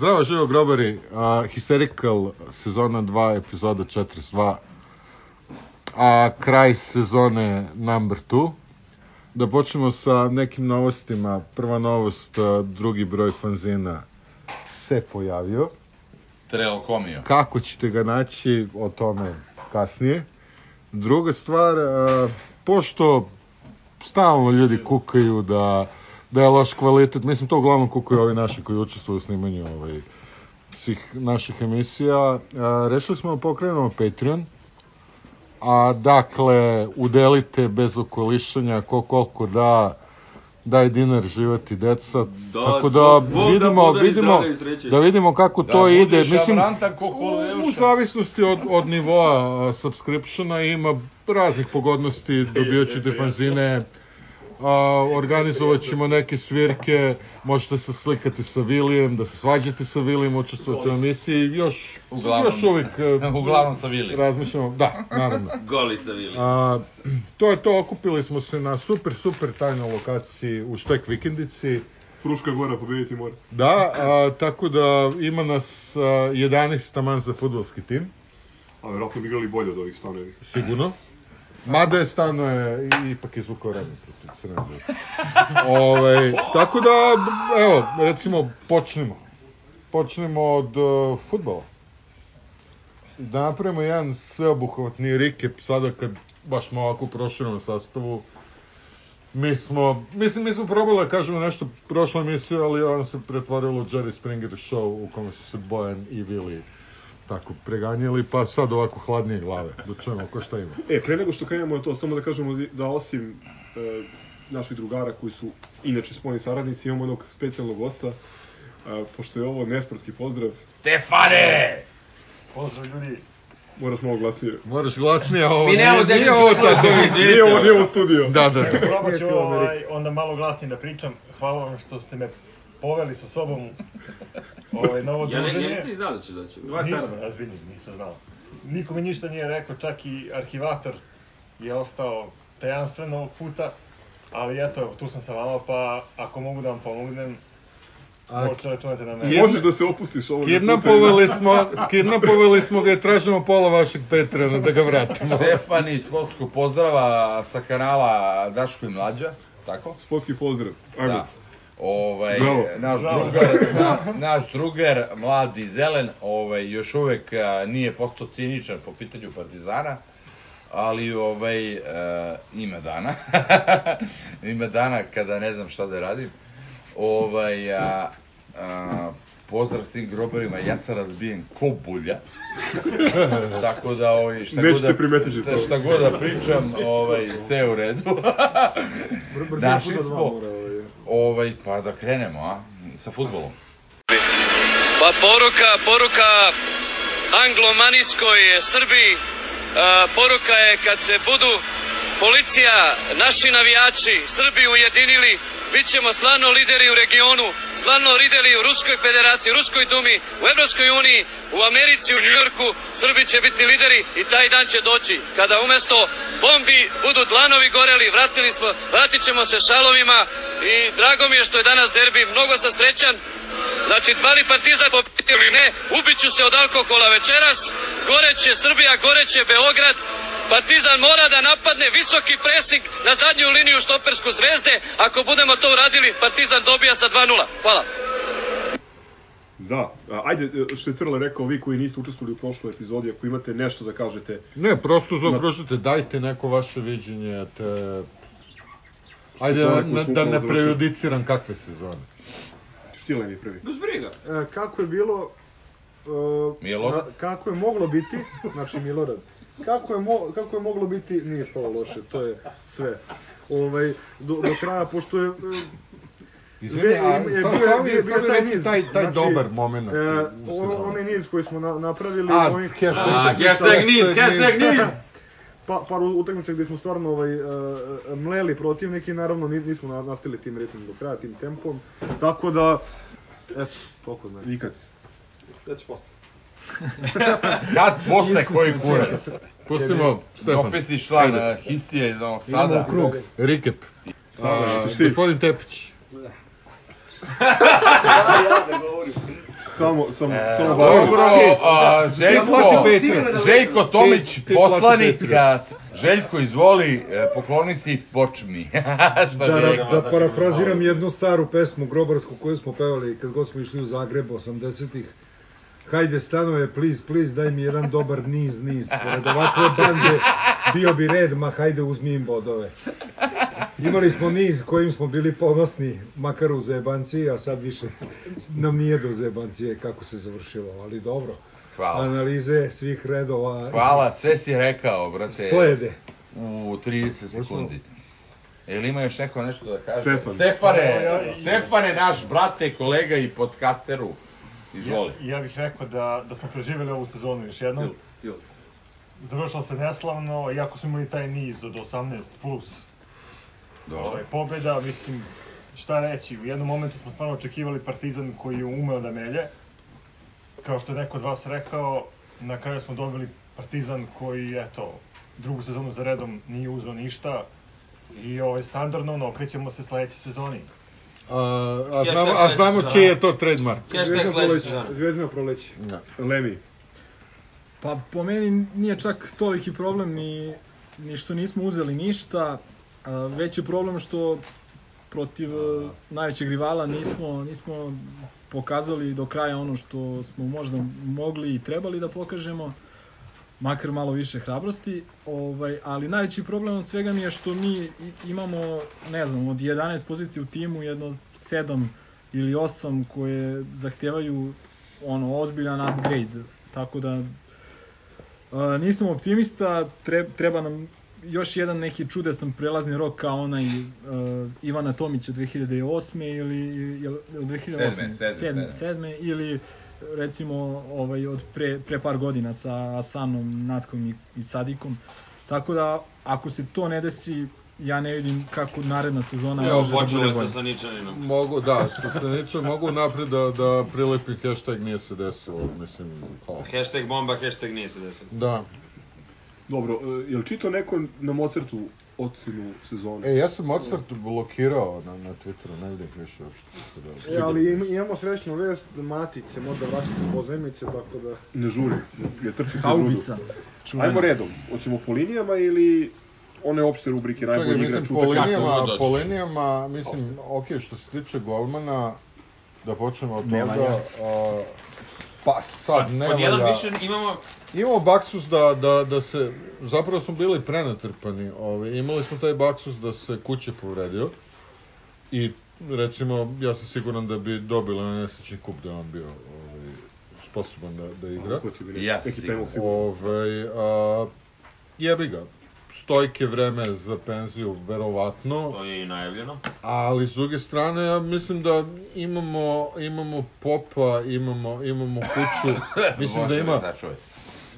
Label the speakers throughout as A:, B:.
A: Ćao, živo grobari. Uh, Hysterical sezona 2, epizoda 42. A kraj sezone number 2. Da počnemo sa nekim novostima. Prva novost, uh, drugi broj fanzina se pojavio.
B: Trelkomio.
A: Kako ćete ga naći, o tome kasnije. Druga stvar, uh, pošto stalno ljudi kukaju da da je loš kvalitet, mislim to uglavnom kukuju ovi naši koji učestvuju u snimanju ovaj, svih naših emisija. E, rešili smo da pokrenemo Patreon, a dakle, udelite bez okolišanja, ko koliko da, daj dinar živati deca,
C: Da,
A: tako da,
C: da, Bog da
A: vidimo,
C: podari
A: vidimo,
C: zdravlja i sreće.
A: da vidimo kako
B: Da
A: to ide,
B: budiš
A: mislim,
B: Avrantan ko Koleuša.
A: u zavisnosti od, od nivoa a, subscriptiona ima raznih pogodnosti, dobijat ćete fanzine, a, organizovat ćemo neke svirke, možete se slikati sa Vilijem, da se svađate sa Vilijem, učestvujete u emisiji, još,
B: Uglavnom.
A: još uvijek e,
B: Uglavnom sa Vili.
A: razmišljamo, da, naravno.
C: Goli sa Vili.
A: A, to je to, okupili smo se na super, super tajnoj lokaciji u Štek Vikendici.
D: Fruška gora, pobediti mora.
A: Da, a, tako da ima nas a, 11 taman za futbolski tim.
D: A verovatno bi igrali bolje od ovih stanovih.
A: Sigurno. Mada je stano je i- ipak izvukao Remi protiv Crne Zvezde. Ovaj, tako da, b- evo, recimo, počnemo. Počnemo od uh, futbola. Da napravimo jedan sveobuhvatni recap sada kad baš smo ovako u proširenom sastavu. Mi smo, mislim, mi smo probali da kažemo nešto prošlo emisiju, ali ono se pretvorilo u Jerry Springer show u kome su se Bojan i Vili tako preganjali, pa sad ovako hladnije glave, da čujemo ko šta ima.
D: E, pre nego što krenemo na to, samo da kažemo da osim e, naših drugara koji su inače spojni saradnici, imamo jednog specijalnog gosta, e, pošto je ovo nesportski pozdrav,
B: Stefane!
D: moraš malo glasnije.
A: Moraš glasnije, ovo
B: Mi nemamo
A: nije, nije
B: tehnički
A: ovo
B: problem,
A: tako.
B: izvinite.
D: Nije ovo, nije ovo studio.
A: Da, da, da.
E: Probat ću
A: Nije film Amerika.
E: ovaj, onda malo glasnije da pričam. Hvala vam što ste me poveli sa sobom ovaj, na ovo
C: Ja ne,
E: druženje.
C: ja ti znao da ćeš doći.
E: Nisam, razbiljim, nisam znao. Niko mi ništa nije rekao, čak i arhivator je ostao tajanstven ovog puta. Ali eto, evo, tu sam sa vama, pa ako mogu da vam pomognem,
A: A,
E: možete računati na mene.
A: Jedna-
D: Možeš da se opustiš ovo.
A: Kidnapovali smo, kidnapovali smo ga i tražimo pola vašeg Patreona da ga vratimo.
B: Stefani iz Spotskog pozdrava sa kanala Daško i Mlađa, tako?
D: Sportski pozdrav. Ajmo.
B: Da. Ovaj,
D: Bravo.
B: naš
E: Bravo.
B: drugar, na, naš drugar, mladi zelen, ovaj, još uvek a, nije postao ciničan po pitanju Partizana, ali ovaj, e, ima dana. ima dana kada ne znam šta da radim. Ovaj, a, a, pozdrav svim grobarima, ja sam razbijen ko bulja. Tako da ovaj, šta
D: Nećete
B: god da,
D: primetiti
B: šta,
D: to.
B: šta god da pričam, ovaj, sve je u redu. Našli smo, ovaj, pa da krenemo, a? Sa futbolom.
F: Pa poruka, poruka anglomanijskoj Srbiji, e, poruka je kad se budu policija, naši navijači, Srbi ujedinili, bit ćemo slavno lideri u regionu, slavno lideri u Ruskoj federaciji, Ruskoj dumi, u Evropskoj uniji, u Americi, u Njujorku, Srbi će biti lideri i taj dan će doći, kada umesto bombi budu dlanovi goreli, vratili smo, vratit ćemo se šalovima i drago mi je što je danas derbi, mnogo sam srećan, Znači, da li Partizan pobedi ili ne, ubiću se od alkohola večeras, goreće Srbija, goreće Beograd, Partizan mora da napadne visoki presing na zadnju liniju štopersku zvezde. Ako budemo to uradili, Partizan dobija sa 2-0. Hvala.
D: Da, a, ajde, e, što je Crle rekao, vi koji niste učestvovali u prošloj epizodi, ako imate nešto da kažete,
A: Ne, prosto zaokružite, dajte neko vaše viđenje, te... Ajde, da,
D: Sezone koju
A: da,
D: smo
A: da
D: upravo
A: ne
D: završili.
A: prejudiciram kakve sezone.
D: Štilen je prvi.
C: Bez briga.
G: E, kako je bilo e,
B: Milorad?
G: na- kako je moglo biti znači Milorad kako je, mo, kako je moglo biti nije spalo loše to je sve ovaj do, do kraja pošto je e,
A: Izvini, a
G: bio je-
A: sam,
G: bio je-
A: sam,
G: bio je
A: sam
G: taj
A: reci
G: niz.
A: taj, taj
G: Znači,
A: dobar moment. u
G: e,
A: sezoni.
G: on, onaj niz koji smo na, napravili
A: da, A,
G: oni-
A: hashtag,
C: A, hashtag niz, hashtag niz.
G: pa, par utakmica gde smo stvarno ovaj, e, e, mleli protivnike i naravno ni- nismo na- nastavili tim ritmom do kraja, tim tempom tako da eto, toliko znači
D: Vikac.
B: Kad posle koji kurac? Da
A: Pustimo, Stefan.
B: Dopisni član
A: Ajde.
B: a, histije iz onog
A: Sada
B: sada.
A: krug. Recap. Sada,
D: ćeš ti.
A: gospodin Tepić.
D: Samo, samo,
B: E,
D: samo
A: dobro.
D: važno.
B: Dobro, a,
A: Ja plati
B: Željko,
A: Petra. da
B: Željko Tomić,
A: Ti- ti plati
B: poslanik,
A: Petra.
B: a, s- Željko izvoli, e, pokloni se i počmi. Šta
H: Da,
B: bi rekao?
H: da, da parafraziram jednu staru pesmu grobarsku koju smo pevali kad god smo išli u Zagreb 80-ih. Hajde stanove, please, please, daj mi jedan dobar niz, niz. Pored ovakve bande bio bi red, ma hajde uzmi im bodove. Imali smo niz kojim smo bili ponosni, makar u zebanci, a sad više nam nije do zebancije kako se završilo, ali dobro.
B: Hvala.
H: Analize svih redova
B: Hvala, sve si rekao, brate,
H: slede.
B: u 30 sekundi. Jel ima još neko nešto da kaže?
D: Stefan.
B: Stefane,
E: Ja, ja, ja.
B: Stefane, naš brate, kolega i podcasteru. Izvoli.
E: Ja, ja bih rekao da, da smo preživjeli ovu sezonu još jednom. Završilo se neslavno, iako smo imali taj niz od 18 plus
B: Dobro.
E: ovaj, pobjeda, mislim, šta reći, u jednom momentu smo stvarno očekivali Partizan koji je umeo da melje. Kao što je neko od vas rekao, na kraju smo dobili Partizan koji, eto, drugu sezonu za redom nije uzeo ništa. I ovaj, standardno, ono, okrećemo se sledeće sezoni.
A: A, a,
C: Ja
A: znamo,
C: šta
A: a
C: sledeće
A: znamo
C: sezone?
A: čiji je to trademark.
C: Hashtag sledeće sezone.
D: Zvezdina proleće.
A: Da.
D: Lemi.
I: Pa po meni nije čak toliki problem ni, ni što nismo uzeli ništa, a, već je problem što protiv e, najvećeg rivala nismo, nismo pokazali do kraja ono što smo možda mogli i trebali da pokažemo, makar malo više hrabrosti, ovaj, ali najveći problem od svega mi je što mi i- imamo, ne znam, od 11 pozicija u timu, jedno 7 ili 8 koje zahtevaju ono ozbiljan upgrade, tako da E, nisam optimista, tre, treba nam još jedan neki čudesan prelazni rok kao onaj uh, Ivana Tomića 2008. ili jel, jel 2008.
B: Sedme, sedme, sedme.
I: sedme, ili recimo ovaj od pre, pre par godina sa Asanom, Natkom i, i Sadikom. Tako da ako se to ne desi, ja ne vidim kako naredna sezona
C: Evo,
I: može da
C: počelo
I: bude
C: je sa
I: bolja.
C: Saničaninom.
A: Mogu, da, što se neče, mogu napred da, da prilepim hashtag nije se desilo, mislim, kao.
C: Hashtag bomba, hashtag nije se desilo.
A: Da.
D: Dobro, e, jel čitao neko na Mozartu ocenu sezone?
A: E, ja sam Mozart blokirao na, na Twitteru, ne vidim ih više uopšte. što se
G: E,
A: dešava.
G: ali im, imamo srećnu vest, Matić se možda vraća sa pozemice, tako da...
D: Ne žuri, je trči po
I: Haubica.
D: grudu. Ajmo redom, hoćemo po linijama ili one opšte rubrike
A: Čekaj,
D: najbolji
A: mislim,
D: igrač
A: po
D: utakmice?
A: linijama,
B: god dođe.
A: po linijama, mislim, ok, što se tiče golmana, da počnemo od toga, a, pa sad ne
C: Pod jedan
A: valja.
C: više imamo...
A: Imamo baksus da, da, da se, zapravo smo bili prenatrpani, ovaj, imali smo taj baksus da se kuće povredio i recimo, ja sam siguran da bi dobila na nesrećni kup da je on bio ovaj, sposoban da, da igra.
D: Ko će bi
B: Ja sam
D: neki
B: siguran.
D: penal sigurno.
A: Ovaj, a, jebi ga, stojke vreme za penziju, verovatno.
C: To je i najavljeno.
A: Ali s druge strane, ja mislim da imamo, imamo popa, imamo, imamo kuću, mislim da
B: Bože,
A: ima...
B: sačuvaj.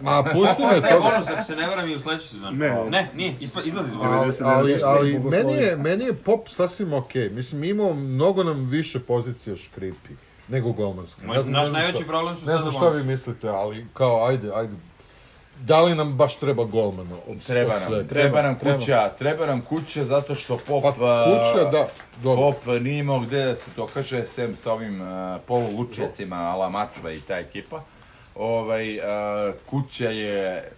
A: Ma, pusti me
C: Taj
A: toga.
C: bonus, ako se ne varam, i u sledećoj sezoni.
D: Ne, ali-
C: Ne, nije, ispa, izlazi iz
A: Ali,
D: 99
A: ali, ali
D: Jugoslavije.
A: meni, je, meni je pop sasvim okej. Mislim, imao mnogo nam više pozicija škripi nego golmanska.
C: Moj- naš najveći problem su
A: Ne znam
C: sada
A: šta
C: bonus.
A: vi mislite, ali kao, ajde, ajde. Da li nam baš treba golmana? od-
B: Treba
A: od
B: nam,
A: svega?
B: treba, nam kuća, treba nam kuća zato što Pop...
A: Pa
B: a,
A: kuća, da, dobro.
B: Pop nije imao gde da se dokaže, sem sa ovim uh, polulučjacima, ala Mačva i ta ekipa. Ovaj, a, kuća je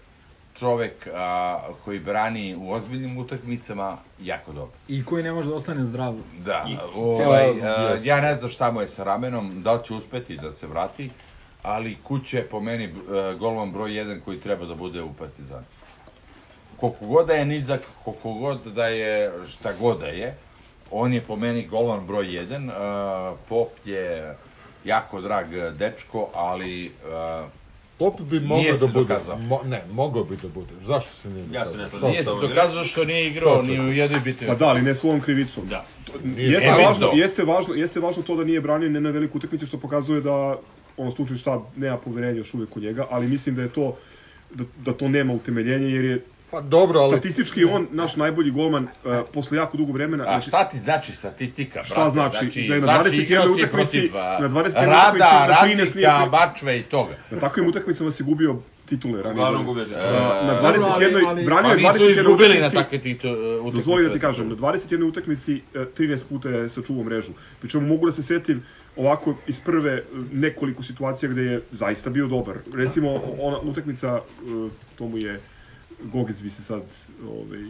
B: čovek a, koji brani u ozbiljnim utakmicama jako dobro.
I: I koji ne može da ostane zdrav.
B: Da,
C: I-
B: ovaj,
A: cijela-
B: a,
A: jest.
B: ja ne znam šta mu je sa ramenom, da li će uspeti da se vrati, ali kuća je po meni e, golman broj 1 koji treba da bude u Partizanu. Koliko god da je nizak, koliko god da je šta god da je, on je po meni golman broj 1. Pop je jako drag e, dečko, ali e,
A: Pop bi
B: Nije
A: mogao
B: se
A: da bude.
B: dokazao.
A: Mo, ne, mogao bi da bude. Zašto se nije
C: Ja se ne
A: dokazao?
C: slažem.
B: nije se
C: dobro.
B: dokazao što nije igrao ni u jednoj bitnoj.
D: Pa da, ali ne svojom krivicom.
C: Da.
D: Jeste,
B: Evo,
D: važno,
B: to.
D: jeste, važno, jeste važno to da nije branio ne na veliku utakmicu što pokazuje da on stručni štab nema poverenja još uvek u njega, ali mislim da je to da, da to nema utemeljenje jer je
A: Pa dobro, ali
D: statistički on naš najbolji golman uh, posle jako dugo vremena.
B: A šta ti znači statistika,
D: Šta
B: brate?
D: znači? Da je na 21
B: igrao si
D: utakmici-
B: protiv, a,
D: na 21
B: Rada,
D: utakmici na 13
B: Radnika,
D: nije-
B: Bačve i toga.
D: Na takvim utakmicama si gubio titule ranije.
C: Uglavnom
D: godine.
C: gubili.
D: Na, na
B: E,
D: 21.
I: ali-
D: branio
B: Pa
D: je
B: mi su
D: 21
B: izgubili na
D: utakmici.
B: takve titu, utakmice.
D: Dozvoli da ti kažem, na 21. utakmici e, 13 puta je sačuvao mrežu. Pričemu mogu da se setim ovako iz prve e, nekoliko situacija gde je zaista bio dobar. Recimo ona utakmica, e, to mu je Gogec bi se sad ovaj,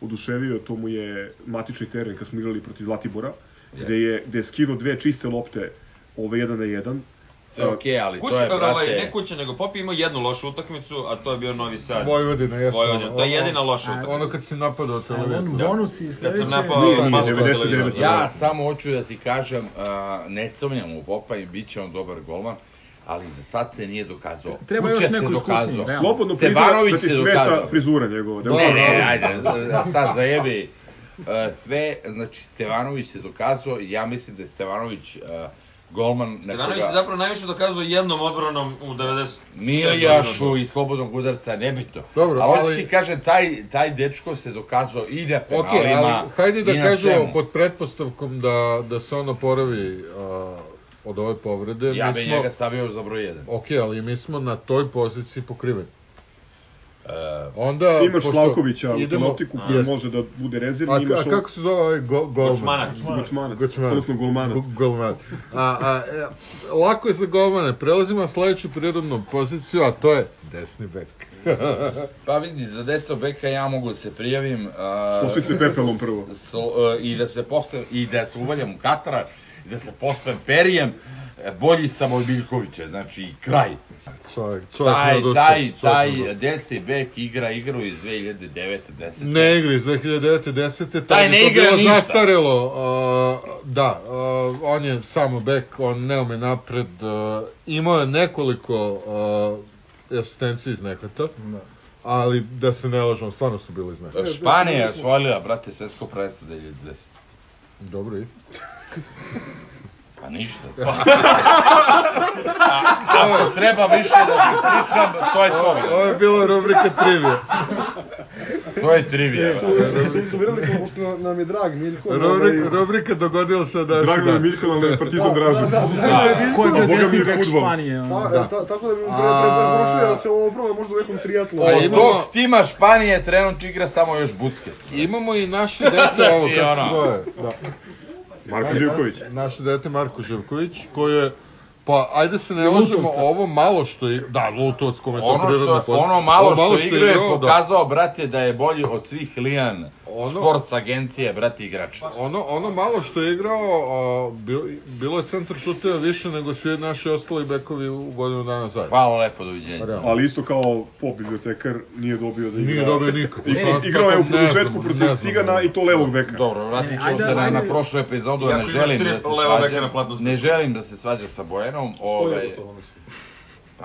D: oduševio, to mu je matični teren kad smo igrali protiv Zlatibora, gde je, gde je skinuo dve čiste lopte, ove jedan na jedan.
B: Sve okej, okay, ali
C: Kuća,
B: to je, brate...
C: ovaj, ne kuća, nego Pop je imao jednu lošu utakmicu, a to je bio Novi Sad.
A: Vojvodina, jeste.
C: Vojvodina,
A: ono,
C: to je
A: ono-
C: jedina loša utakmica.
A: Ono kad si napadao televizor.
I: On bonus i
C: Kad
I: sledeće...
C: sam napao
D: Nije, nije,
C: masku da na
D: 99.
C: televizoru.
B: Ja samo hoću da ti kažem, uh, ne sumnjam u Popa i bit će on dobar golman, ali za sad se nije dokazao.
I: Treba
B: Kuća
I: još
B: se
I: neko iskusniji,
B: dokazao.
I: realno.
D: Slobodno priznao
B: Stevanović
D: da ti
B: se
D: smeta
B: Da. dokazao.
D: frizura njegova. Da,
B: Ne, ne, ajde, da sad zajebi. E, Sve, znači, Stevanović se dokazao i ja mislim da je Stevanović uh, golman
C: Stevanović se da zapravo najviše dokazao jednom odbranom u 96.
B: Milijašu
C: minutu.
B: i slobodnog udarca, nebitno.
A: Dobro,
B: ali... hoću
A: ali-
B: ti kažem, taj, taj dečko se dokazao i na
A: Ok,
B: penalima,
A: ali hajde da
B: i na
A: kažemo
B: svemu.
A: pod pretpostavkom da, da se on oporavi a, od ove povrede.
B: Ja
A: mi
B: bih
A: smo-
B: njega stavio za broj 1.
A: Ok, ali mi smo na toj poziciji pokriveni.
B: E,
A: Onda,
D: Imaš
A: pošto
D: Slavkovića u
A: idemo-
D: penaltiku koji
A: Jeste.
D: može da bude
A: A,
D: rezervni,
A: ka-
D: imaš
A: a kako se zove ovaj go, golman?
C: Gočmanac.
D: Gočmanac,
A: Gočmanac.
D: odnosno golmanac.
A: Go- golman. A, a, e, lako je za golmane. Prelazimo na sledeću prirodnu poziciju, a to je desni bek.
B: pa vidi, za desno beka ja mogu da se prijavim. e, a,
D: Pospi se pepelom prvo.
B: so, e, i da se postavim, i da se uvaljam u Katara, i da se postavim perijem, e, bolji sam od Miljkovića, znači i kraj.
A: Čovjek, čovjek ne
B: Taj,
A: odustaje,
B: taj,
A: čovjek ne
B: taj
A: odustaje.
B: desni bek igra igru iz 2009-10.
A: Ne igra iz 2009. 10.
B: Taj
A: Taj
B: ne
A: je to
B: igra
A: bilo
B: ništa.
A: zastarelo. A, da, a, on je samo bek, on ne ume napred. A, imao je nekoliko a, asistencije iz nehata. Da. Ali da se ne lažemo, stvarno su bili iz nehata.
B: Španija je osvojila, brate, svetsko predstvo 2010.
A: Dobro i.
B: Pa ništa. A, ako treba više da ti pričam, to je to.
A: Ovo je bila rubrika trivija.
B: brate. To je trivija. brate.
G: Sumirali smo, pošto nam je drag Miljko.
A: Rubrika, rubrika dogodila se da
D: Dragana Miljkova, ali je partizan dražen.
I: Ko je bio
D: A boga mi
I: desni bek
D: fudbal.
I: Španije? ono?
G: Ta, ta, tako da bi pre, pre, pre, da se ovo proba možda u nekom triatlonu.
A: Pa
B: Od
A: imamo-
B: tog tima Španije trenutno igra samo još Buckets. brate.
A: Imamo i naše dete, ovo
B: Znači,
A: kako
B: ono.
A: se zove. Da.
D: Marko Živković.
A: Naše dete Marko Živković, koji je Pa, ajde se ne lažemo, ovo malo što je... Da, Lutovac kome je to
B: Ono što,
A: prirodno poznato.
B: ono malo što, igra je
A: igrao, da.
B: pokazao, brate, da je bolji od svih Lijan
A: Ono-
B: sports agencije, brate, igrača.
A: Ono, ono malo što je igrao, a, bilo, bilo je centar šuteva više nego svi naši ostali bekovi u godinu dana zajedno.
B: Hvala lepo, doviđenja.
A: Realno.
D: Ali isto kao pop bibliotekar nije dobio da igra.
A: Nije dobio nikakvu
D: Igra-
A: šansu,
D: Igrao je
A: tako
D: u
A: ne
D: produžetku
A: znam,
D: protiv
A: ne znam, ono.
D: Cigana i to levog beka.
B: Dobro, vratit ćemo
I: ajde,
B: se na,
I: ajde.
B: na prošlu epizodu,
C: Iako
B: ne
C: imaš
B: želim
C: tri
B: da se
C: leva beka na platnu
B: svađam. Ne želim da se svađam sa Bojanom, ovaj... Pa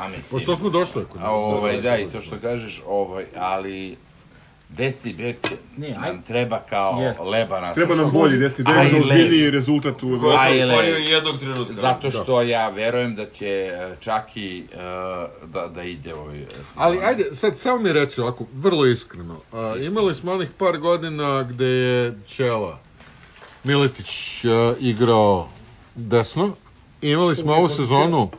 A: Pa što
B: mislim.
A: smo došli? kod-
B: A, ovaj, da, i to što kažeš, ovaj, ali... Desni bek
I: Nije,
B: nam
I: ajde.
B: treba kao
I: Jeste.
B: leba na
D: Treba nam
B: srcu.
D: bolji desni
B: A i
D: bek za
B: levi.
D: ozbiljniji rezultat u Evropi.
B: A i
C: Ajle. Spojio
B: levi.
C: jednog trenutka.
B: Da, Zato što ja verujem da će e, Čaki e, da, da ide ovaj e, sezon.
A: Ali ajde, sad samo mi reci ovako, vrlo iskreno. A, imali smo onih par godina gde je Čela Miletić a, igrao desno. I imali smo ovu sezonu,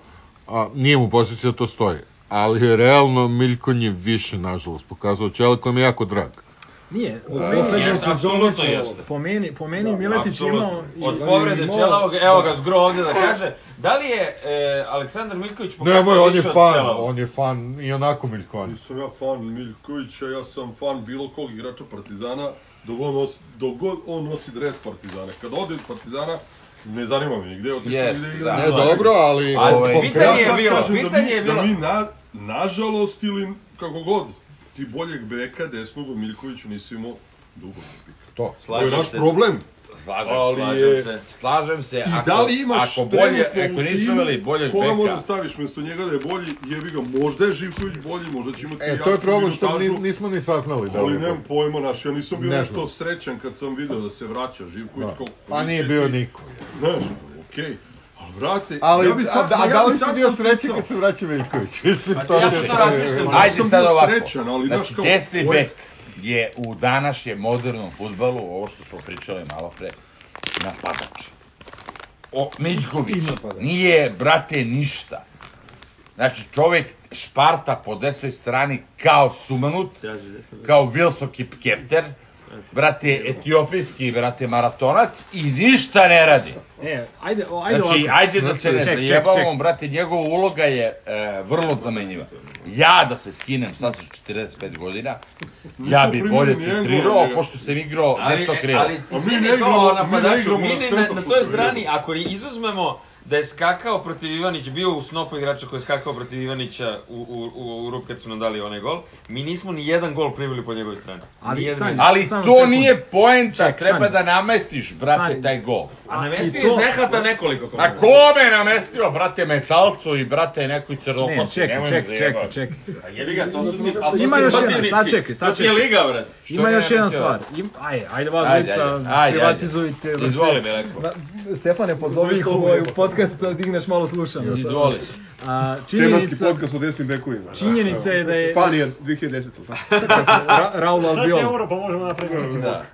A: a, nije mu pozicija da to stoji, ali je realno Miljkon je više, nažalost, pokazao Čela koji mi je jako drag.
D: Pa-
I: Nije, po
B: A,
I: meni sad je
C: jeste,
I: sezona
C: apsolutno
I: će-
C: jeste.
I: Po meni, po meni Miletić
C: Apsolutno.
I: imao... i- E,
C: Od povrede
I: imao-
C: Čelavog, evo ga zgro ovde da kaže, da li je e, Aleksandar Miljković pokazao
A: Nemoj, on je
C: više od
A: fan,
C: Čelavog?
A: on je fan i onako Miljkon.
J: Nisam ja fan Miljkovića, ja sam fan bilo kog igrača Partizana, dok on nosi, dok god on nosi dres Partizana. Kad ode iz Partizana, ne zanima me gde je otišao,
B: Jest,
J: yes, gde
B: da.
J: igra.
A: Ne,
J: Zagreb.
A: dobro, ali...
B: Ali
A: ovaj,
B: pitanje
J: Ja
A: konkretno-
C: je
J: sad
C: bilo,
J: kažem
C: pitanje
J: da mi,
C: je bilo.
J: Da mi na, nažalost ili kako god, ti boljeg beka desnog u Miljkoviću nisi imao dugo.
A: To.
J: To je
B: slažem
J: naš
B: se,
J: problem.
B: slažem,
J: ali
B: slažem
J: je-
B: se, slažem se,
J: I
B: ako,
J: da li imaš
B: ako bolje,
J: trenutno u
B: ako nismo
J: timu
B: imali boljeg
J: Koga
B: beka,
J: možda staviš mesto njega da je bolji, jebi ga, možda je Živković bolji, možda će imati
A: E, to je
J: jaku
A: problem što ni,
J: minutažu.
A: nismo ni saznali da li
J: Ali
A: je
J: nemam pojma, naš, ja nisam bio
A: Ne
J: nešto
A: znam.
J: srećan kad sam video da se vraća Živković.
A: Da.
J: kao
A: Pa nije
J: količeti.
A: bio niko.
J: Znaš, okej. Ali, brate,
A: Ali,
J: ja bi
A: a,
J: sad,
A: da,
J: ma
A: a
J: ja
A: da
J: bi
A: li si
J: sad
A: bio srećen
J: potpisao.
A: kad se vraća Veljković? Mislim,
C: Pa ja se to razmišljam.
J: Ma,
B: Ajde
J: nisam
B: sad
J: bio
B: ovako.
J: Srećan, ali, znaš,
B: znači,
J: kao,
B: desni
J: ovo je-
B: bek je u današnjem modernom fudbalu, ovo što smo pričali malo pre, napadač. O, Miljković nije, brate, ništa. Znači, čovek Šparta po desnoj strani kao sumanut,
K: Traži desno.
B: kao Wilson Kipkepter, brate, etiopijski, brate, maratonac i ništa ne radi.
I: E, ajde, o, ajde
B: Znači,
I: ovako.
B: ajde da se ne
K: ček, ček,
B: zajebavamo, brate, njegova uloga je e, vrlo zamenjiva. Ja da se skinem sad sa 45 godina, ja bi
J: Nismo
B: bolje
J: primili njegov,
B: centrirao,
J: je.
B: pošto sam igrao
C: Ali, e,
B: desno
I: e,
B: krilo.
C: ali
J: A Pa mi ne
C: izvini
J: igramo-
C: to
J: mi ne
C: napadaču,
J: igramo
C: mi
J: na
C: ni na,
J: centru
C: na toj
J: futbolu.
C: strani, ako i izuzmemo da je skakao protiv Ivanića, bio u snopu igrača koji je skakao protiv Ivanića u, u, u, u rup kad su nam dali onaj gol, mi nismo ni jedan gol primili po njegovoj strani.
I: Ali
C: Nijedan.
I: stani.
B: Ali
I: Samo
B: to
I: sekundu.
B: nije poenta, treba
I: stani.
B: da namestiš, brate,
I: Stani.
B: taj gol.
C: A namestio
I: I to-
C: je nehata nekoliko koga.
B: Na kome je namestio, brate, metalcu i brate, nekoj crnokosi?
I: Ne, E, čekaj,
B: nemoj me
I: čekaj, čekaj,
B: zajebavati.
I: čekaj.
C: A jebi ga, to su ti... a to su
I: Ima
C: ti
I: još jedan,
C: protivnici.
I: sad čekaj, sad
C: To ti je
I: čekaj.
C: liga, brate.
I: Ima
B: ne
I: još jedna
B: namestio?
I: stvar. Im, ajde, ajde vas
B: Ajde,
I: dvojica,
B: ajde, ajde,
I: privatizujte. brate.
B: Izvoli, Milenko.
I: Na- Stefane, pozovi ih u ovaj podcast, da digneš malo slušanja.
B: Izvoli.
I: A,
D: Tematski
I: činjenica,
D: podcast o desnim bekovima.
I: činjenica je da je
D: Španija 2010.
I: Ra, Raul
E: Sad će
I: Albiol,
E: euro pa možemo napraviti neki da.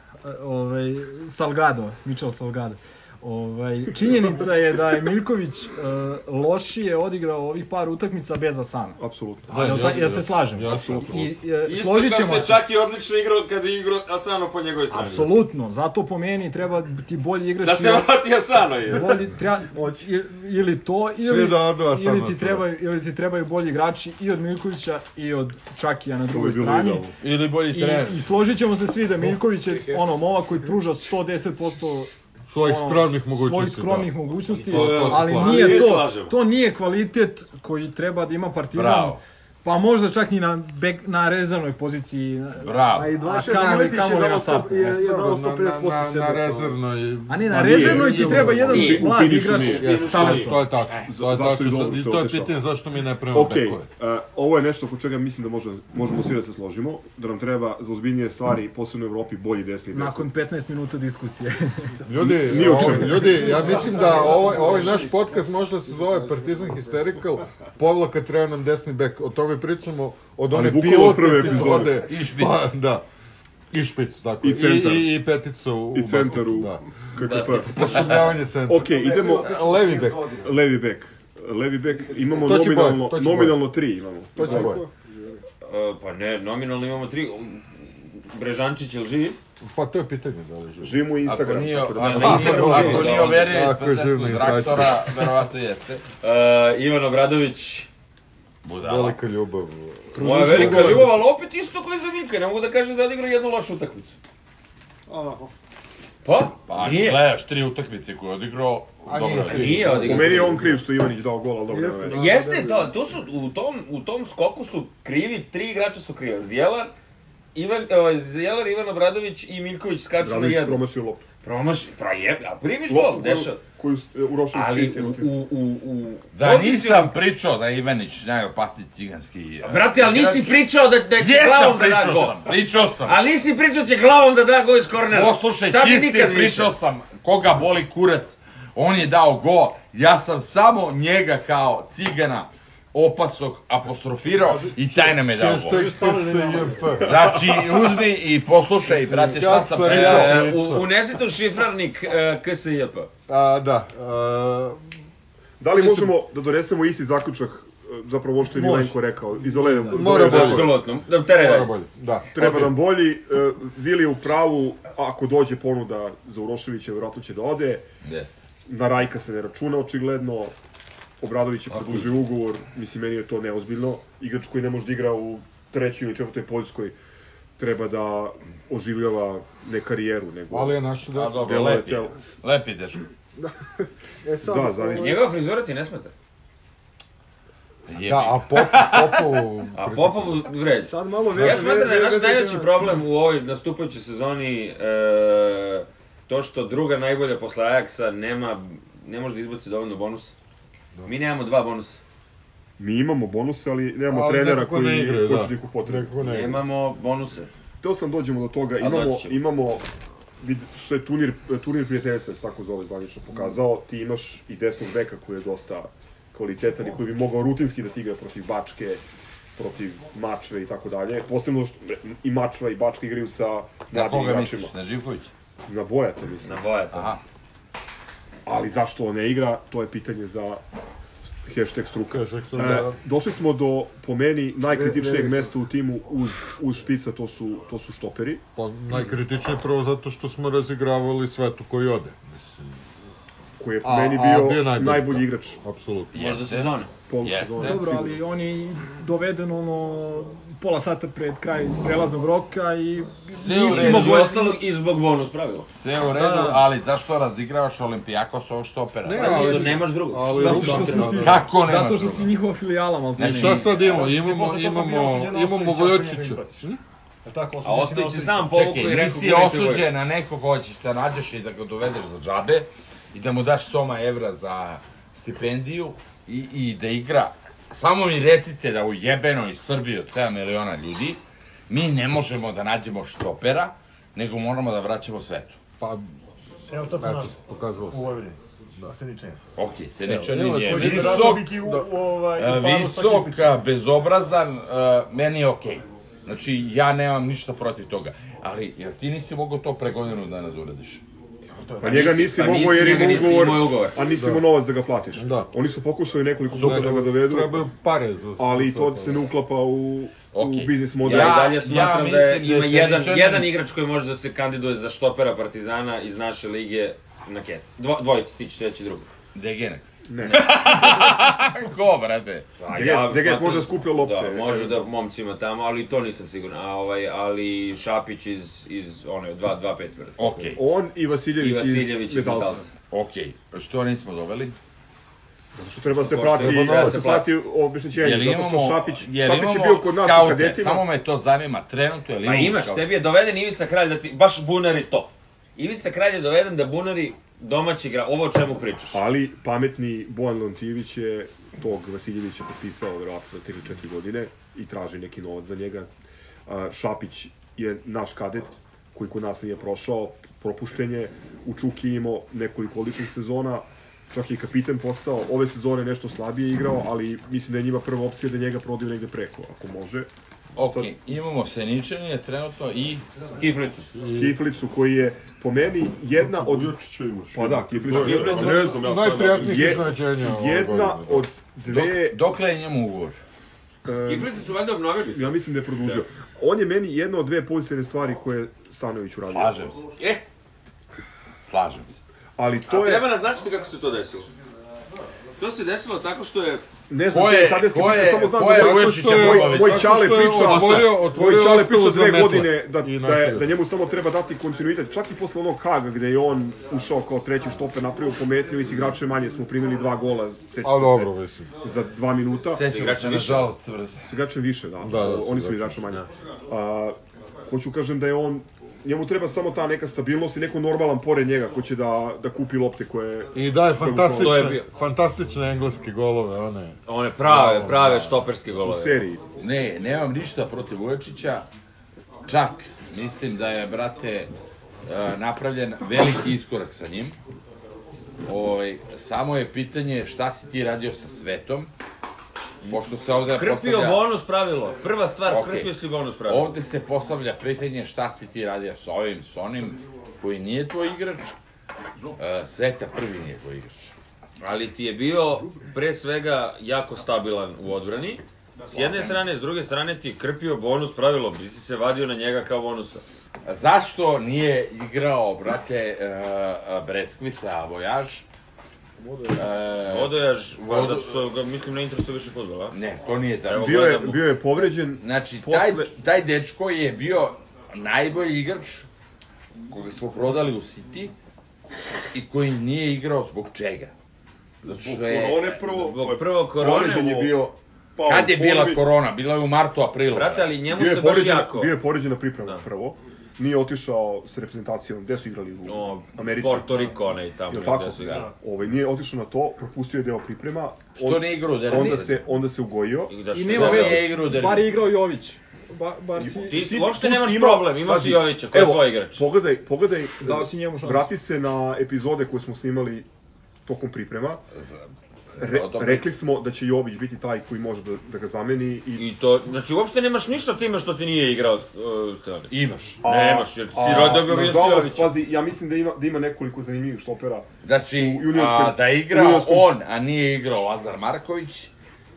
I: ovaj, Salgado, Michel Salgado. Ovaj, činjenica je da je Miljković eh, lošije odigrao ovih par utakmica bez Asana.
D: Apsolutno.
I: Jel, da, jel se slažemo?
J: apsolutno.
I: I, eh,
C: Isto
I: složit
C: kao što
I: ćemo
C: je
I: se.
C: Čaki odlično igrao kad je igrao Asano po njegovoj strani.
I: Apsolutno, zato po meni treba ti bolji igrač.
C: Da se
I: i-
C: vrati Asano je.
I: Voli, treba, i- ili to, ili,
A: Svi da odu, a sad
I: ili,
A: nas
I: ti
A: vrati.
I: trebaju, ili ti trebaju bolji igrači i od Miljkovića i od Čakija na drugoj
D: bilo
I: strani.
D: idealno.
B: Ili bolji
I: I,
B: trener.
I: I složit ćemo se svi da Miljković je ono momak koji pruža 110%
A: Svojih
I: ono,
A: skromnih mogućnosti.
I: svojih skromnih
A: da.
I: mogućnosti,
A: To- to se
I: ali
A: slažem.
I: nije
C: Mi se
I: to,
C: slažemo.
I: to nije kvalitet koji treba da ima Partizan.
B: Bravo.
I: Pa možda čak ni na, bek, na rezervnoj poziciji. na-
B: Bravo.
G: A i 26
I: A kamoli-
G: Miletić
I: kamoli
G: je
I: na
G: dao
I: startu,
G: sto-
I: ne?
G: je- je dao
J: E,
A: Dobro, na,
G: 150%
A: na,
G: sebe.
A: na rezervnoj...
I: A ne, na
D: Pa nije,
I: rezervnoj ti
D: nije,
I: treba
D: nije,
I: jedan
D: nije, u
I: mlad
D: finišu
I: igrač.
D: nije.
A: Yes,
I: Tako je.
A: to je tačno.
I: E.
A: To je,
D: Zašto je
A: tačno,
D: dobro
A: i
D: što
A: to je
D: otišao?
A: pitanje zašto mi ne prema
D: Ok,
A: bekove.
D: uh, ovo je nešto oko čega mislim da može, možemo svi da se složimo, da nam treba za ozbiljnije stvari, posebno u Evropi, bolji desni bek.
I: Nakon 15 minuta diskusije.
A: Ljudi,
D: Ni o
A: ovo,
D: čemu.
A: ljudi, ja mislim da ovaj, ovaj naš podcast može da se zove Partizan Hysterical, povlaka treba nam desni bek. O tome pričamo od one
D: bukvalno
A: pilot
D: od prve
A: epizode.
B: I špic.
A: Pa, da. I špic, tako.
D: I
A: je.
D: centar.
A: I, i, i petica u,
D: I centar
A: basketu,
D: u
A: Da.
D: KKP.
A: Pošumljavanje centra.
D: Ok, idemo
A: Levi bek.
D: levi bek. Levi bek, imamo
A: To će boje,
D: nominalno,
A: to će boje.
D: nominalno tri imamo.
A: To će boje.
C: E, pa ne, nominalno imamo tri. Brežančić je živ?
A: Pa to je pitanje da li živi.
D: Živimo i
B: Ako
D: Instagram.
B: nije,
D: tako
B: ako
D: da
B: nije,
D: nema-
B: ako nije overio iz
A: Ako je živno
B: patetu
A: i
B: Drakstora, verovatno jeste.
C: E, Ivan Obradović.
B: Budala.
A: Velika ljubav.
C: Moja velika ljubav, ali opet isto koji za Milka. Ne mogu da kažem da je odigrao jednu lošu utakmicu. Pa?
B: Pa,
C: nije. pa
B: gledaš tri utakmice koje je odigrao,
A: A nije
B: dobro je.
A: kriv.
C: Nije
D: Po
C: odigrao.
D: meni je on kriv što je Ivanić dao gol, ali dobro. nema
G: Jeste,
D: veze.
G: da.
C: Jeste, to, tu su, u tom, u tom skoku su krivi, tri igrača su krivi. Zdjelar, Ivan, e, Zdjelar, Ivan Obradović i Miljković skaču na
D: Obradović
C: jednu.
D: promašio loptu.
C: Promaš, pra je, a primiš
D: Loptu
C: Znači, gol,
D: koju-
C: dešava.
D: Koju e, u Rošinu
C: Ali
D: čistim
C: u,
D: utisku.
C: u, u, u
B: Da nisam pričao da je Ivanić najopasniji ciganski... eh,
C: Brate, ali nisi
B: igrač.
C: pričao da, da će glavom
B: Jesam, pričao
C: da da gol.
B: sam, pričao sam.
C: Ali nisi pričao će glavom da da gol iz kornera.
B: Poslušaj,
C: Tad
B: ti
C: nikad
B: si
C: više.
B: pričao sam koga boli kurac. On je dao go, ja sam samo njega kao cigana opasog apostrofirao i taj nam je dao go.
A: Hashtag PSJF.
B: Znači, uzmi i poslušaj, brate, šta
A: Kad
B: sam
A: sam
C: E,
B: pričao.
A: ja-
C: u, unesi u šifrarnik e, KSJP.
A: A, da. a,
D: Da li
A: Mislim-
D: možemo da donesemo isti zaključak, e, zapravo ovo što je
I: Može.
D: Milenko rekao, i za levi za
A: Mora
D: levi
A: bolje.
D: bek.
C: Apsolutno. Da, tere,
A: Mora
C: daj.
A: bolje. Da.
D: E. Treba
A: Okej.
D: nam bolji, e, Vili je u pravu, ako dođe ponuda za Uroševića, vjerojatno će da ode.
B: Yes.
D: Na Rajka se ne računa očigledno. Obradović je produžio ugovor, mislim meni je to neozbiljno. Igrač koji ne može da igra u trećoj ili četvrtoj Poljskoj treba da oživljava ne karijeru, nego...
A: Ali je naše
B: A
A: da...
B: dobro,
D: Delo je
B: lepi.
D: telo.
B: Lepi dečko.
G: E sad,
D: Da, zavisi.
C: Njegova frizura ti ne smeta.
A: Da, a Pop, Popovu...
C: A Popovu vredi.
G: Sad malo već...
C: Ja smatram da je naš najveći problem u ovoj nastupajućoj sezoni e, to što druga najbolja posle Ajaksa nema, ne može da izbaci dovoljno bonusa. Mi nemamo dva bonusa.
D: Mi imamo bonuse, ali nemamo
A: Ali
D: trenera
A: nekako
D: koji
A: ne igraju, da.
D: početnik u potrebi.
A: Nekako ne.
C: Nemamo bonuse.
D: Teo sam dođemo do toga, imamo,
C: doći ćemo.
D: imamo vid- što je turnir, turnir prijateljstva, se tako zove zvanično pokazao, ti imaš i desnog beka koji je dosta kvalitetan i koji bi mogao rutinski da ti igra protiv Bačke, protiv Mačve i tako dalje. Posebno što e, i Mačva i Bačka igraju sa
B: Na
D: mladim
B: koga
D: igračima.
B: misliš? Na Živkovića?
D: Na Bojata mislim.
C: Na boja to.
B: Aha.
D: Ali zašto on ne igra, to je pitanje za Hashtag struka.
A: Hashtag struka,
D: E,
A: da.
D: došli smo do, po meni, najkritičnijeg mesta u timu uz, uz špica, to su, to su štoperi.
A: Pa najkritičnije prvo zato što smo razigravali svetu koji ode. Mislim,
D: koji je po
A: A-
D: meni
A: a
D: bio,
A: bio je najbolji,
D: najbolji,
A: da.
D: igrač.
A: apsolutno.
C: Možda sezone.
D: Polu
B: Jeste.
D: sezone,
B: Dobro,
I: Dobro,
D: sigurno.
I: ali on je doveden ono pola sata pred kraj prelaznog roka i
B: Sve u
I: nisi
B: redu.
C: Između
I: mogao...
C: ostalog i zbog bonus pravila.
B: Sve u redu,
I: Da.
B: ali zašto razigravaš Olimpijakos ovog štopera?
A: Ne,
C: Zato
A: ali-
C: što nemaš drugog.
A: Ali
I: Zato što
A: Ruka-
I: smo ti...
B: Kako nema
I: Zato što
B: druga?
I: si njihova filijala, malo
A: I šta sad imamo? Imamo,
E: posle toga bio
A: imamo,
E: osuđen,
A: imamo
E: Ostojića,
A: Vojočića.
E: Ostojića ne Jel tako,
C: A Ostojić je sam povukao i
B: Čekaj,
C: rekao
B: nisi
C: gurajte
B: osuđen
C: Vojičića.
B: na nekog ko ćeš da nađeš i da ga dovedeš za džabe i da mu daš soma evra za stipendiju i, i da igra. Samo mi recite da u jebenoj Srbiji od 7 miliona ljudi mi ne možemo da nađemo štopera, nego moramo da vraćamo svetu.
A: Pa,
E: Evo sad smo
A: eto,
E: našli.
A: pokazalo
E: U
A: se.
E: Vojvodini. Da. Se ničega.
B: Ok, se
A: Evo,
B: neče
A: evo,
B: nije
A: svoj Visok,
E: Visok, biti u,
A: da.
E: u, ovaj, u
B: E,
E: paru sa
B: visok,
E: Kipicom.
B: a, bezobrazan, e, meni je okej. Znači, ja nemam ništa protiv toga. Ali, jer ti nisi mogao to pre godinu dana da uradiš?
D: Pa njega nisi
C: pa
D: mogao
C: nisi,
D: jer
C: njega
D: ima
C: nisi
D: ugovor,
C: imao ugovor.
D: a nisi imao novac da ga platiš.
A: Da.
D: Oni su pokušali nekoliko puta da ga dovedu,
A: Trebaju pare za
D: ali i
A: za
D: to
A: sve
D: se ne uklapa u,
B: Okej.
D: u biznis model.
C: Ja,
B: Ja-
C: i dalje smatram da je,
B: mislim da
C: ima
B: je
C: jedan,
B: Seničanin-
C: jedan igrač koji može da se kandiduje za štopera Partizana iz naše lige na kec. Dvo, dvojica, ti ćeš reći drugo.
B: Degenek.
D: Ne.
B: Ko, brate?
C: A
D: Deget- Deget
C: smatram-
D: možda skuplja lopte.
C: Da, može da momcima tamo, ali to nisam siguran. A ovaj, ali Šapić iz, iz one, 2-5 vrta.
B: Okej,
D: On i Vasiljević,
C: I Vasiljević
D: iz Metalca.
B: okej. Što nismo doveli?
D: Zato što treba da se
C: Što
D: prati,
C: treba da
D: treba
C: se
D: se
C: plati.
D: prati obeštećenje, zato što Šapić,
B: jel
D: Šapić je
B: imamo
D: bio kod nas u
B: skaute?
D: kadetima.
B: Samo me to zanima trenutno, jel
C: Pa
B: imamo
C: imaš,
B: skaute?
C: tebi je doveden Ivica Kralj da ti, baš bunari to. Ivica Kralj je doveden da bunari domaći igra, ovo o čemu pričaš.
D: Ali pametni Bojan Lontijević je tog Vasiljevića potpisao verovatno za 3-4 godine i traži neki novac za njega. A, Šapić je naš kadet koji kod nas nije prošao, propušten je, u Čuki je imao nekoliko odličnih sezona, čak je i kapitan postao, ove sezone nešto slabije igrao, ali mislim da je njima prva opcija da njega prodaju negde preko, ako može.
B: Okej, imamo Seničanina trenutno i...
C: Kiflicu.
A: Mm.
D: Kiflicu koji je po meni jedna od...
J: Ujočića imaš.
D: Pa da, Kiflić.
J: To je,
D: Kiflić.
J: pa Ne znam, ja sad
A: Najprijatnijih
D: Je-
A: iznenađenja ove
D: Jedna
A: godine, da.
D: od
B: Dok,
D: dve... e,
B: dokle je njemu ugovor?
D: em,
C: Kiflicu su valjda obnovili.
D: Ja mislim da je produžio. On je meni jedna od dve pozitivne stvari koje je Stanović uradio.
B: Slažem se,
C: Eh,
B: slažem se.
D: Ali
C: to
D: to je,
C: treba naznačiti kako se to desilo. To se desilo tako što je
D: ne znam,
B: Ko
D: ko
B: je-
D: je, sad
B: ko je-
D: samo znam
B: ko
D: da
B: je
D: je,
B: Vujočića
D: moj-
B: Popović?
D: moj
A: Zato što
D: Čale
A: je
D: priča,
A: otvorio-
D: moj
A: otvorio
D: Čale
A: ostalo za
D: priča dve
A: metle
D: godine da,
A: i
D: da,
A: naše
D: je,
A: da.
D: da njemu samo treba dati kontinuitet, čak i posle onog Haga gde je on ušao kao treći štoper, napravio pometnju i s igrače manje smo primili dva gola, sećate
A: A dobro,
D: se,
A: mislim.
D: za dva minuta.
B: Sećam se, nažalost, brate.
D: S igračem više, da.
A: Da, da, s
D: Oni su
A: igračem.
D: igrača manje. A, hoću kažem da je on njemu treba samo ta neka stabilnost i neko normalan pored njega ko će da, da kupi lopte koje...
A: I daje
C: To je
A: fantastične,
C: bio-
A: fantastične engleske golove, one.
C: one prave, prave štoperske
D: u
C: golove.
D: seriji.
B: Ne, nemam ništa protiv Vujočića. Čak, mislim da je, brate, e, napravljen veliki iskorak sa njim. Ovaj, samo je pitanje šta si ti radio sa svetom, pošto se ovde
C: Krpio
B: postavlja...
C: bonus pravilo. Prva stvar,
B: Okej.
C: krpio si bonus pravilo.
B: Ovde se postavlja pitanje šta si ti radio sa ovim, sa onim, koji nije tvoj igrač. E, Sveta prvi nije tvoj igrač.
C: Ali ti je bio pre svega jako stabilan u odbrani. S jedne strane, s druge strane ti je krpio bonus pravilo, bi si se vadio na njega kao bonusa.
B: Zašto nije igrao, brate, uh, Breskvica, Vojaš? E,
C: Odojaš,
B: Vodo-
C: zato što ga, mislim, ne interesuje više fudbala.
B: Ne, to nije tako.
C: Evo,
D: Bio je,
C: gledam mu.
D: bio je povređen,
B: Znači, taj,
D: Posle-
B: taj dečko je bio najbolji igrač koga smo prodali u City i koji nije igrao zbog čega. Zato što je...
J: Korone prvo,
C: Zbog prvo Pa, korone,
D: povređen je bio,
J: pao
B: Kad je
J: u formi.
B: bila korona? Bila je u martu, aprilu.
C: brate, ali njemu
D: bio
C: se
D: je
C: baš
D: povređen,
C: jako...
D: bio je povređen na pripremu
C: Da.
D: prvo. Nije otišao s reprezentacijom, gde su igrali u
C: O,
D: Americi.
C: Porto Riko, onaj tamo
D: Jel da. tako?
C: gde su igrali.
D: Ovaj, nije otišao na to, propustio je deo priprema.
B: Što nije igrao u derbiju?
D: Onda se, onda se ugojio.
C: I da
I: I
C: što-
I: nema
B: Da,
C: da,
I: veze,
B: je igrao Derbi.
I: bar je igrao Jović. Ba, bar si...
C: Ti
D: si-
C: uopšte
D: tu si
C: nemaš
D: imao-
C: problem, imao si
D: pazi,
C: Jovića, koji je
D: evo,
C: tvoj igrač.
D: Pogledaj, pogledaj,
I: Dao Da si njemu šansu.
D: vrati se na epizode koje smo snimali tokom priprema. Re,
B: Dobro.
D: rekli smo da će Jović biti taj koji može da, da ga zameni i
C: I to, znači uopšte nemaš ništa time što ti nije igrao uh, Stevanović.
B: Imaš.
D: A-
C: Nemaš, jer si
D: a,
C: rodio ga
D: nažalost,
C: Vesilovića.
D: Pazi, ja mislim da ima, da ima nekoliko zanimljivih štopera.
B: Znači,
D: U juniorskom-
B: a, da je igrao
D: u juniorskom-
B: on, a nije igrao Lazar Marković,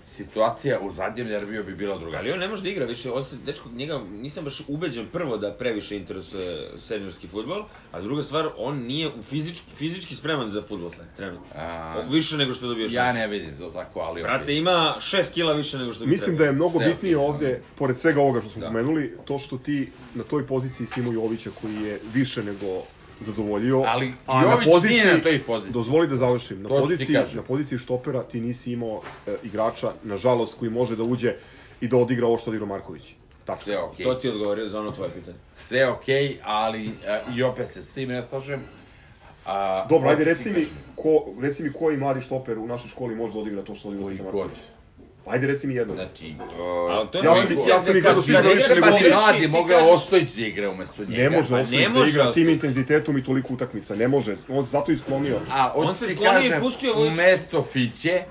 B: situacija u zadnjem Derbiju bi bila
C: Ali on
B: drugačija.
C: ne može da igra više, on se, dečko, njega nisam baš ubeđen prvo da previše interesuje seniorski fudbal, a druga stvar, on nije u fizič, fizički spreman za fudbal sad, trenutno.
B: A,
C: Više nego što dobio
B: ja
C: šansu.
B: ne vidim to tako, ali...
C: Brate,
B: okej.
C: ima 6 kila više nego što bi
D: Mislim
C: trebao.
D: da je mnogo
B: Sve
D: bitnije
B: okej,
D: ovde, pored svega ovoga što smo
B: Da.
D: pomenuli, to što ti na toj poziciji si imao Jovića koji je više nego zadovoljio.
B: Ali
D: a na
B: Jović
D: poziciji-
B: nije na toj poziciji.
D: Dozvoli da završim. Na
B: To ću ti
D: poziciji,
B: kažem.
D: na poziciji štopera ti nisi imao e, igrača, nažalost, koji može da uđe i da odigra ovo što odigrao Marković. Tačno.
B: Sve okej.
C: To ti je odgovorio za ono tvoje pitanje.
B: Sve okej, ali e, i opet se s tim ne slažem. A,
D: Dobro,
B: hoću
D: ajde,
B: ti
D: reci mi,
B: kažem,
D: ko, reci mi koji mladi štoper u našoj školi može da odigra to što odigra
B: Koji
D: Srđan
B: god.
D: Marković. Ajde, reci mi jednog.
B: Znači,
C: Ali to je
D: Ja
C: ono-
D: sam i- ja sam i gledao
C: Kad
D: sigurno
C: ne
D: više
C: igraš
D: nego
B: Pa
D: ti.
B: ti
C: Modrić,
B: radi,
C: ti
B: mogao
C: kažeš-
B: Ostojić da igra umesto njega.
D: Ne može
B: Pa
D: Ostojić da
C: može
D: igra tim
C: Ostojić.
D: intenzitetom i toliko utakmica, ne može. On se zato i sklonio.
B: A
C: On
B: on
C: se
B: se ti
C: sklonio i
B: kažem,
C: pustio
B: u
C: Vujića.
B: mesto Fiće,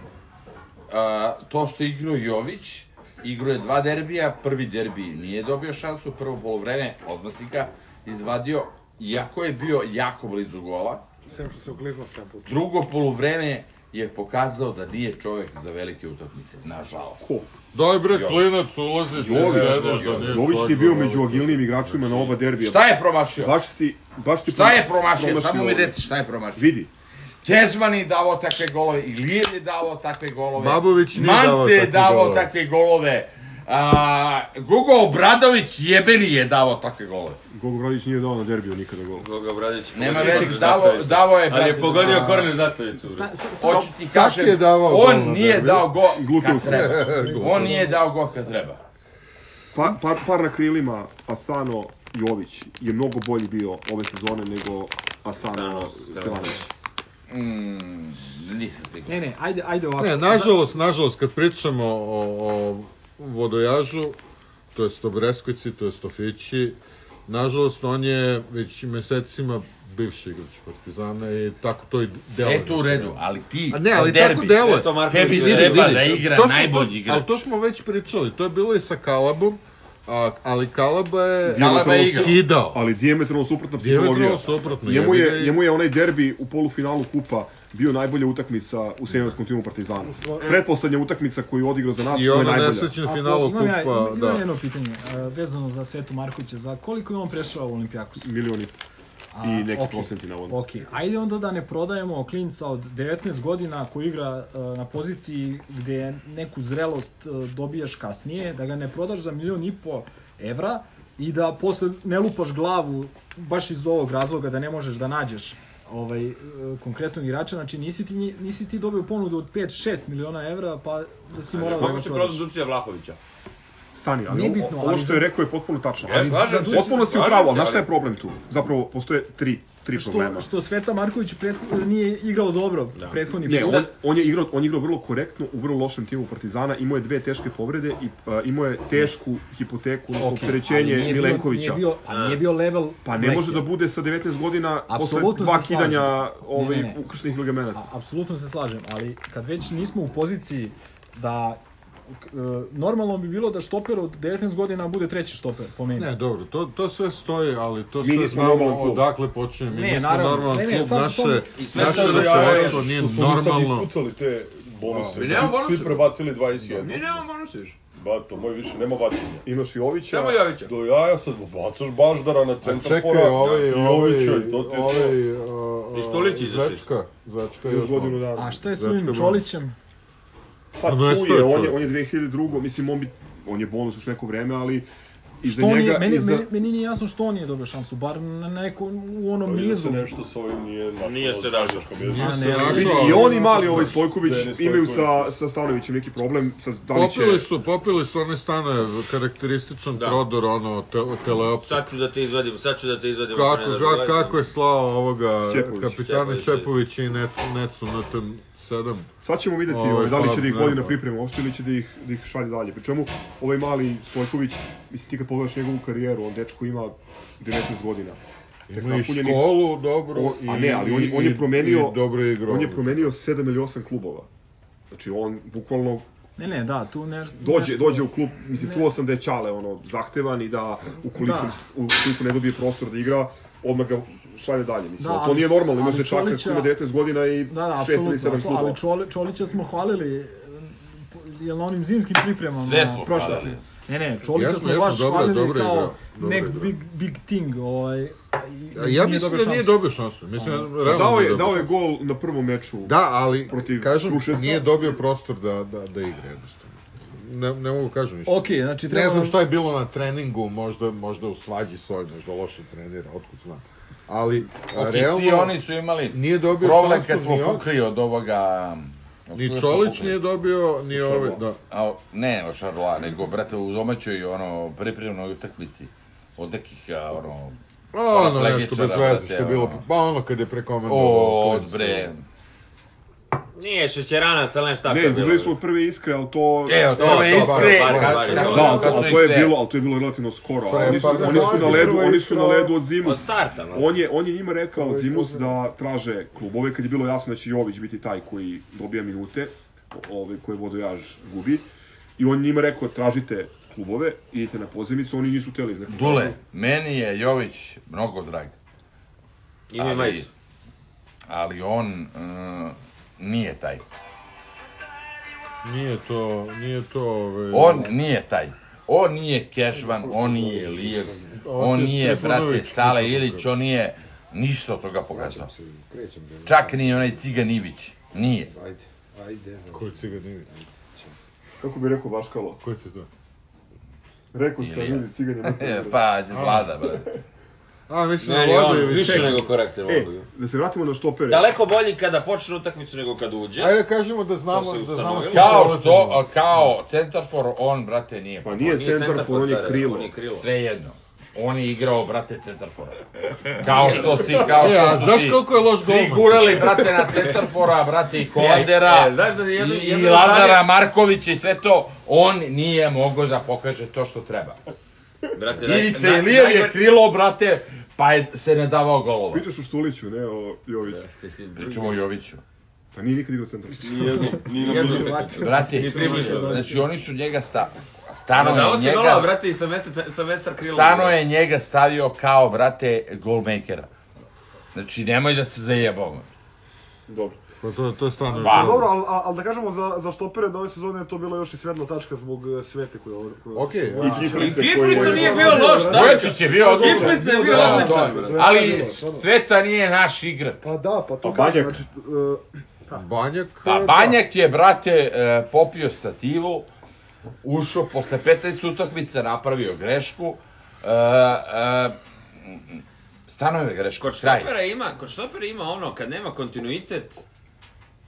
B: a, to što je igrao Jović, igrao je dva derbija, prvi derbi nije dobio šansu, prvo polovreme odmah si ga izvadio, iako je bio jako blizu gola,
G: Sem što se ukliznuo 7 puta.
B: drugo polovreme je pokazao da nije čovek za velike utakmice, nažalost.
D: Ko?
A: Daj bre,
B: Jović.
A: klinac ulazi, ti
D: Jović,
A: ne
B: Jović.
A: znaš da nije
D: Jović ti je
A: svako
D: bio
A: veliko.
D: među agilnijim igračima na oba derbija.
B: Šta je promašio?
D: Baš si, baš si
B: Šta je promašio? Samo mi
D: ovo.
B: reci šta je promašio.
D: Vidi,
B: Kezman je davao takve golove, Ilijev je davao takve golove.
A: Babović nije
B: Mance
A: davao
B: je
A: takve
B: davao
A: golove.
B: takve golove. A, Gogo Obradović jebeni je davao takve golove.
D: Gogo Bradić nije dao na derbiju nikada gol.
C: Goga Bradić.
B: Nema
C: pogodio
B: veze,
C: korner
B: davo-
C: zastavicu.
B: davo je,
C: Ali
B: brate,
C: je pogodio
B: da.
C: korner zastavicu. bre.
B: Hoću ti
A: Kak
B: kažem,
A: je davao
B: on
A: gol na
B: nije
A: derbiju?
B: dao go
D: Gluteo
B: kad
D: se.
B: treba.
A: Gluteo.
B: on nije dao go kad treba.
D: Pa, par, par na krilima Asano Jović je mnogo bolji bio ove sezone nego Asano
B: Da,
C: Asano
D: Stevanović.
B: Mm, nisam siguran.
I: Ne, ne, ajde, ajde ovako.
A: Ne, nažalost, nažalost, kad pričamo o, o vodojažu, to jest o Breskvici, to jest o Fići, nažalost, on je već mesecima bivši igrač Partizana i tako to i delo.
B: Sve to u redu, ali ti
A: A ne, ali
B: derbi,
A: tako deluje.
C: to Marković
B: Tebi
C: je rekao.
B: treba da igra
A: smo-
B: najbolji igrač.
A: Ali to smo već pričali, to je bilo i sa Kalabom, a, ali Kalaba je
B: Kalaba je
A: Kalaba
B: igrao.
A: kidao.
D: Ali diametralno suprotna psihologija.
A: Diametralno suprotno.
D: Njemu
B: da
A: jebi ga
D: je,
A: i-
D: njemu je onaj derbi u polufinalu kupa bio najbolja utakmica u seniorskom timu Partizana. Pretposlednja utakmica koju je odigrao za nas,
A: I
D: to je
A: ono
D: najbolja.
A: nesrećen
I: Ako-
A: finalu
I: imam ja-
A: kupa,
I: imam
A: da.
I: jedno pitanje, e, vezano za Svetu Markovića, za koliko je on prešao u Olimpijakos?
D: Milion i po.
I: A,
D: i neki
I: ok,
D: procenti navodno.
I: Ok, ajde onda da ne prodajemo klinca od 19 godina koji igra e, na poziciji gde neku zrelost e, dobijaš kasnije, da ga ne prodaš za milion i po evra i da posle ne lupaš glavu baš iz ovog razloga da ne možeš da nađeš ovaj e, konkretnog igrača, znači nisi ti nji- nisi ti dobio ponudu od 5-6 miliona evra pa da si morao da
C: Kako
I: ga
C: će
I: prodaš.
C: prodati Ducija Vlahovića?
D: Stani, ali
I: Nije
D: ovo-
I: bitno,
D: ovo
I: ali
D: što je rekao je potpuno tačno.
C: Ja, slažem se,
D: potpuno si u
C: slažem
D: pravu,
C: se,
D: ali znaš šta je
C: ali-
D: problem tu? Zapravo, postoje tri, tri
I: Što,
D: problema.
I: što Sveta Marković pretho, nije igrao dobro da. prethodni
D: Ne,
I: put.
D: on, on, je igrao, on je igrao vrlo korektno u vrlo lošem timu Partizana, imao je dve teške povrede i a, imao je tešku hipoteku, odnosno
I: Ok,
D: opterećenje
I: ali nije bio-
D: Milenkovića.
I: Nije bio, a nije bio level
D: Pa ne
I: Black
D: može da
I: Hill.
D: bude sa 19 godina
I: Apsolutno
D: posle dva
I: se slažem.
D: kidanja ovaj,
I: Ne, ne, ne.
D: ukršnih ligamenata.
I: A, apsolutno se slažem, ali kad već nismo u poziciji da k- e, normalno bi bilo da štoper od 19 godina bude treći štoper, po meni.
A: Ne, dobro, to, to sve stoji, ali to
D: Mi
A: sve
D: nismo
A: znamo
D: normalan klub.
A: odakle počinje. Mi
I: Ne,
A: nismo
I: naravno.
A: normalan
I: Ne, ne,
A: klub,
I: sad
A: naše,
I: to-
A: i
I: i
A: sve
I: sve
A: naše
I: sad
C: da
A: računovodstvo nije
J: Smo
A: normalno.
J: mi sad ispucali te bonuse.
C: Da. Mi nemamo bonuse.
J: Svi prebacili 21.
C: Mi nemamo bonuse više.
J: Bato, moj više nema bacanja.
D: Imaš Jovića,
C: Samo Jovića.
J: Do jaja sad bacaš baždara na
A: A
J: centar
A: čekaj, ovaj,
J: i
A: ovaj,
J: Jovića, i to ti je to.
A: ovaj,
C: I Stolić
A: uh,
C: izašao isto.
A: Zvečka, Zvečka je
D: još
A: još
D: godinu
A: malo.
D: dana.
I: A šta je s
A: Zečka
I: ovim
A: Brun.
I: Čolićem?
D: Pa tu
A: Dvanaesto je
D: je, on je,
A: čovjek.
D: on je 2002. Mislim, on, bi, on je bonus još neko vreme, ali iza
I: Što on
D: njega...
I: je, meni,
D: iza...
I: meni, meni nije jasno što on nije dobio šansu, bar na neko, u
A: Pa
I: onom
J: Vidim da
I: nizu.
J: se nešto s ovim nije našlo.
C: Nije se našlo.
J: našlo.
A: Nije se
I: ne,
C: da-
A: našao,
D: Vidi,
A: ali-
D: I on i mali ovaj Stojković
J: Denis
D: imaju sa,
J: Stojković.
D: sa Stanovićem neki problem, sa da li će...
A: Popili su, popili su one stane, karakterističan
C: Da.
A: prodor, ono, te, teleopcija.
C: Sad ću da te izvadim, sad ću da te izvadim. ako ne
A: Kako,
C: daš
A: ga,
C: glas,
A: kako je slao ovoga
D: Šepović.
A: kapitana
C: Šepović.
A: Šepović i Necu, Necu na tem 7.
D: Sad ćemo videti
A: Ovaj,
D: ovaj, da li
A: pa,
D: će da ih
A: ne
D: vodi na
A: znam.
D: pripremu uopšte ili će da ih, da ih šalje dalje. Pri čemu, ovaj mali Stojković, mislim ti kad pogledaš njegovu karijeru, on dečko ima 19 godina. Tek
A: Ima i
D: napunjenih-
A: školu, dobro,
D: O-
A: i,
D: a ne, ali on, je- on
A: i-
D: je promenio,
A: i dobro je igrao.
D: on je promenio 7 ili 8 klubova. Znači on bukvalno
I: Ne, ne, da, tu ne,
D: dođe,
I: nešto-
D: dođe u klub, mislim,
I: ne.
D: čuo sam da je Ćale ono, zahtevan i da ukoliko,
I: Da.
D: ukoliko ne dobije prostor da igra, odmah ga šalje dalje, mislim.
I: Da,
D: ali to
I: ali-
D: nije normalno, imaš
I: ali
D: dečaka koji
I: Čolića-
D: ima 19 godina i
I: Da, da,
D: 6 ili 7
I: apsolutno,
D: klubova.
I: ali Čoli, Čolića smo hvalili e, jel na onim zimskim pripremama
B: Sve smo
I: prošle
B: hvalili.
I: se- Ne, ne, Čolića
A: Jesmo,
I: smo
A: jesmo,
I: baš
A: dobro je,
I: hvalili
A: dobro je
I: kao
A: igrao, dobro je
I: next
A: igrao.
I: big, big thing, ovaj, i-
A: Ja,
I: i
A: ja
I: nije
A: mislim
I: dobio
A: da nije
I: šansu.
A: dobio šansu. Mislim, realno
D: Dao
A: nije
D: je,
A: dobio
D: dao je
A: šansu.
D: gol na prvom meču.
A: Da, ali
D: protiv
A: kažem,
D: Kruševca.
A: nije dobio prostor da, da, da igra jednostavno. Ne, ne mogu da kažem ništa.
I: Ok, znači treba...
A: Ne znam
I: nam-
A: šta je bilo na treningu, možda, možda u svađi svoj, možda loše trenira, otkud znam. Ali, a,
B: Ok,
A: realno,
B: svi oni su imali
A: nije dobio
B: problem
A: šansu
B: kad smo
A: ni on.
B: pukli od ovoga... od koga
A: ni
B: smo
A: Čolić
B: pukli?
A: nije dobio, ni
B: Šarloa.
A: ove, da.
B: A, ne, o Šarloa, nego, brate, u domaćoj, ono, pripremnoj utakmici. Od nekih, a, ono...
A: A, Ono
B: Paraplegičara,
A: nešto bez
D: da,
A: veze što je
B: brate,
A: bilo,
B: ono.
A: pa ono kad je prekomendovao.
B: O,
A: klincu.
C: E,
B: bre.
C: Nije šećeranac, ali nešto tako
D: Ne,
C: je bilo.
D: dobili smo prve iskre, ali to...
B: Evo,
A: to,
B: to je
A: to,
B: iskre.
A: bar, bar,
B: kad su-
C: bar.
D: Da,
B: Da,
D: ali to,
B: kad su
D: ali to je
B: iskre.
D: bilo, ali to je bilo relativno skoro.
A: To je
D: Oni su,
A: par-
D: oni su na ledu,
G: Prva
D: oni su na
G: iskra-
D: ledu od zimu.
C: Od starta,
H: Pa.
C: no.
D: On je, on je njima
H: Ovaj
D: rekao Zimus da traže klubove kad je bilo jasno da će Jović biti taj koji dobija minute, o- ovaj koji vodojaž gubi. I on je njima rekao tražite klubove, idite na pozemicu, oni nisu hteli znači.
B: Dule, meni je Jović mnogo drag.
C: Ima i
B: ali-
C: majicu.
B: Ali on mm, nije taj.
A: Nije to, nije to, ovaj, ove...
B: On nije taj. On nije Kešvan, on nije Lijev, on
A: je
B: nije, brate,
A: Trifunović,
B: Sale
A: Trifunović.
B: Ilić, on nije ništa od toga pokazao.
H: Krećem da Pa,
B: Čak ni onaj Cigan Ivić. Nije.
H: Ajde, ajde.
A: Koji si ga nije?
D: Kako bi rekao Vaškalo?
A: Koji ti to?
D: Rekao sam,
B: Ilija.
D: ljudi, cigan je mrtav.
B: pa, vlada, brate.
A: A, mislim,
C: Meni
A: Vlado
C: on
A: ili
C: više
A: Čeka.
C: nego korektan.
D: E,
C: ono.
D: da se vratimo na štopere.
C: Daleko bolji kada počne utakmicu nego kad uđe.
A: Ajde da kažemo da znamo,
C: To se
A: da znamo
C: ustanovilo.
A: s kim
B: Kao
A: prolazimo.
B: što, a, kao Centarfor, on, brate, nije.
D: Pa nije,
C: Nije
D: centar, for, on je
C: centarfor,
D: krilo.
C: on je krilo.
B: Svejedno. On je igrao, brate, Centarfora. Kao što si, kao
A: E, a
B: što su
A: znaš
B: ti
A: koliko je loš
B: svi
A: golman?
B: gurali, brate, na Centarfora, brate, i Kolandera,
C: E, znaš da jedno,
B: i, i Lazara Markovića i sve to, on nije mogao da pokaže to što treba.
C: Brate,
B: Ivica
C: naj-
B: Ilijev je
C: najgore-
B: krilo, brate, pa je se ne davao golova.
D: Pitaš o Štuliću, ne o Joviću.
C: Jeste, si-
B: Pričamo o Joviću.
D: Pa nije nikad igrao centar.
J: Nijedno, nije na
C: Jedno
J: bilo.
C: utakmicu.
B: Brate,
C: Ni približno, brate.
B: znači oni su njega sta,
C: Ano,
B: stano
C: dalo
B: je
C: se dola,
B: njega,
C: brate, i sa mesta, sa mesta krila.
B: stano je njega stavio kao, brate, golmakera. Znači, nemoj da se zajebamo.
D: Dobro.
A: Pa to, to je stvarno...
B: Pa,
A: problem.
G: Dobro, ali al, da kažemo za, za štopere da ove sezone je to bila još i svetla tačka zbog eh, svete koja... koja
A: Okej,
G: koja-
A: I
D: Kiflice
C: I
D: koji je-
C: Kiflica nije bio loš, tačka.
B: Vojčić je bio odličan.
C: Kiflica Da, je bio
B: Da, da,
C: odličan,
B: da.
C: brate.
B: Ali Sveta nije naš igrač.
G: Pa da, pa
D: Pa
G: to
D: Banjak.
G: znači... eh,
A: Banjak...
B: Pa
A: e,
B: Banjak je, brate, e, popio stativu, ušao posle 15 utakmica, napravio grešku. E, e, stanove greško,
C: Kod
B: kraj.
C: štopera ima, kod štopera ima ono, kad nema kontinuitet,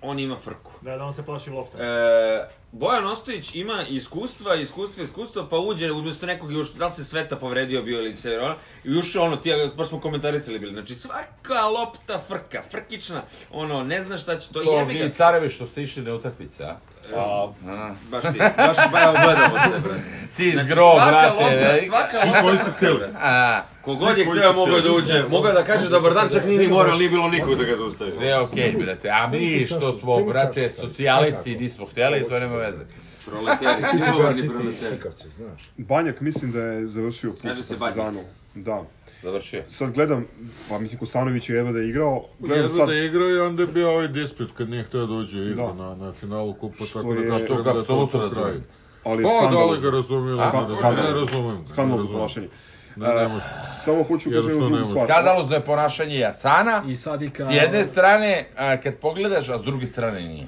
C: on ima frku.
E: Da, da on se plaši lopta.
C: E, Bojan Ostojić ima iskustva, iskustva, iskustva, pa uđe umjesto nekog, još, da li se Sveta povredio bio ili se, ono, i ušao ono, ti, baš smo komentarisali bili, znači svaka lopta frka, frkična, ono, ne zna šta će, to,
B: To
C: jebi
B: vi
C: ga.
B: carevi što ste išli na utakmice, a?
C: A,
B: a.
C: Pa, baš ti, baš, ba, evo, gledamo se, brate.
B: Ti iz
C: Znači,
B: groba,
C: svaka
B: brate.
C: lopta,
B: ne?
C: svaka lopta
J: koji su
C: frka,
J: hteli.
C: brate.
B: A,
C: Kogod je hteo mogao da uđe, mogao je da kaže dobar dan, čak nije ni morao, ali nije bilo nikog da ga zaustavi.
B: sve okej, brate. A mi što smo, brate, socijalisti, nismo htjeli, to nema veze.
C: Proleteri, izgovorni proleteri.
H: Pikavce, znaš.
D: Banjak mislim da je završio put sa
C: Kaže se Banjak.
D: Partizanom. Da.
B: Završio.
D: Sad gledam, pa mislim Kostanović je jedva da je igrao. Gledam
A: Jedva
D: sad,
A: da je igrao i onda je bio ovaj disput kad nije htio da uđe u igru
D: Da.
A: na, na finalu kupa,
D: Što
A: tako da
D: je-
A: kažem
B: Što ga
A: da je to
B: apsolutno
A: po kraju.
B: razumijem.
D: ali je
A: Pa, da li
D: skandalozno.
A: ga razumijem?
B: A,
A: Da,
D: skandalozno.
A: ne razumijem. ga, ne
D: Skandalozno
A: razumijem.
D: ponašanje.
A: Ne, ne
D: E,
A: može.
D: Samo hoću kažem jednu
A: Jednostavno
D: drugu
A: ne
D: stvar.
B: Skandalozno je da ponašanje Jasana,
I: I sad i kao...
B: S jedne strane, a, kad pogledaš, a s druge strane nije.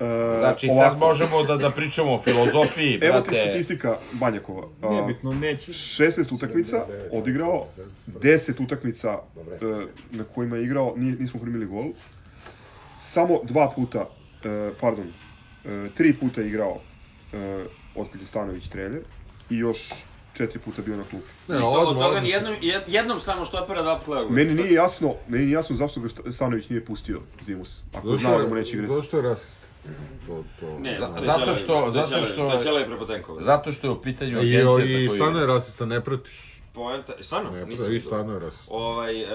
D: E,
B: Znači, sad možemo da, da pričamo o filozofiji,
D: Evo ti
B: brate.
D: statistika Banjakova. E,
I: Nebitno, neće.
D: 16 utakmica odigrao, 10 utakmica e, na kojima je igrao, ni- nismo primili gol. Samo dva puta, e, pardon, e, tri puta je igrao e, otkad je Stanović trener i još četiri puta bio na klupi.
A: Ne,
C: I to- od
A: odmah,
C: toga
A: odmah.
C: ni jednom, jed- jednom samo štopera da plegu.
D: Meni nije jasno, meni nije jasno zašto ga Sta- Stanović nije pustio Zimus, ako je znao da mu
A: Zašto
D: neće
A: je,
D: igrati.
A: zašto je rasista? To, to.
C: Ne,
B: Za-
C: to je
B: zato
C: Ćelavi,
B: što-
C: to je
B: zato
C: Ćelavi,
B: što-
C: To je Ćelavi Prepotenkova.
B: Zato što je u pitanju
A: I,
B: agencija
A: i,
B: sa
A: i
B: koju
A: stano je rasista, ne pratiš.
C: Poenta, stvarno,
A: Ne,
C: nisam
A: pratiš, i
C: to.
A: stano je rasista.
C: Ovaj, e,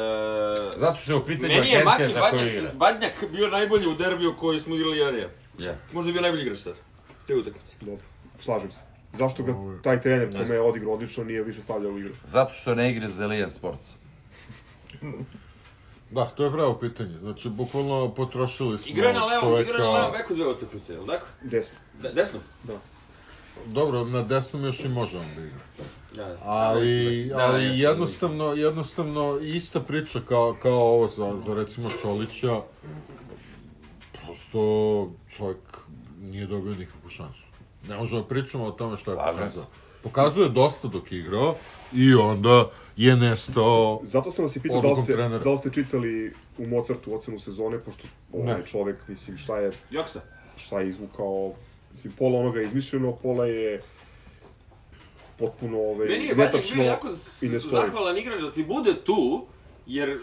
B: Zato što je u pitanju
C: meni je
B: agencija
C: Maki
B: za koju igra.
C: Badnjak, Badnjak bio najbolji u derbiju koji smo igrali Jarija.
B: Jeste.
C: Možda je bio najbolji igrač tada. Te utakmice.
D: Dobro, slažem se. Zašto ga
A: Ovaj,
D: taj trener kome je odigrao odlično nije više stavljao u igru?
B: Zato što ne igra za Lijan Sports.
A: Da, to je pravo pitanje. Znači, bukvalno potrošili smo
C: Igra je na levom,
A: čoveka...
C: igra je na levom beku dve utakmice, jel tako?
D: Desno.
C: De, desno?
A: Dobro, na desnom još i može on da igra.
C: Da, da.
A: Ali,
B: Da, da,
A: ali
B: jeste,
A: jednostavno, jednostavno ista priča kao, kao ovo za, za recimo Čolića. Prosto čovjek nije dobio nikakvu šansu. Ne možemo da pričamo o tome šta je
B: Slažem
A: pokazao.
B: se.
A: Pokazuje dosta dok je igrao i onda je nestao...
D: Zato sam vas i pitao da li,
A: Odlukom
D: ste,
A: trenera.
D: da li ste čitali u Mozartu ocenu sezone, pošto ovaj
A: Ne.
D: čovek, mislim, šta je,
C: Joksa.
D: šta je izvukao, mislim, pola onoga je izmišljeno, pola je potpuno ove,
C: Meni je Valjak
D: netačno
C: bio jako s-
D: i ne stoji.
C: zahvalan igrač da ti bude tu, jer e,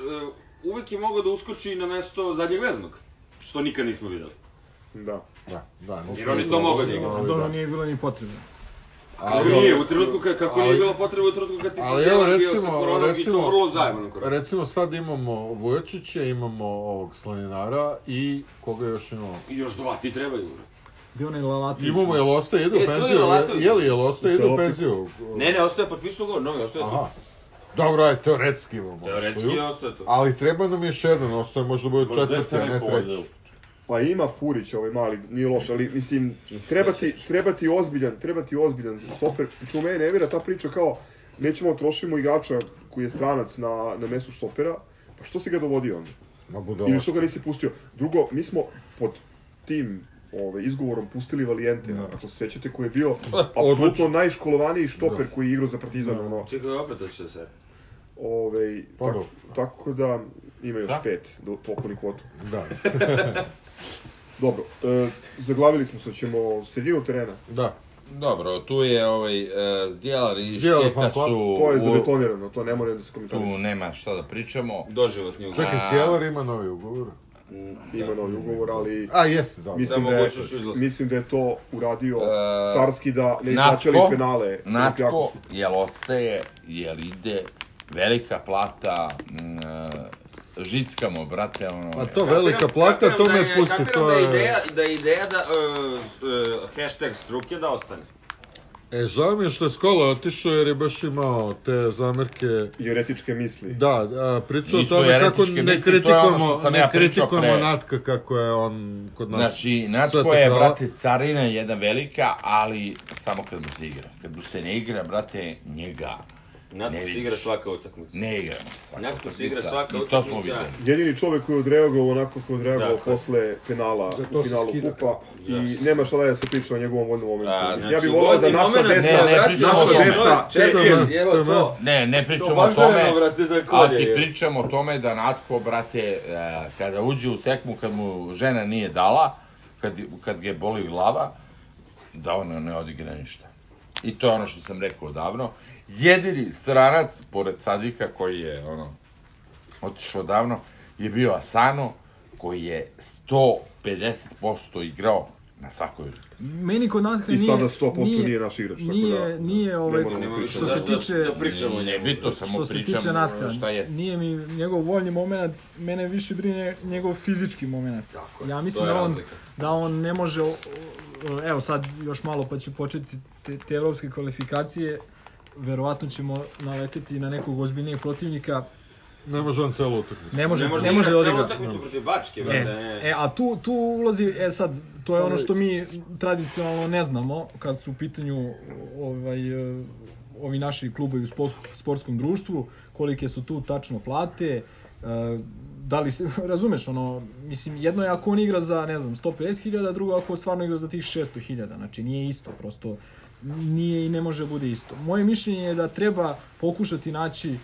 C: uvek je mogao da uskoči na mesto zadnjeg veznog. Što nikad nismo videli.
D: Da.
A: Da, da,
C: Jer on je to mogao da igra.
I: A dobro, nije bilo ni potrebno.
C: Ali nije, u trenutku kad, kako nije
A: ali-
C: bilo potrebe, u trenutku kad ti si
A: Ali evo
C: djelan bio sa
A: recimo,
C: koronom i to
A: recimo,
C: vrlo zajemano korak.
A: recimo sad imamo Vujočića, imamo ovog Slaninara i koga još imamo?
C: I još dva ti trebaju.
I: Gde onaj Lalati?
A: Imamo, jel ostaje ide
C: E,
A: u
C: to je
A: penziju?
C: Lalatović.
A: Je, je li jel ostaje ide u
D: Pelopit.
A: penziju?
C: Ne, ne, ostaje potpisno ugovor, novi, ostaje tu.
A: Aha. Dobro, aj, teoretski imamo.
C: Teoretski
A: ostaje.
C: je ostaje tu.
A: Ali treba nam još jedan, ostaje možda bude
J: Možda
A: četvrti, a
J: je
A: ne
J: neko
A: treći.
J: ovdje.
D: Pa ima Purić ovaj mali, nije loš, ali mislim, treba ti, treba ti ozbiljan, treba ti ozbiljan stoper. Priču mene nervira ta priča kao, nećemo da trošimo igrača koji je stranac na, na mesu stopera, pa što si ga dovodio onda?
A: Ma
D: Ili
A: budala.
D: što ga nisi pustio? Drugo, mi smo pod tim ovaj, izgovorom pustili Valijente, ako se sećate, koji je bio apsolutno najškolovaniji štoper koji je igrao za Partizan, ono,
C: Čekaj, opet hoće da se.
D: ovaj,
A: Pa
D: tako,
A: dobro.
D: tako da ima još
B: Da.
D: pet do pokoni kvotu.
A: Da,
D: Dobro, e, zaglavili smo se, ćemo sredinu terena.
A: da.
B: Dobro, tu je ovaj uh, Zdjelar i
A: Zdjelar,
B: Šteka
A: fan club,
B: su...
D: To je
B: u-
D: zabetonirano, to ne mora da se
B: Tu
D: komentariše.
B: nema šta da pričamo.
C: Doživotni ugovor.
A: Čekaj, Stjelar ima novi ugovor.
D: Ima novi ugovor, ali
A: A, jeste, da.
D: mislim
C: Samo
D: da, je,
C: mogućnost izlaska.
D: mislim da je to uradio
B: E,
D: carski da ne
B: Natko,
D: izlačali penale.
B: Natko,
D: Olimpijakosu.
B: jel ostaje, jel ide, velika plata, mm, e, žickamo, brate, ono...
A: A to velika plata, to me pusti, to
C: Kapiram da je
A: je...
C: ideja, da je ideja da uh, uh, hashtag struke da ostane.
A: E, žao mi je što je Skola otišao jer je baš imao te zamerke.
D: Jeretičke misli.
A: Da, a, pričao o
B: Isto
A: tome
B: jeretičke
A: kako ne
B: misli, to je ono što
A: kritikujemo,
B: sam
A: ne
B: ja pričao
A: kritikujemo
B: pre.
A: Natka kako je on kod nas.
B: Znači, Natko
A: sveta
B: je,
A: krava.
B: brate, carina jedna velika, ali samo kad mu se igra. Kad mu se ne igra, brate, njega
C: Natko
B: Ne
C: se
B: vidiš.
C: igra svaka utakmica.
B: ne igra mu se svaka
C: Natko se igra svaka
B: I to smo
C: utakmica.
B: videli.
D: Jedini čovek koji je odreagovao onako kako je odreagovao
C: Dakle.
D: posle penala u
H: se
D: finalu
H: skida
D: Kupa i nema šta da je se priča o njegovom voljnom momentu.
B: Da,
D: Mislim, ja
C: znači,
D: bih volao da
C: voljni
D: naša
C: momenat,
D: deca,
B: ne, ne pričamo o
D: naša
B: tome.
D: deca,
C: Čekaj,
A: Toma,
C: evo to.
A: Toma.
B: Ne, ne
C: To
B: pričamo o
C: važno
B: tome,
C: je, brate, za
B: ali ti
C: kolje. je.
B: pričamo o tome da Natko, brate, e, kada uđe u tekmu, kad mu žena nije dala, kad, kad ga boli glava, da ono ne odigra ništa. I to je ono što sam rekao odavno. Jedini stranac, pored Sadika, koji je ono, otišao davno, je bio Asano, koji je 150% igrao na svakoj utakmici.
I: Meni kod Natka
D: I
I: nije...
D: sada 100% nije naš igrač, tako
I: Nije,
D: da-
I: nije ovaj,
D: moramo
C: Nema više
I: što
C: da,
I: se tiče...
C: da, da pričamo o
B: Nije
C: njemu.
B: bitno, samo
I: što se
B: pričam
I: tiče Natka,
B: šta jeste.
I: nije mi njegov voljni moment, mene više brine njegov fizički moment. Ja mislim
C: to je
I: da on,
C: razlika.
I: da on ne može, o- o- evo sad još malo pa će početi te, te evropske kvalifikacije, verovatno ćemo naleteti na nekog ozbiljnijeg protivnika,
A: Ne može on celu utakmicu.
I: ne može, ne
C: nikad
I: može da
C: celu
I: odigra.
C: utakmicu protiv Bačke,
I: E,
C: brate. ne.
I: e, a tu, tu ulazi, e sad, to je ono što mi tradicionalno ne znamo kad su u pitanju ovaj, e, ovi naši klubovi u spos- sportskom društvu, kolike su tu tačno plate, e, da li se, razumeš, ono, mislim, jedno je ako on igra za, ne znam, 150.000, a drugo ako stvarno igra za tih 600.000, znači nije isto, prosto nije i ne može da bude isto. Moje mišljenje je da treba pokušati naći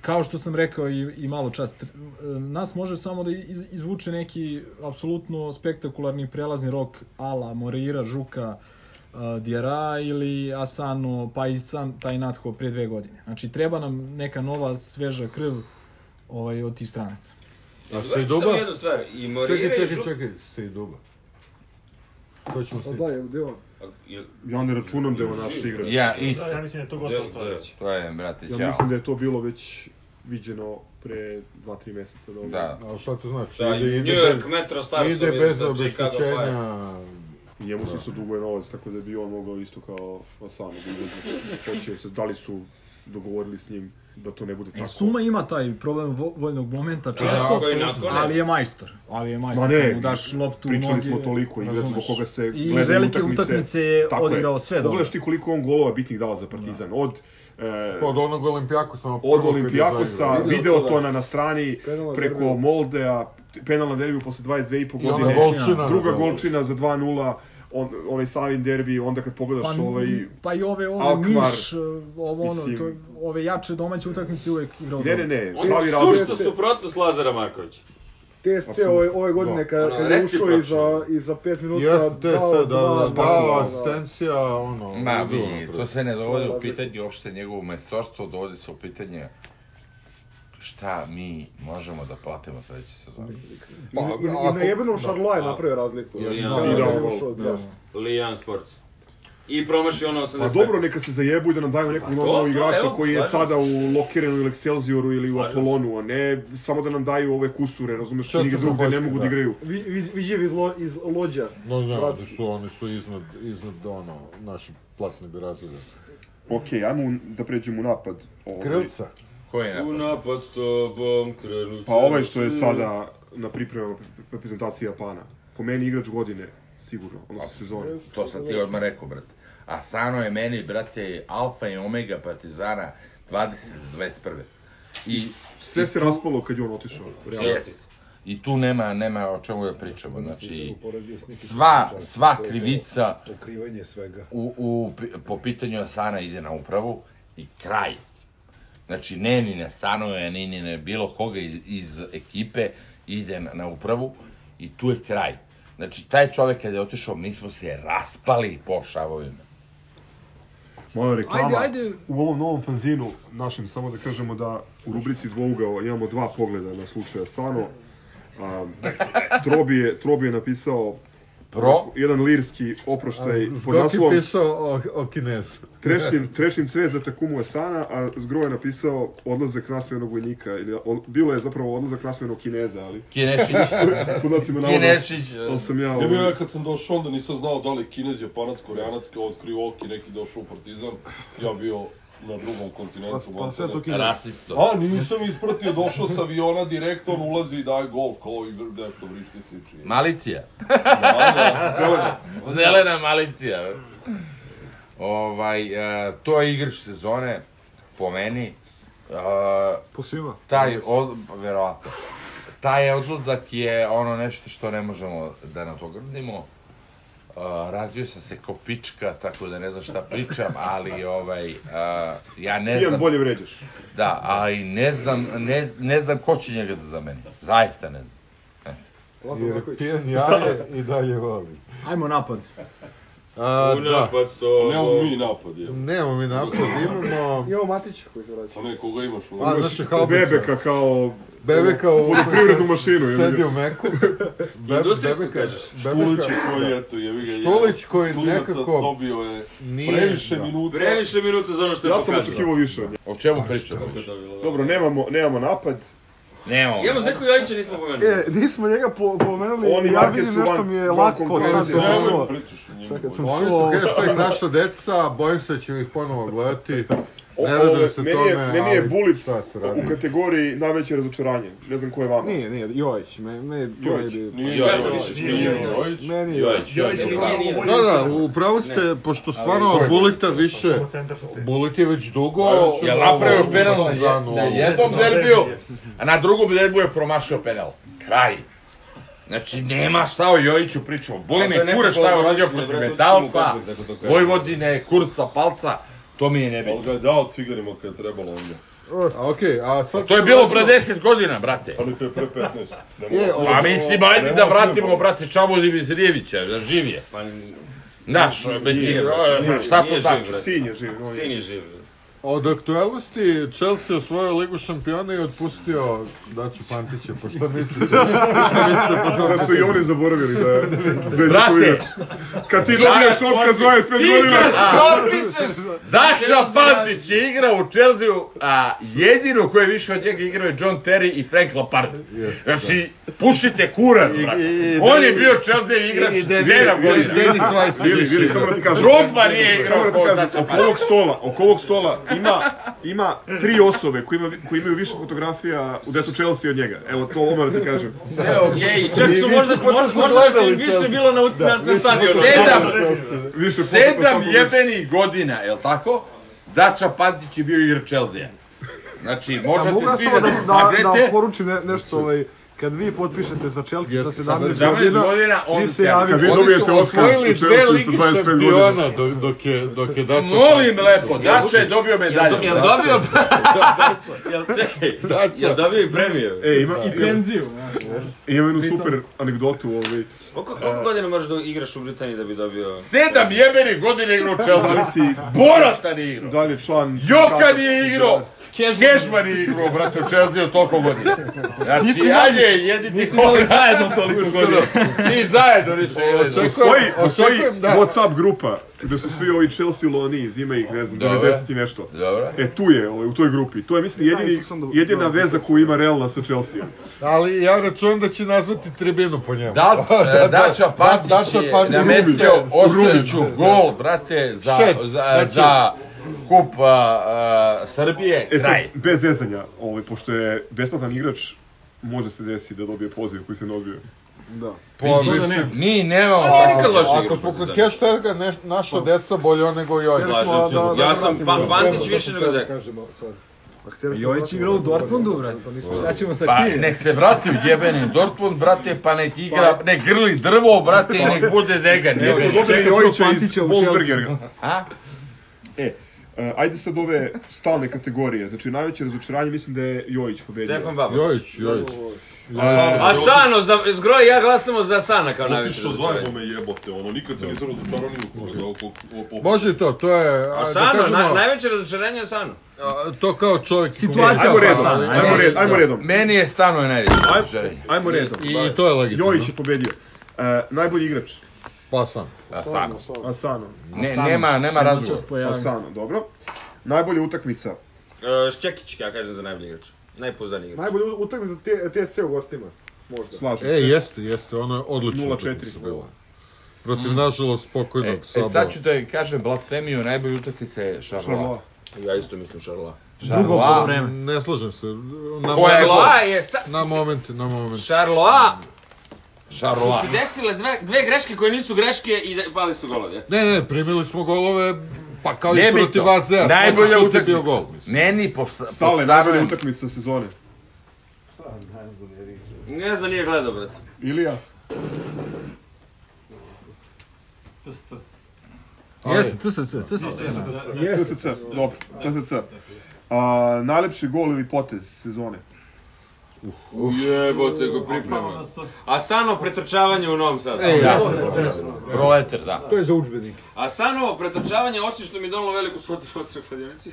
I: kao što sam rekao i, i malo čas, tr- e, nas može samo da iz- izvuče neki apsolutno spektakularni prelazni rok ala Moreira, Žuka, e, Djera ili Asano, pa i sam taj Natko pre dve godine. Znači treba nam neka nova sveža krv ovaj, od tih stranaca.
A: A
C: Znači,
A: Sejduba?
C: Samo jednu stvar, i Morira
A: Čekaj,
C: i
A: čekaj,
C: Žuk...
A: čekaj, Sejduba. To ćemo
G: Pa da,
A: svi.
G: je, gde on?
D: Ja ne računam da je on naš igrač.
B: Ja,
E: Da,
B: isto.
E: ja mislim da je to gotovo
C: Del-
E: stvar
C: del.
E: već.
I: da
B: To je, brate,
D: Ja
B: ćao.
D: mislim da je to bilo već viđeno pre 2-3 meseca. Da,
B: Da.
A: A šta to znači?
C: Da,
A: ide, ide,
C: New York
A: bez-
C: Metro Stars
A: ide
C: ovi
A: bez
C: za da, Chicago Fire.
A: obeštećenja.
D: I njemu se isto duguje novac, tako da bi on mogao isto kao Asano da izađe. Hoće se, da li su dogovorili s njim da to ne bude tako.
I: I E, Suma ima taj problem vo- voljnog momenta
C: Da,
I: često,
C: koji nakon-
I: ali je majstor. Ali je majstor,
D: Ma ne,
I: kad mu daš loptu u noge.
D: Pričali smo toliko, igrač zbog
I: razumeš.
D: koga se
I: I
D: gledaju
I: velike
D: utakmice.
I: utakmice je
D: Tako
I: odigrao sve dobro. Da.
D: Pogledaš ti koliko on golova bitnih dao za Partizan. Od, e,
A: Od onog Olimpijakosa. ono prvo
D: od
A: Pa, kad je
D: Olimpijakosa,
A: zaigrao.
D: Videotona na strani,
G: Penal na
D: preko
G: derbiju.
D: Moldea, t- penal na derbiju posle 22,5
A: I ona
D: godine,
A: golčina. da.
D: druga golčina za 2-0, on, onaj Savin derbi, onda kad pogledaš
I: Pa,
D: ovaj...
I: pa i ove, ove
D: Alkmaar,
I: Niš, e, ovo ono,
D: mislim.
I: to, ove jače domaće utakmice uvek igrao
D: Ne,
I: dobro.
D: ne, ne,
C: On
D: pravi
C: je
D: razlog.
C: sušta suprotnost Lazara Markovića.
G: TSC ove, ove godine kad,
C: Ono,
G: kad je ušao i
C: recipročno.
G: za, i za 5 minuta
A: Jeste, te
G: dao
A: sad, da,
G: dva,
A: da,
G: dva,
A: dao
G: dva.
A: asistencija, ono,
B: Ma
A: ludo,
B: vidi,
A: ono,
B: to
A: bre.
B: se ne dovodi u
G: razlika.
B: pitanje uopšte njegovo majstorstvo, dovodi se u pitanje šta mi možemo da platimo sledeće sezone.
A: Pa,
G: I- I, i
A: ako-
G: na jebenom Šarloa je
C: da.
G: napravio razliku. znači,
C: Ja,
G: Kad
C: ja,
G: je
D: ja,
G: ušao,
A: ja.
G: da.
C: Lijan Sports. I promaši ono 85.
D: Pa dobro, neka se zajebu i da nam daju nekog
C: Pa to,
D: novog
C: to,
D: igrača
C: evo,
D: koji je
C: slažem
D: sada u Lokirenu ili Excelsioru ili u
C: Slažem se.
D: Apolonu, a ne samo da nam daju ove kusure, razumeš,
A: Šta
D: knjige
A: Crnogorska,
D: drugde ne mogu da
A: da.
D: igraju.
G: Vi, vi, viđev iz, lo, iz lođa.
A: No, ne,
G: Bratski.
A: oni su, oni su iznad, iznad, ono, naši platnog razreda.
D: Okej, ajmo da pređemo u napad. Ovaj,
A: Krilca.
B: Koji je
C: U
B: napad?
C: napad s tobom krenut
D: Pa ovaj što je sada na pripremama reprezentacije Japana. Po meni igrač godine, sigurno, odnosno sezone.
B: To sam ti odmah rekao, brate. A Sano je meni, brate, alfa i omega Partizana 20-21. I
D: Sve se raspalo kad je on otišao. realno.
B: Jest. I tu nema, nema o čemu da pričamo, znači sva, sva krivica
H: Pokrivanje svega.
B: u, u, pi- po pitanju Asana ide na upravu i kraj. Znači, ne ni na stanove, ni ni na bilo koga iz, iz ekipe ide na, na upravu i tu je kraj. Znači, taj čovek kada je otišao, mi smo se raspali po šavovima.
D: Moja reklama
I: Ajde, ajde.
D: u ovom novom fanzinu našem, samo da kažemo da u rubrici dvougao imamo dva pogleda na slučaj Asano. A, Trobi, je, Trobi je napisao
B: Pro,
D: jedan lirski oproštaj pod
A: Zgoki
D: naslovom
A: pisao o, o Kinezu.
D: Trešnim, trešnim cve za Takumu Asana, a Zgro je napisao odlazak nasmenog vojnika. Ili, o, bilo je zapravo odlazak nasmenog Kineza, ali...
B: Kinešić,
D: Pod nacima navoda,
B: Kinešić,
D: ali sam ja...
J: Ja, bio
D: ovaj,
J: ja kad sam došao onda nisam znao da li je kinez, japanac, koreanac, kao od krivoki neki došao u partizan, ja bio na drugom
G: Pa,
J: kontinentu.
G: pa sve
J: maltene.
G: to kine.
B: rasisto.
J: A, nisam ispratio, došao sa aviona direktno, on ulazi i daje gol, kao i nešto znači. vrište sliči.
B: Malicija.
D: zeleno.
B: Zelena malicija. bre. Ovaj, e, to je igrač sezone, po meni. E,
G: Po svima.
B: taj, od, verovatno, taj odlazak je ono nešto što ne možemo da nadogradimo. Uh, razvio sam se ko pička, tako da ne znam šta pričam, ali ovaj, uh, ja ne
D: Ian
C: E,
B: znam...
D: bolje vređaš.
B: Da, ali ne znam, ne, ne znam ko će njega da zameni. Zaista ne znam.
G: Lazar
A: Jer
G: Marković.
A: pijen jaje i dalje voli.
I: Ajmo napad.
A: A,
C: U
A: da,
C: napad s
J: Nemamo
C: tobom.
J: mi napad, je.
A: nemamo mi napad, imamo...
G: Imamo Matića koji se
J: Pa
G: vraća.
J: ne, koga imaš u...
A: A, naše
D: Bebeka
A: haubice.
D: kao...
A: Bebeka u...
D: poljoprivrednu mašinu, je li?
A: Sedi u meku. Be,
C: Industrijsko
A: bebeka,
C: kažeš.
J: Štulić
A: bebeka,
J: koji, eto, je ga je...
A: Štulić koji
J: klinac
A: nekako
J: Dobio je
A: nije-
J: previše
A: da.
J: minuta.
C: Previše minuta za ono što je
D: Ja sam
C: pokazao.
D: očekivao više od njega.
B: O čemu pričamo?
D: Dobro, nemamo, nemamo napad.
B: Nemamo.
C: Imamo Zeku Jovića nismo pomenuli.
G: E, nismo njega po, pomenuli,
D: Oni
G: ja
D: Marquez
G: vidim
D: su
G: nešto
D: van-
G: mi je
D: van
G: lako
D: konkurencije.
G: sad
A: Ja
G: sam
A: nemoj
G: čuo.
J: Nemoj pričaš o njemu.
G: Sad kad sam
A: Oni su
G: čuo-
A: hashtag naša deca, bojim se da ćemo ih ponovo gledati.
D: O,
A: Ne
J: da
A: radujem
D: ove,
A: se
D: meni je,
A: tome,
D: meni je
A: ali
D: Bulic
A: šta se radi?
D: u kategoriji najveće razočaranje. Ne znam ko je vama.
G: Nije, nije, Jojić, me, me,
D: Jojić.
G: meni-
J: Nije
C: Ja
J: Jojić,
C: sam
J: Jojić,
C: više
J: nije
C: čuo.
J: Jojić.
G: meni
C: Jović,
E: Jović
C: Jović.
E: je
C: bravo.
E: pravo.
A: Da, da, upravo ste, pošto stvarno Bulita više...
E: Centar šutira.
A: Bulit je već dugo...
B: Je napravio
A: ovo,
B: penal na, je,
A: Partizanu,
B: na
A: ovo.
B: jednom
E: Na
B: derbiju,
E: derbiju.
B: a na drugom derbiju je promašio penal. Kraj. Znači, nema šta o Jojiću pričamo. Boli
C: A to je
B: me
C: neko
B: kure šta je
C: ko
B: uradio protiv
C: godišnje, brate, ući
B: Metalca,
C: ćemo u Kozmik, tako to kažem.
B: Vojvodine, Kurca, Palca, to mi je
J: Ali ga
B: nebitno.
J: je dao cigarima kad je trebalo onda.
A: A, Okej, a sad...
B: To je bilo pre 10 godina, brate.
J: Ali to je pre 15.
A: Je,
J: Nemo...
A: o-
B: Pa mislim, ajde
J: nema
B: da vratimo,
J: filma.
B: brate, Čavu Zivizrijevića, da živ je.
C: Pa,
B: Znaš, bez
C: nije,
B: njega,
C: brate,
B: e,
C: nije,
B: šta
C: nije
B: to
C: živ,
B: znači?
C: brate.
D: Sin je živ. on je-
C: Sin je živ.
A: Od aktualnosti Chelsea osvojio ligu šampiona i otpustio Daću Pantića, pa šta mislite? šta mislite po tom
D: Kada su i
A: pitanju?
D: oni zaboravili da je... da je
B: Brate!
D: Đuković- Kad ti dobiješ otkaz 25 godina...
B: Zašto Fantić je igrao u Chelsea-u, a jedino koji je više od njega igrao je John Terry i Frank Lampard.
A: Jeste,
B: Znači, pušite kurac,
A: I-
B: brate.
A: i- i-
B: On je
A: i-
B: bio Chelsea igrač
A: I- i Denis-
B: 7
A: i
B: godina.
A: Denis Weiss je
D: Vili,
A: više
D: Vili,
A: igrao.
D: samo da ti kažem.
B: Drogba nije
D: Samo
B: igrao
D: da ti
B: kao
D: kažem,
B: Daćo
D: oko ovog stola, oko ovog stola ima, ima tri osobe koji, ima, koji imaju više fotografija u decu Chelsea od njega. Evo, to odmah da ti kažem.
C: Sve okej, čak
A: I
C: su
A: više
C: možda,
A: puta
C: možda,
A: su
C: možda su
A: gledali
C: im više
A: Chelsea.
C: bilo na, ut-
A: Da,
C: na, na
A: više
C: stadionu.
A: puta su
B: Sedam!
A: gledali Chelsea.
D: Više foto-
B: Sedam
D: svakog-
B: jebenih godina, jel tako? Dača Pantić je bio igrač Chelsea. Znači,
G: A
B: možete
G: mogu ja
B: svi da
G: samo da,
B: se
G: da, da
B: smagnete.
G: poručim ne, nešto, ovaj, kad vi potpišete za Chelsea sa
A: Jeste, sa
G: 17
B: 17
I: da-
G: godina,
B: godina,
G: vi
B: onda
G: se
B: se javite.
G: javite. Pa
D: Kad vi dobijete
A: Oni su
D: otkaz
A: osvojili
D: u
A: dve
D: Chelsea sa
A: lige
D: 25 godina.
A: šampiona do- dok je, dok je Dača
B: Molim
A: Pantić-
B: lepo, Dača je dobio medalju.
C: Jel, jel dobio... jel, čekaj,
A: Daća.
C: jel
B: da.
C: dobio i premiju?
D: E, ima,
I: I penziju. znaš.
D: ima jednu super anegdotu. Ovaj.
C: Koliko, koliko godina možeš da igraš u Britaniji da bi dobio...
B: Sedam jebenih godina igrao u Chelsea.
D: Zavisi
B: Borata nije igrao.
D: dalje član...
B: Joka nije igrao. Kešman je igrao, brate, u Chelsea od toliko godina. Znači, ajde, jediti kola.
I: zajedno toliko godina.
B: Svi zajedno nisu jedini.
D: Postoji,
A: Očekujem, da-
D: postoji
A: očekujem da.
D: Whatsapp grupa gde su svi ovi Chelsea loni iz ima ih, ne znam,
B: Dobro.
D: 90 i nešto.
B: Dobro.
D: E, tu je, ovaj, u toj grupi. To je, mislim, jedini,
G: tu sam dobro-
D: jedina veza koju ima realna sa Chelsea.
A: Ali ja računam da će nazvati tribinu po njemu.
B: Da, e, Dača Pantić
A: Dača
B: je
A: Pantić
B: namestio
A: Rubić.
B: Ostojiću
A: Rubić, da.
B: gol, brate, za,
A: Šet,
B: za,
A: znači-
B: za kup a, a, Srbije,
D: E sad,
B: kraj.
D: bez zezanja, ovaj, pošto je besplatan igrač, može se desiti da dobije poziv koji se ne odbio.
A: Po,
I: Možda ne.
B: Mi nemamo...
D: pa,
C: nije nikad loš
A: Pa, Ako
C: igrač
A: smo
C: protiv
A: kod
C: Dače.
A: Keštega, neš,
B: Pa,
A: naša deca bolje on nego i ovaj.
G: Jer smo, a, da, da,
C: Ja
G: da,
C: sam
G: vratim
C: pa,
G: se.
C: Pantić više nego Zeka.
H: Kažemo sad.
G: Pa htjeli smo
I: Jović
G: vratiti
I: igrao u
G: ovo,
I: Dortmundu,
G: da,
I: brate.
G: to ništa.
I: Šta ćemo sa
B: Pa,
I: kim?
B: nek se vrati u jebeni Dortmund, brate, pa nek igra, nek grli drvo, brate, i nek bude degan.
D: Evo,
B: jebote.
D: dobili
I: čekam
D: Jojića iz
I: Pantića u Chelsea.
D: Wolfsbergerga.
B: A?
D: E, e, ajde sad ove stalne kategorije. Znači, najveće razočaranje mislim da je Jojić pobedio. E,
C: Stefan Babić.
A: Jojić, Jojić.
C: A Šano, za, zgroj, ja glasamo za Sana kao najveće
J: Otišao
C: razočaranje.
J: zajebo me jebote, ono, nikad se nisam razočarao ni u koga. da, oko- oko-
A: Može i to, to je,
C: A
A: a, da
C: Sano,
A: kažemo,
C: na, najveće razočaranje je Sano.
A: a, to kao čovjek... Da.
I: Situacija
D: Ajmo redom,
I: Hasan, ajde.
D: ajmo redom, ajmo redom.
B: Meni je stano je najveće razočarenje.
D: Ajmo redom.
A: I, I to je legitimno.
D: Jojić je pobedio. E, najbolji igrač,
A: Pa sam.
B: A, Sano.
D: Asano.
B: Ne, nema, nema razgovora.
G: pa
D: Asano, Pa dobro. Najbolja utakmica.
C: E, Šćekić, ja kažem za najbolji igrač. Najpouzdaniji igrač.
G: Najbolje utakmice za T- TSC u gostima, možda.
D: Slažem
A: E,
D: se.
A: jeste, jeste, ono je odlično.
D: 0:4
A: bilo. Protiv, nažalost,
B: E,
A: pokojnog
B: e,
A: Saba.
B: sad ću da kažem blasfemiju, najbolji utakmice je Šarloa.
D: Šarloa.
C: Ja isto mislim Šarla.
I: Drugo
B: Šarloa,
I: poluvreme.
A: Ne slažem se. Na
B: Ko je
A: momente-
C: Šarloa je... Sa,
A: Na momente, na momente.
C: Šarloa su
B: Šarloa.
C: se desile dve, dve greške koje nisu greške i de, pali su golovi.
A: Ne, ne, primili smo golove, pa kao i
B: Nebitno.
A: protiv Azea.
B: Najbolja
A: Svaki šut je
B: utakmica.
A: bio gol, mislim.
B: Meni po, po
D: Sale, najbolja
B: starom...
D: utakmica sezone.
C: Ne znam, nije gledao, brate.
D: Ilija.
I: Jeste, TSC, TSC.
D: TSC, dobro. TSC. A, najlepši gol ili potez sezone?
B: Jebote go priprema.
C: A Sano pretrčavanje u Novom Sadu.
A: E,
B: Da,
A: jeste.
B: proletar, da.
H: To je za učbenike.
C: A Sanovo pretrčavanje, osim što mi je donalo veliku svodinu se u kladionici,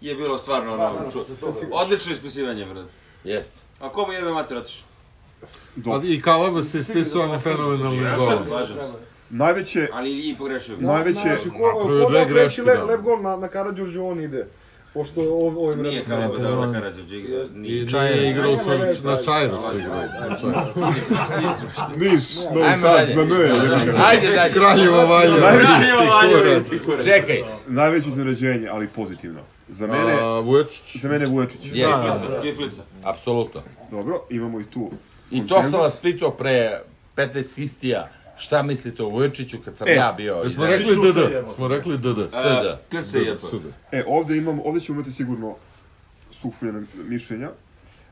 C: je bilo stvarno ono, ču- odlično ispisivanje, brate.
B: Jeste.
C: A komu jebe mater otišao?
A: Pa I Kaleba se ispisao na fenomenalnim golom.
C: Lažem se.
D: Najveće,
C: Ali i pogrešio. bi.
D: najveće,
G: Znači, ko,
A: Napravio
G: ko
A: dve
G: nas reći
A: greške,
G: le,
A: da.
G: lep gol na, na Karadžorđu, on ide. Pošto ov, ovim
C: Nije
G: redom-
C: Karabo
I: to je
C: dao
I: on.
C: Karadžođe igra.
A: I
C: Nije.
A: nije igrao
G: Ajde, ajde,
A: su, na
G: ajde.
A: Čajru su igrao. na Čajru.
D: Niš, Novi
B: Ajmo
D: Sad,
B: dalje.
D: na N.
B: Ajde dalje.
A: Kraljevo Valjevo.
C: Kraljevo Valjevo i Tikure.
B: Čekaj.
D: Najveće iznenađenje, ali pozitivno. Za mene,
A: A, Vujačić.
D: za mene Vujačić. Da.
B: Jeste,
C: Kiflica, Kiflica.
B: apsolutno.
D: Dobro, imamo i tu.
B: I to
D: konsenzus.
B: sam vas pitao pre 15 istija. Šta mislite o Vujčiću kad sam
D: E,
B: ja bio?
A: Jesmo
B: iza-
A: rekli DD, smo rekli DD.
B: Sada.
C: Kada se je to?
A: Sude.
D: E, ovde imam, ovde ćemo imati sigurno suhljena mišljenja.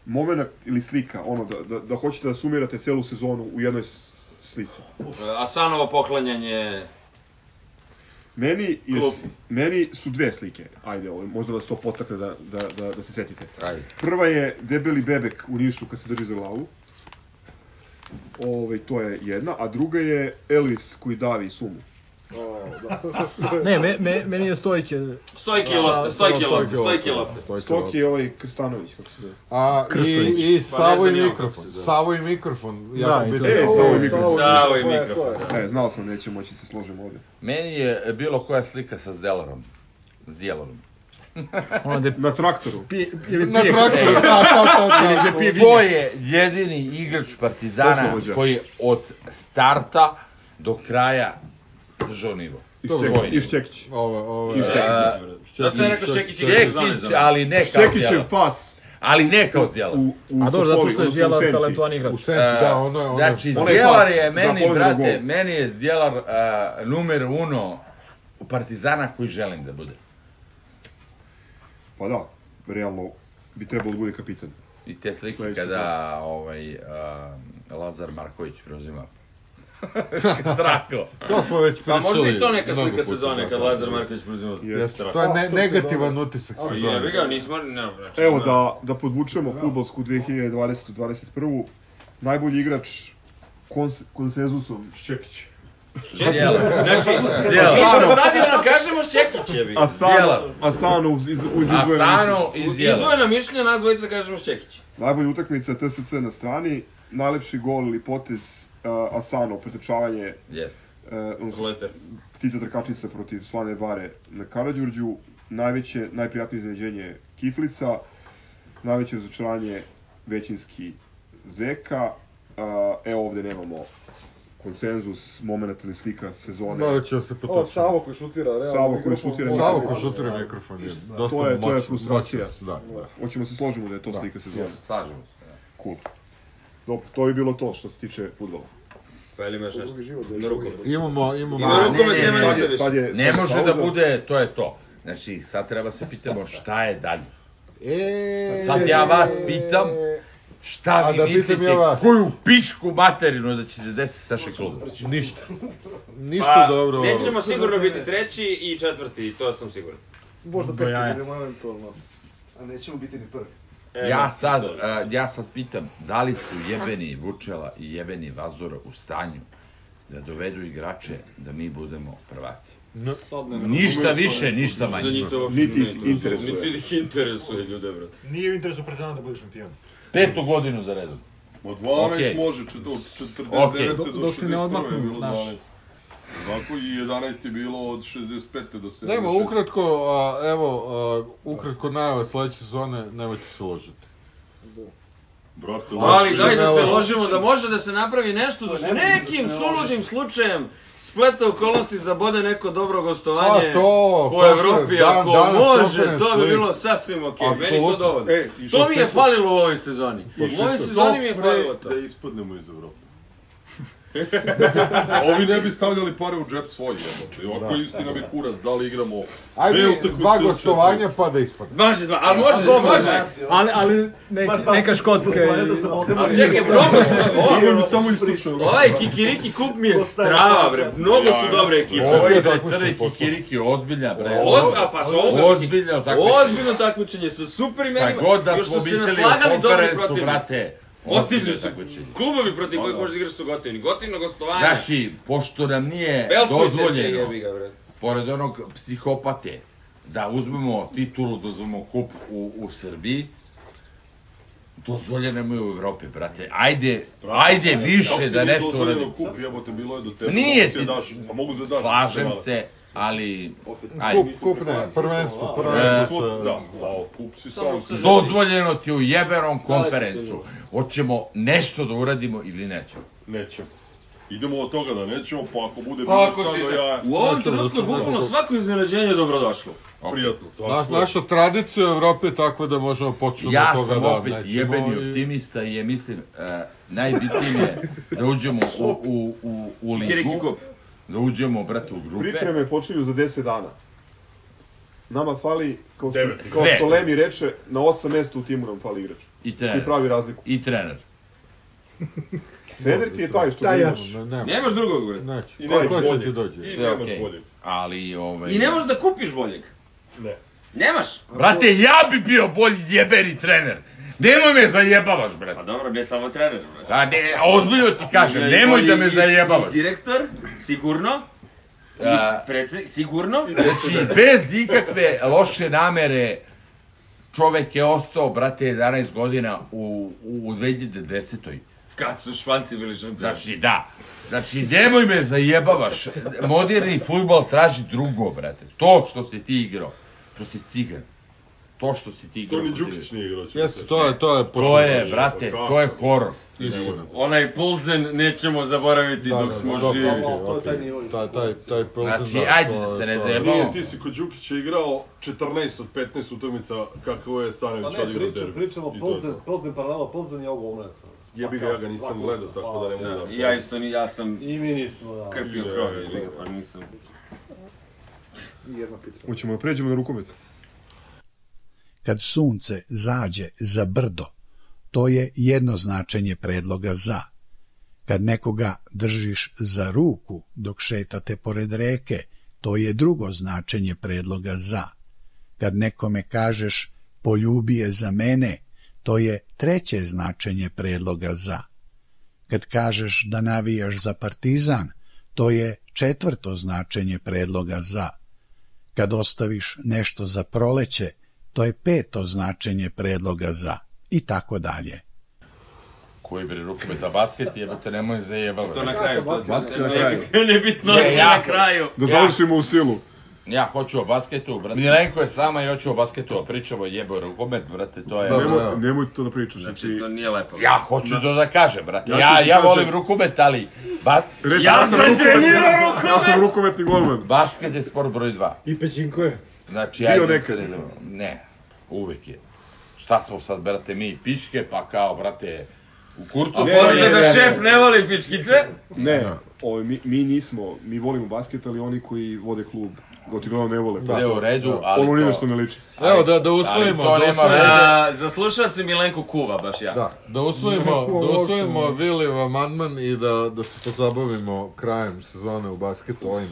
D: Momenat ili slika, ono, da, da, da hoćete da sumirate celu sezonu u jednoj s- slici.
C: A Sanovo poklanjanje...
D: Meni, je,
C: Klub.
D: meni su dve slike, ajde, ovo, možda vas to potakne da, da, da, da se setite.
B: Ajde.
D: Prva je debeli bebek u Nišu kad se drži za glavu. Ovaj, Ove, to je jedna, a druga je Elvis koji davi sumu.
G: O, da.
I: Ne, me, me, meni je stojke.
C: Stojke i lopta, stojke i lopta, stojke i lopta.
D: Stoki je ovaj Krstanović, kako se zove.
A: A,
I: Krstović.
A: i, i Savo i
C: Pa znam ja
A: mikrofon. Savo i mikrofon. Ja
I: Da,
A: sam
I: i
A: bio-
I: to je-
D: E,
A: Savo i
D: Savo i
A: mikrofon.
D: mikrofon.
C: Savo i
G: To je,
C: mikrofon.
G: to je.
D: Ne, znao sam, neće moći da se složim ovde.
B: Meni je bilo koja slika sa Zdelarom. S Dijelarom.
I: Ono gde
D: Na traktoru.
I: pije, ili
A: Na
I: pije.
A: traktoru, da, da, da, da.
B: Ko je jedini igrač Partizana
D: Oslobođa.
B: koji od starta do kraja držao nivo?
D: I
B: Svoj
D: Šćekić-
B: nivo.
D: I Šćekić.
A: Ovo, ovo,
D: I Šćekić.
C: Zato sam Znači, rekao Čekić i
B: Čekić,
C: da.
B: ali ne kao
D: Šćekićev
B: Djelar.
D: pas.
B: Ali ne kao Djelar.
D: U, u
I: E, A dobro, zato
D: Topoli,
I: što je
D: odnosno u
I: Zjela
D: Senti.
I: talentovan igrač.
A: u sentu, da, ono je... Ono, je-
B: Znači,
D: ono je
B: Zdjelar
D: pas
B: je
D: za
B: meni,
D: polovinu
B: brate,
D: gol.
B: meni je Zdjelar uh, numer uno Partizana koji želim da bude.
D: Pa da, realno bi trebalo da bude kapitan.
B: I te slike
D: Sledeće
B: kada ovaj, uh, Lazar Marković preuzima Trako.
A: To smo već
C: Pa
A: pričali.
C: možda i to neka
A: mnogo
C: slika
A: puta,
C: sezone
A: da,
C: kad
A: da,
C: Lazar
A: da.
C: Marković preuzima.
A: Jeste,
C: Strah.
A: to je
G: A,
A: ne,
G: to se
A: negativan
G: zove.
A: utisak
C: Ali
A: sezone.
C: Ja bih Pa ga, nismo, ne, znači...
D: Evo
C: ne.
D: da, da podvučemo futbolsku 2020-2021. Najbolji igrač kons, konsenzusom. Šćekić.
B: Djelar.
C: Znači,
B: Djelar.
C: mi smo stadiona kažemo Šćekić je bih.
D: Asano,
B: Djelar.
D: Asano uz, iz, uz izdvojenu
B: Asano
D: misiju.
B: iz Djelara.
C: Izdvojena mišljenja, nas dvojica kažemo Šćekić.
D: Najbolja utakmica TSC na strani, najlepši gol ili potez uh, Asano, pretrčavanje
B: Jeste.
D: uh,
C: Leter.
D: ptica trkačica protiv Slane Vare na Karadžorđu, najveće, najprijatnije iznenađenje Kiflica, najveće razočaranje većinski Zeka, a, evo ovde nemamo konsenzus, moment ili slika sezone.
A: Morat ću se potočiti.
G: O, Savo koji šutira, realno.
D: Savo koji
G: mikrofon.
D: šutira,
A: Savo ko šutira mikrofon je dosta
D: To je- to je
A: moćan-
D: frustracija.
A: moćan, Da, da.
D: Hoćemo se složimo da je to
A: Da,
D: slika sezone.
B: Jeste, Slažemo se. da.
D: Cool. Dobro, to bi bilo to što se tiče fudbala.
C: Pa ili imaš nešto?
G: Drugi život,
C: Na rukom.
A: Imamo, imamo...
C: Ima rukom,
B: ne,
C: nema
B: ne,
D: pa
C: ništa
B: ne,
C: više.
D: je
B: Ne
D: sad je
B: može da
D: pauza.
B: bude, to je to. Znači, sad treba se pitamo šta je dalje.
A: E,
B: Sad ja vas pitam,
A: A
B: Šta vi
A: da pitam
B: mislite,
A: ja vas.
B: koju pičku materinu da će se desiti s našeg kluba?
A: Ništa. Ništa dobro.
C: Pa, Nećemo sigurno biti treći i četvrti, to sam siguran.
G: Možda
I: Do
G: peti
I: jaja.
G: budemo eventualno. A nećemo biti ni prvi.
C: E,
B: Ja sad, a, ja sad pitam, da li su jebeni Vučela i jebeni Vazura u stanju da dovedu igrače da mi budemo prvaci? Ništa više, ništa
C: Da
B: manje.
C: njih to uopšte
D: Niti
C: ne
D: ih interesuje.
C: Niti ih interesuje, ljude, brate.
E: Nije u interesu Partizana da bude šampion.
B: Petu godinu za redom.
J: Ma 12
B: Okej.
J: može, čet- od 49.
B: Okej.
J: do
I: Dok- dok se ne
J: 61.
I: odmaknu,
J: je bilo
I: znaš.
J: 12. Ovako i 11 je bilo od 65. do 76.
A: Nema, ukratko, a, evo, a, ukratko najave sledeće sezone, nemojte se ložiti.
J: Brate,
C: Ali daj da se
A: Evo.
C: ložimo da može da se napravi nešto, da su nekim suludim slučajem spleta okolnosti zabode neko dobro gostovanje
A: A, to,
B: Pa
C: po
A: konferenc,
C: Evropi,
A: dan-
C: ako
A: danas
C: može,
A: konferenc
C: to bi
A: lig.
C: bilo sasvim okej, meni to
A: Apsolutno.
C: dovoljno.
D: E, i
C: to
D: što
C: mi je
D: pre-
C: falilo u ovoj sezoni.
B: Pa
J: Što
C: U ovoj
J: pre-
C: sezoni mi je falilo to.
J: Da ispadnemo iz Evrope. Ovi ne bi stavljali pare u džep svoj jebote. Ovako da, istina bi kurac, da li igramo... dve
A: Ajde,
J: utakmice
A: dva
J: u četiri.
A: gostovanja pa da ispadne.
C: Baš dva, ali može, može.
I: Ali, ali nek, neka škotska
G: Planeta
I: ili...
G: sam ovde.
C: Ali čekaj, mnogo su,
J: Imam
C: o,
J: samo istočno.
C: ovaj Kikiriki kup mi je strava, bre, mnogo su dobre ekipe.
A: Ovo
B: Ovi
A: je
B: bre,
A: takmičenje
B: crvi
A: potpuno.
B: kikiriki, ozbiljna bre.
C: Oz, a pa sa ovoga,
B: Ozbiljno takmičenje.
C: Ozbiljno takmičenje sa super
B: Šta
C: imenima.
B: god da
C: još
B: smo
C: su se
B: videli
C: naslagali
B: u
C: dobri
B: konferencu,
C: protivnici.
B: brate,
C: Gotivni
B: ozbiljno
C: su.
B: takmičenje.
C: Klubovi protiv kojih
J: Ono.
C: možeš da igraš su gotivni. Gotivno gostovanje.
B: Znači, pošto nam nije
C: Belcujte se
B: dozvoljeno,
C: jebi ga, bre.
B: pored onog psihopate, da uzmemo titulu, da uzmemo kup u, u Srbiji, dozvoljeno je u Evropi, brate. Ajde, ajde više da nešto uradimo.
J: Kup, jebote, bilo je do tebe.
B: Nije
J: Mogu se
B: ti-
J: Daš, pa mogu
D: da,
J: se daš.
B: Slažem se, ali,
A: Kup,
B: ajde,
A: kup da, ne,
D: da.
A: prvenstvo,
J: E,
A: prvenstvo.
J: kup,
A: se-
J: da, a kup si
C: Samo
J: sam.
C: se želi.
B: dozvoljeno ti je u jebenom konferencu. Hoćemo nešto da uradimo ili nećemo.
J: Nećemo. Idemo od toga da nećemo, pa ako bude bilo
C: Ako
J: šta da
C: si...
J: do jaja,
C: U ovom trenutku je bukvalno svako iznenađenje dobrodošlo.
J: prijatno.
A: Naš,
D: da.
A: naša tradicija u Evropi je takva da možemo početi
B: Ja
A: od toga
B: sam
A: da
B: opet
A: nećemo
B: jebeni
A: i-
B: optimista i je, mislim, e, najbitnije je da uđemo u, u, u, u
C: Kiriki
B: ligu,
C: kup.
B: da uđemo, brate, u grupe.
D: Pripreme počinju za 10 dana. Nama fali, kao što,
J: Devet.
D: kao
B: Sve.
D: što Lemi reče, na 8 mesta u timu nam fali igrač.
B: I
D: Koji
B: trener.
D: pravi razliku.
B: I trener.
D: Trener ti je taj što
G: Taj
D: imaš.
G: jač.
A: Ne, nema.
C: Nemaš drugog, bre.
A: Neće.
J: I
A: Ko-
J: nemaš
A: Ko će
J: bolje.
A: ti dođe?
J: I
B: Sve
J: nemaš
B: okej.
J: boljeg.
B: Ali, ovaj...
C: I ne možeš da kupiš boljeg.
J: Ne.
C: Nemaš?
B: Brate, ja bi bio bolji jebeni trener. Nemoj me zajebavaš,
C: Pa
B: brate.
C: dobro, ne samo trener, bre.
B: A ne, ozbiljno ti kažem,
C: Ne,
B: nemoj
C: i-
B: da me
C: i-
B: zajebavaš.
C: i Direktor, sigurno.
B: a,
C: Predsednik, sigurno?
B: Znači, bez ikakve loše namere, čovek je ostao, brate, 11 godina u, u 2010.
C: Kad su švanci bili šampioni.
B: Znači, da. Znači, nemoj me zajebavaš. Moderni futbal traži drugo, brate. To što si ti igrao protiv Cigan. To što si ti igrao
J: To ni
B: protiv-
J: Đukić nije igrao. čini
A: Jeste,
J: se.
A: to je, to je
B: To je, brate, to je horor.
C: Onaj Pulzen nećemo zaboraviti
A: Da,
C: dok smo živi.
A: To je taj nivo. Taj, taj, taj Pilsen,
B: Znači,
A: da,
B: ajde
A: to
B: da
A: je-
B: se ne
A: to je-
B: zajebamo.
J: Nije, ti si kod Đukića igrao 14 od 15 utakmica kako je
K: Pa
J: Stanović
K: ne,
J: odigrao
K: priču,
J: derbi.
K: pričamo
J: I to je
K: Plzen,
J: to.
K: Plzen paralelo, Plzen je ovo ono.
J: Jebi ga, ja ga nisam gledao, tako da ne mogu da...
C: I ja isto, ni- ja sam
K: I mi nismo, da.
C: krpio krov, jebi ga, pa nisam.
G: I jedna pizza.
D: Hoćemo da pređemo na rukomet.
L: Kad sunce zađe za brdo, to je jedno značenje predloga za. Kad nekoga držiš za ruku dok šetate pored reke, to je drugo značenje predloga za. Kad nekome kažeš poljubi je za mene, to je treće značenje predloga za. Kad kažeš da navijaš za partizan, to je četvrto značenje predloga za. Kad ostaviš nešto za proleće, to je peto značenje predloga za i tako dalje.
B: Koji bre rukometa basket, jebate, nemoj zajebavaš.
C: To na kraju, to
D: basket na kraju.
C: je nebitno,
B: Ne,
C: hoće
B: jako.
C: na kraju.
D: Da završimo u stilu.
B: Ja hoću o basketu, brate. Milenko je sama i hoću o basketu, a pričamo jebo rukomet, brate, to je...
A: Dobro.
D: Nemoj, nemoj to da pričaš.
C: Znači,
D: Znači,
C: to nije lepo.
B: Ja hoću to da kažem, brate.
D: Ja
B: Ja,
D: ću
B: ja,
D: ti kažem-
B: volim rukomet, ali bas,
D: Reci,
C: Ja sam
D: rukometni-
C: trenirao
D: Ja sam rukometni golman.
B: basket je sport broj 2.
H: I pećinko je.
B: Znači,
D: Bio
B: ja idem
D: nekad.
B: se ne- Ne, uvek je. Šta smo sad, brate, mi pičke, pa kao, brate, u kurtu...
C: A
B: smo-
C: poznato
B: Ne,
C: da
B: ne,
C: šef ne voli pičkice.
D: Ne, ovo, mi, mi nismo, mi volimo basket, ali oni koji vode klub, očigledno ne vole.
B: Sve u redu, ali...
D: Da. Ono ni na
B: to-
D: što ne liči.
A: Evo, da, da usvojimo.
B: to
A: da
B: nema
D: Pa,
A: usvojimo-
B: veze.
C: A, za slušalce Milenko kuva, baš ja.
A: Da, da usvojimo, da usvojimo Vilijev amandman i da, da se pozabavimo krajem sezone u basketu ovim.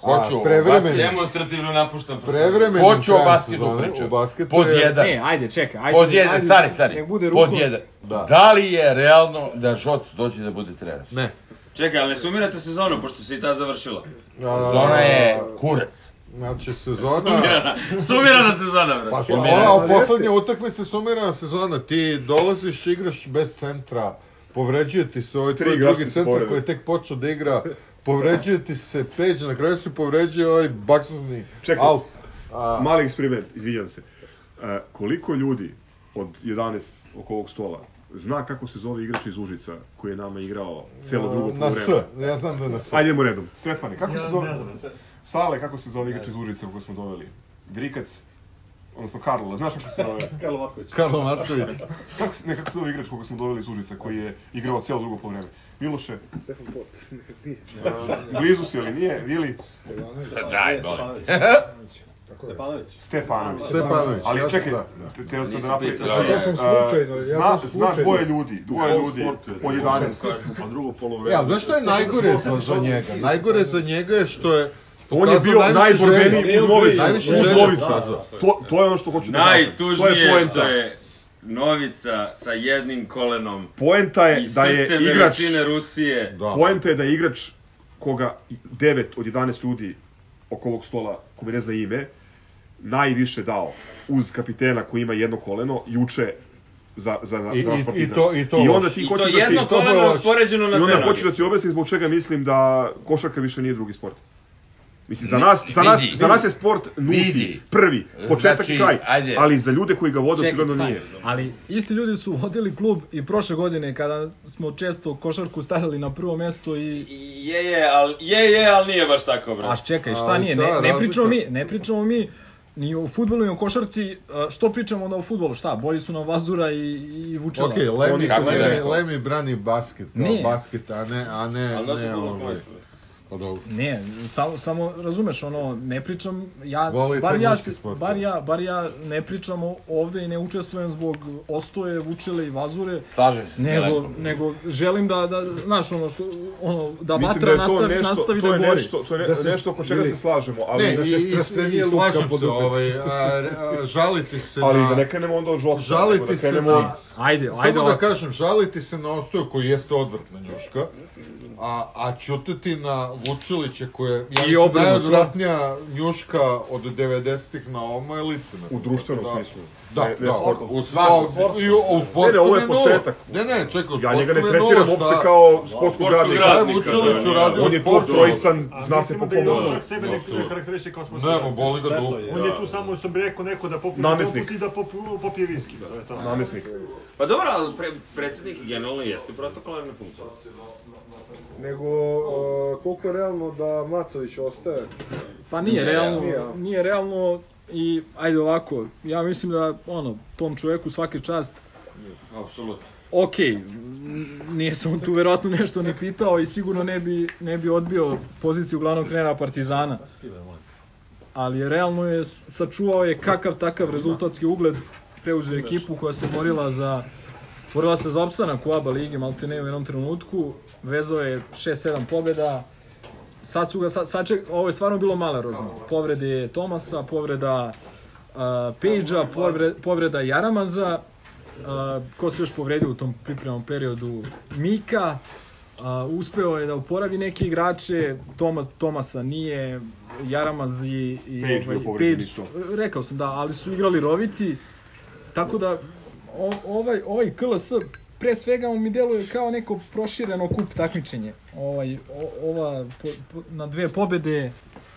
B: Hoću
A: A,
B: o
A: prevremenim,
C: Demonstrativno napuštam.
A: prevremenim
B: Hoću o
A: krajem
B: basketu
A: sezone,
B: pričam.
A: U basketu
B: Pod
A: je-
B: jedan.
M: E, ajde, čekaj, ajde.
B: Da. Pod jedan,
M: ajde,
B: stari, stari.
M: Nek bude
B: pod
M: rukom.
B: jedan.
A: Da.
B: Da. li je realno da Žoc dođe da bude trener?
A: Ne.
C: Čekaj, ali ne sumirate sezonu, pošto se i ta završila.
A: A,
B: Zona je kurac.
A: Znači,
D: Da.
A: sezona...
C: Sumirana, sumirana sezona, brate.
A: Pa
C: Pa,
A: ona, a poslednje utakmice sumirana sezona, ti dolaziš, igraš bez centra, povređuje ti se ovaj tvoj
D: igrači
A: drugi
D: su
A: centar
D: povrede.
A: koji je tek počeo da igra, povređuje ti se Peđa, na kraju se povređuje ovaj baksuzni
D: Čekaj.
A: Alp. A,
D: Mali eksperiment, izvinjavam se. E, koliko ljudi od 11 oko ovog stola zna kako se zove igrač iz Užica koji je nama igrao celo drugo
A: na S,
D: poluvreme?
A: ja znam da je na S.
D: Ajde idemo redom. Stefane, kako
E: Ja
D: se
E: ne
D: zove?
E: znam.
D: Sale, kako se zove igrač iz Užica koga smo doveli? Drikac, odnosno Karlo, znaš kako se zove?
K: Karlo Matković.
A: Karlo Marković.
D: Kako, se- ne, kako se zove igrač koga smo doveli iz Užica koji je igrao celo drugo poluvreme? Miloše,
G: Stefan Pot. Nekad nije.
D: blizu si ali nije, Vili,
B: Daj, molim.
K: Stepanović.
D: Stefanović.
A: Stepanović,
D: Ali
A: jasno,
D: čekaj,
A: da,
D: te- teo sam da napravim.
C: pitao,
D: znači,
C: ja
H: sam
D: e,
H: slučajno, ja
D: zna-
H: sam
D: Zna
H: slučajno.
D: dvoje ljudi, dvoje
J: Ovo
D: ljudi,
J: sportu je
D: po
J: to.
D: 11.
J: Pa drugo polovreme.
A: Ja, znaš šta je najgore za, za njega? Najgore za njega je što je
D: On je bio
A: pokazao najviše
D: najborbeniji
A: želje.
D: uz Lovicu.
A: Najviše
D: Uz
A: želje Da,
D: Lovicu.
A: pokazao.
D: To, to je ono što hoću da kažem. To
C: Najtužnije
D: je
C: je
D: poenta.
C: što je Novica sa jednim kolenom
D: Poenta je
C: i
D: da je
C: srcem
D: igrač...
C: veličine Rusije.
A: Da.
D: Poenta je da je igrač koga 9 od 11 ljudi oko ovog stola, kome ne zna ime, najviše dao uz kapitena koji ima jedno koleno, juče za, za, za
A: I-
D: naš
A: i- i
D: partizan.
A: to- i to
D: I onda
A: loš.
D: ti
C: I to
D: hoćeš da ti...
C: jedno
A: to
C: koleno
A: bolaš.
C: raspoređeno na
D: I
C: dve
D: onda
C: noge.
D: hoću da ti objasnim zbog čega mislim da košarka više nije drugi sport. Mislim, za nas, za nas,
B: Vidi.
D: za nas je sport nuti,
B: Vidi.
D: prvi, početak
B: Znači,
D: i kraj,
B: ajde.
D: ali za ljude koji ga vode,
M: Čekaj,
D: očigledno
M: stani.
D: nije.
I: Ali
M: Isti ljudi su vodili klub i prošle godine kada smo često košarku stavili na prvo mesto i
C: Je, je, ali, je, je, ali nije baš tako, brate.
M: A čekaj, šta
A: Ali
M: nije?
A: ta
M: Ne, ne
A: razlika-
M: pričamo mi, ne pričamo mi ni o fudbalu ni o košarci. a, Što pričamo onda o fudbalu? Šta? Bolji su nam Vazura i, i Vučela.
A: Okej, Lemi,
B: Kako je
A: Lemi,
B: rekao?
A: Lemi brani basket, kao
M: Ne.
A: basket, a ne, a ne,
C: Ali da se
A: ne,
C: to
A: ovaj.
C: ovaj.
A: Pa dobro.
M: Ne, samo samo razumeš ono, ne pričam ja
A: Volite
M: bar ja
A: muški
M: se-
A: sport,
M: bar
A: da.
M: ja bar ja ne pričam o- ovde i ne učestvujem zbog Ostoje, Vučele i Vazure.
B: Slažem se s
M: Nego,
B: Milenkom.
M: nego želim da, da, znaš ono što, ono,
A: Pa
M: da
D: Mislim
M: vatra
D: da je to
M: nastavi,
D: nešto,
M: nastavi
D: to
M: da
D: je
M: gori.
D: nešto, to je ne,
H: Da se-
D: nešto oko čega
H: ili-
D: se slažemo, ali
A: Ne,
H: da
A: i,
H: se
A: i, i,
H: strastvenije
A: i
H: luka
A: slažem se,
H: bude opet.
A: ovaj, a, a, žaliti se
D: Ali
A: na...
D: da ne krenemo onda od žotka. nego
A: Žaliti
D: da
A: se
D: krenemo
A: na...
D: od-
M: Ajde,
A: Samo
M: ajde.
A: da
M: ovako.
A: kažem, žaliti se na ostoju koji jeste odvrtna njuška, a, a ćutiti na Vučilića koja je, ja
B: I
A: mislim,
B: obrnuto.
A: najodvratnija njuška od 90-ih na ovamo je licena.
D: U društvenom smislu.
A: Da,
D: Ne- ne
A: da.
D: sportom.
A: U
D: svakom
A: sportu. I u, u sportu
D: Ne, ne, ovo je
A: nula.
D: početak.
A: Ne, ne, čekaj, u
D: Ja njega ne
A: sportu je nula,
D: tretiram
A: šta-
D: uopšte kao
A: Sportskog
D: sportskog radnika.
A: radnika, da, Vučilić uradio
D: On je
A: sportu.
D: portrojsan,
E: A
D: zna se
E: mislimo
D: po
E: da je
D: kom
E: još
D: osnovu.
E: čak sebe ne, ne karakteriše kao sportski
A: Nemo,
E: radnik.
A: boli ga dupe,
E: On
A: da.
E: je tu samo, što bi rekao, neko da popije
D: Namesnik.
E: poput i da popu- popije viski. To je to.
D: Namesnik.
C: Pa dobro, ali pre, predsjednik generalno jeste protokolarna funkcija.
G: Nego, e, koliko je realno da Matović ostaje?
I: Pa nije realno,
G: Nije,
I: nije,
G: a?
I: realno i ajde ovako, ja mislim da ono, tom čoveku svaki čast,
C: Apsolutno.
I: ok, n- nije se on tu verovatno nešto ni pitao i sigurno ne bi, ne bi odbio poziciju glavnog trenera Partizana. Ali je realno je s- sačuvao je kakav takav rezultatski ugled, preuzeo je ekipu koja se borila za borila se za opstanak u ABA ligi, malte ne u jednom trenutku, vezao je 6-7 pobjeda, sad su ga, sad, sad ček, ovo je stvarno bilo malerozno. Povrede je Tomasa, povreda uh, Pejđa, povre, povreda Jaramaza, uh, ko se još povredio u tom pripremnom periodu, Mika, uh, uspeo je da oporavi neke igrače, Toma, Tomasa nije, Jaramaz i, i
D: Pejđ bio povređen
I: Pejđ,
D: isto.
I: rekao sam da, ali su igrali roviti, tako da o, ovaj, ovaj KLS pre svega on mi deluje kao neko prošireno kup takmičenje. Ovaj, o, ova po, po, na dve pobede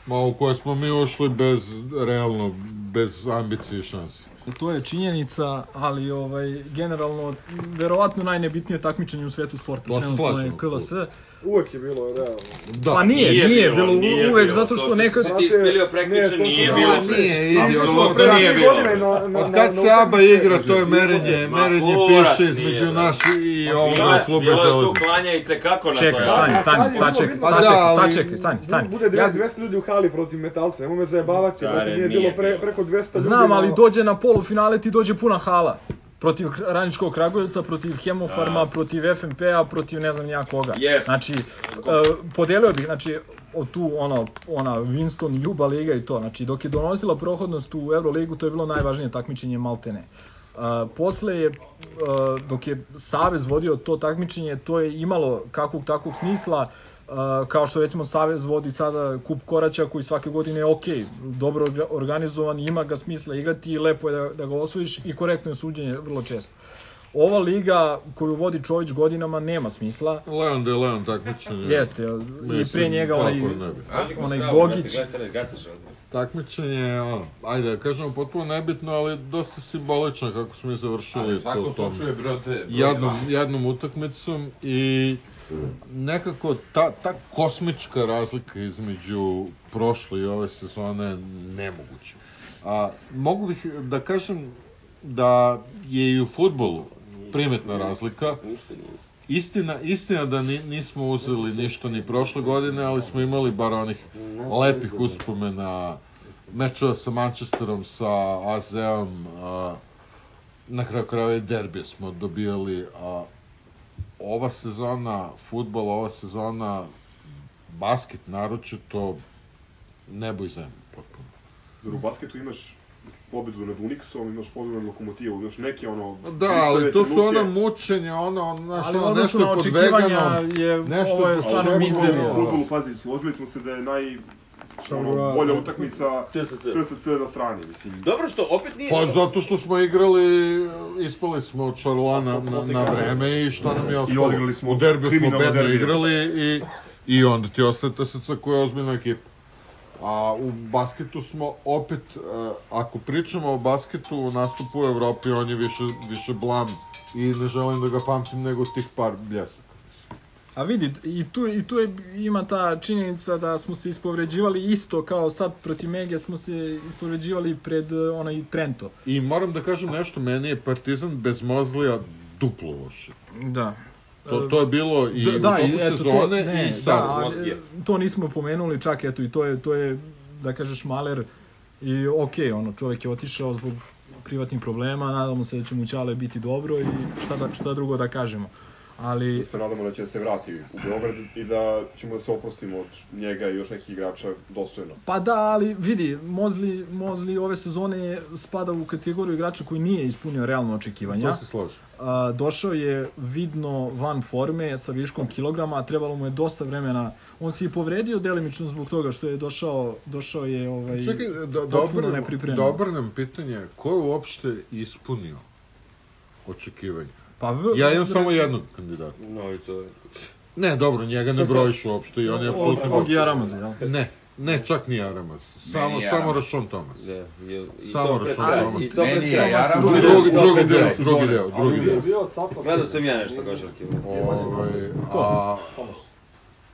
A: Ma u koje smo mi ušli bez, realno, bez ambicije i šanse.
I: To je činjenica, ali ovaj generalno verovatno najnebitnije takmičenje u svetu sporta
A: To Da, se
I: trenutno je
A: slažemo,
I: KLS.
G: Uvek je bilo realno.
A: Da.
I: pa nije,
C: Nije
I: nije,
C: bilo,
I: bilo,
C: nije
I: uvek
C: bilo,
I: zato
C: to
I: što
C: ste
I: neka
C: se
G: Znate,
C: Ti ispilio prekjuče,
G: ne, to
C: nije
G: smo-
C: bilo
G: Da,
A: pre-
G: nije,
A: i
G: i
A: mi
G: mi
A: smo
G: smo
A: pre
G: pre
A: nije
G: tri
C: bilo.
G: godine na- na-
A: Od
G: na-
A: kad
G: na
A: se ABA
G: utakmici-
A: igra, to je merenje,
C: Ma,
A: merenje
C: kurac
A: piše
C: nije,
A: između
C: da.
A: nas i
C: Bilo
A: ovoga
C: je-
A: slube
C: Bilo je tu
A: železnice.
C: klanja i tekako na
M: Čekaj,
C: to.
A: Da,
M: stani,
G: Pa,
M: stani,
G: ali
M: stani,
G: bilo,
M: čekaj,
G: vidno-
A: Pa
M: stani,
A: da,
M: čekaj,
A: ali-
M: stani, čekaj, stani, stani.
G: Bude
M: Ja
G: 200
M: bi-
G: 200 ljudi u hali protiv metalca, nemoj me zajebavati,
C: Da,
G: brate,
C: ne,
G: nije
C: nije
G: bilo pre,
C: bilo.
G: preko
A: da
G: 200 ljudi.
I: Znam, ali
G: na-
I: dođe na polufinale ti dođe puna hala. Protiv Kra- Radničkog Kragujevca, protiv Hemofarma,
C: Da.
I: protiv FMP-a, protiv ne znam ni ja koga.
C: Yes.
I: Znači, e, podelio bih, znači, o tu ono, ona Winston Juba liga i to, znači dok je donosila prohodnost u Euroligu, to je bilo najvažnije takmičenje Maltene. Uh, posle je, e, dok je Savez vodio to takmičenje, to je imalo kakvog takvog smisla, e, kao što recimo Savez vodi sada kup koraća koji svake godine je ok, dobro orga- organizovan, ima ga smisla igrati i lepo je da, da ga osvojiš i korektno je suđenje vrlo često. Ova liga koju vodi Čović godinama nema smisla,
A: Leon de Leon takmičenje.
I: Jeste, i
A: Mislim,
I: pre njega onaj,
A: kako ne bi.
I: onaj Gogić.
A: Takmičenje je, ono, ajde da kažemo, potpuno nebitno, ali dosta simbolično kako smo mi završili
B: Ali u svakom
A: to tom
B: slučaju je broj te... broj
A: jednom,
B: dva.
A: jednom utakmicom i nekako ta, ta kosmička razlika između prošle i ove sezone nemoguća. A, mogu bih da kažem da je i u futbolu primetna razlika. Istina, istina da ni, nismo uzeli ništa ni prošle godine, ali smo imali bar onih lepih uspomena mečeva sa Manchesterom, sa AZ-om, a, na kraju krajeva i derbije smo dobijali, a ova sezona futbala, ova sezona basket naročito nebo i zemlje potpuno.
D: Jer u basketu imaš pobedu nad Unixom, imaš pobedu nad Lokomotivom, imaš neke ono...
A: Da, ali
D: bitave
A: to su
D: trenutke.
A: ona mučenja, ona, ona, znaš,
I: Ali
A: ono,
I: ono
A: nešto
I: što
A: je
I: na
A: podvegano,
I: očekivanja je-
A: nešto
I: ovo je
A: pod
I: stvarno
A: svemu
I: mizerija.
A: drugom,
D: U
A: ono.
D: futbolu, pazi, složili smo se da je naj... Ono,
G: Šalova-
D: bolja utakmica
C: TSC.
D: TSC na strani, mislim.
C: Dobro što opet nije...
A: Pa zato što smo igrali, ispali smo od Šarlana na, na vreme i šta nam je ostalo?
D: odigrali smo
A: U derbiju smo
D: kriminalno
A: bedno
D: derbi.
A: igrali i, i onda ti ostaje TSC koja je ozbiljna ekipa. A u basketu smo opet, e, ako pričamo o basketu u nastupu u Evropi, on je više, više blam i ne želim da ga pamtim nego tih par bljesaka.
I: A vidi, i tu, i tu je, ima ta činjenica da smo se ispovređivali isto kao sad protiv Mege smo se ispovređivali pred eh, onaj Trento.
A: I moram da kažem nešto, meni je Partizan bez Mozlija duplo loše.
I: Da.
A: To, to je bilo i u toku sezone i sad.
I: Da, ali,
C: Mozgije.
I: to nismo pomenuli čak, eto, i to je, to je da kažeš, maler i okej, ono, čovjek je otišao zbog privatnih problema, nadamo se da će mu Ćale biti dobro i šta, da, šta drugo da kažemo. Ali...
D: Da se nadamo da će se vrati u Beograd i da ćemo da se oprostimo od njega i još nekih igrača dostojno.
I: Pa da, ali vidi, Mozli, Mozli ove sezone spada u kategoriju igrača koji nije ispunio realno očekivanja.
A: To se slažem.
I: A, došao je vidno van forme sa viškom kilograma, trebalo mu je dosta vremena. On se i povredio delimično zbog toga što je došao, došao je ovaj,
A: Čekaj,
K: e,
A: da, da,
I: potpuno
A: obrnem,
I: nepripremljen.
A: da obrnem pitanje, ko je uopšte ispunio očekivanja?
I: Pa v,
A: Ja imam samo jednog kandidata.
C: Novica.
A: Ne, dobro, njega ne brojiš uopšte i on je apsolutno...
I: Ogi Aramaz, jel?
A: Ne, ne, čak ni Aramas. Samo,
B: Meni je
A: samo
B: Aramas.
A: Rašon Thomas.
C: Da, je, i
A: Samo
C: to pred-
A: Rašon
C: a,
A: Thomas.
C: i to pred
B: Meni je
C: Thomas-
B: Jaram-
A: Drugi,
B: Drugi
A: drugi,
B: deo,
A: drugi
B: drugi deo
A: deo, drugi deo,
K: Ali
A: drugi
K: on je
A: deo.
K: bio od Sapa.
C: Gledao sam ja nešto košarke.
A: Ovaj, a,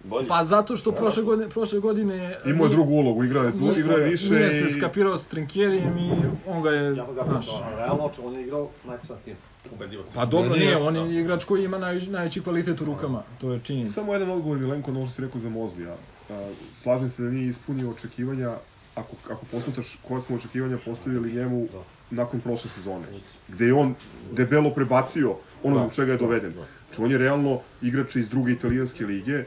C: Bolje.
I: Pa zato što prošle
A: Da.
I: godine, prošle godine
D: Imao je
I: nije-
D: drugu ulogu, igrao je,
I: nije-
D: igrao je više
I: nije
D: i...
I: se skapirao s Trinkjerijem i on ga je,
K: Ja ga
I: znaš,
K: pitao, a realno, čo on je igrao najpisa tim. Ubedljivo.
I: Pa dobro,
A: Meni je-
I: nije, on je igrač koji ima najveći, najveći kvalitet u rukama, to je činjenica.
D: Samo jedan odgovor Milenko, ono što si rekao za Mozlija. A, Slažem se da nije ispunio očekivanja, ako, ako posmetaš koja smo očekivanja postavili njemu
A: Da.
D: nakon prošle sezone, gde je on debelo prebacio ono
A: Da,
D: zbog čega je doveden. Znači, on je realno igrač iz druge italijanske lige,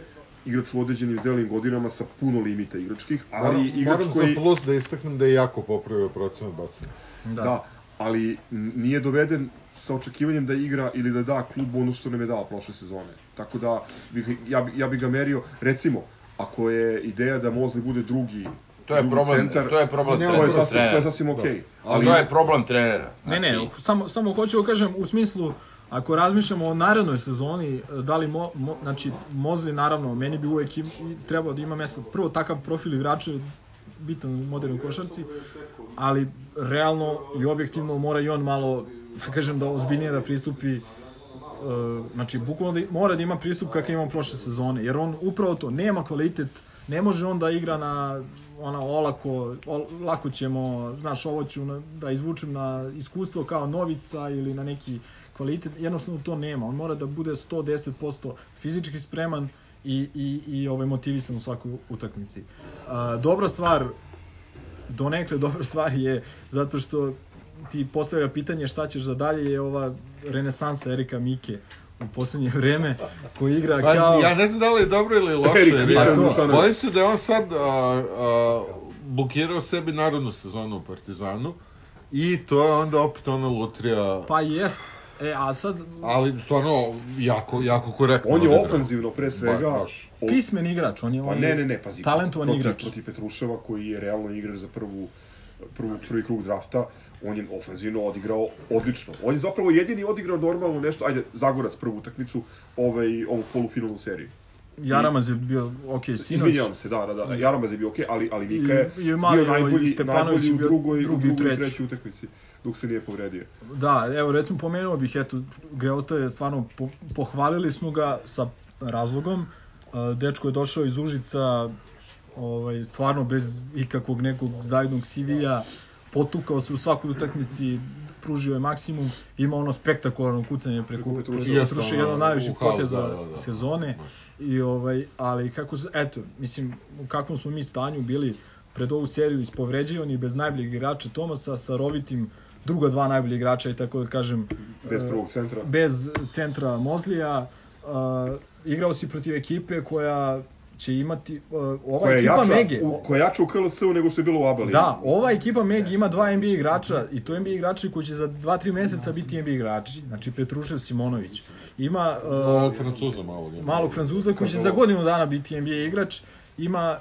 D: igrač u određenim zelenim godinama sa puno limita igračkih, ali
A: moram,
D: igrač
A: moram
D: koji...
A: za plus da istaknem da je jako popravio procenat bacanja.
D: Da. ali n- nije doveden sa očekivanjem da igra ili da da klubu ono što nam je dao prošle sezone. Tako da bih, ja, bi, ja bi ga merio, recimo, ako je ideja da Mozli bude drugi,
B: To je
D: drugi
B: problem,
D: centar,
B: to je problem
A: Ne,
D: to je
B: trenera.
D: sasvim, to je sasvim okej.
B: Ali
D: Ali,
B: to je problem trenera. Znači,
I: Ne, ne, samo, samo hoću da kažem u smislu, ako razmišljamo o narednoj sezoni, da li, mo, mo, znači, Mozli naravno, meni bi uvek im, i trebao da ima mesta, prvo takav profil igrača je bitan u modernoj košarci, ali realno i objektivno mora i on malo, da kažem, da ozbiljnije da pristupi E, znači bukvalno da, mora da ima pristup kakav je imao prošle sezone, jer on upravo to, nema kvalitet, ne može on da igra na ona olako, ol, lako ćemo, znaš, ovo ću na, da izvučem na iskustvo kao novica ili na neki kvalitet, jednostavno to nema, on mora da bude 110% fizički spreman i, i, i ovaj, motivisan u svakoj utakmici. A, dobra stvar donekle dobra stvar je zato što ti postavlja pitanje šta ćeš za dalje je ova renesansa Erika Mike u poslednje vreme koji igra
A: Pa,
I: kao...
A: ja ne znam da li je dobro ili loše.
D: Erik,
A: jer
D: nisam
A: ja-
D: Dušanović.
A: Bojim se da je on sad a, a, blokirao sebi narodnu sezonu u Partizanu i to je onda opet ona lutrija.
I: Pa jest. E, a sad
A: Ali stvarno jako, jako korektno.
D: on je
A: odigrao.
D: ofanzivno pre svega...
A: Ba- baš.
D: o-
I: pismen igrač, on je, on
D: Pa
I: je
D: ne, ne, ne, pazi.
I: talentovan
D: protiv,
I: igrač.
D: Protiv Petruševa koji je realno igrač za prvu prvu, prvi krug drafta, on je ofenzivno odigrao odlično. On je zapravo jedini odigrao normalno nešto, ajde, Zagorac prvu utakmicu, ovaj, ovu polufinalnu seriju.
I: Jaramaz je bio, ok, sinoć.
D: Izvinjavam se, da, da, da, Jaramaz je bio okej, ali, ali Vika
I: I-
D: je
I: i
D: bio
I: Mali, ovaj,
D: najbolji,
I: Stepanović
D: najbolji
I: je
D: u
I: bio
D: drugoj,
I: drugi
D: drugi,
I: i
D: u drugoj i
I: treći.
D: trećoj utakmici, dok se nije povredio.
I: Da, evo recimo pomenuo bih, eto, Greota je stvarno, po, pohvalili smo ga sa razlogom, E, dečko je došao iz Užica, ovaj, stvarno bez ikakvog nekog zavidnog CV-a, potukao se u svakoj utakmici, pružio je maksimum, ima ono spektakularno kucanje preko
D: Preko Petruševa.
I: Petruševa, Petruševa, jedan od
A: Jeste, ono,
I: najviših
A: u halu,
I: poteza
A: da, da, da.
I: sezone. I ovaj, ali kako se, eto, mislim, u kakvom smo mi stanju bili pred ovu seriju ispovređivani bez najboljeg igrača Tomasa sa rovitim druga dva najbolja igrača i tako da kažem
D: Bez
I: e,
D: prvog centra.
I: bez centra Mozlija e, igrao si protiv ekipe koja će imati e, ova
D: Koja je,
I: ekipa
D: jača,
I: Mege
D: u, koja je jača u KLS-u nego što je bilo u Abali.
I: Da, ova ekipa Meg ima dva NBA igrača i to NBA igrači koji će za 2-3 meseca biti NBA igrači. Znači Petrušev Simonović. Ima
D: Pa
A: Ovog
I: uh,
A: Francuza malog. ima.
I: malog Francuza koji će za godinu dana biti NBA igrač. Ima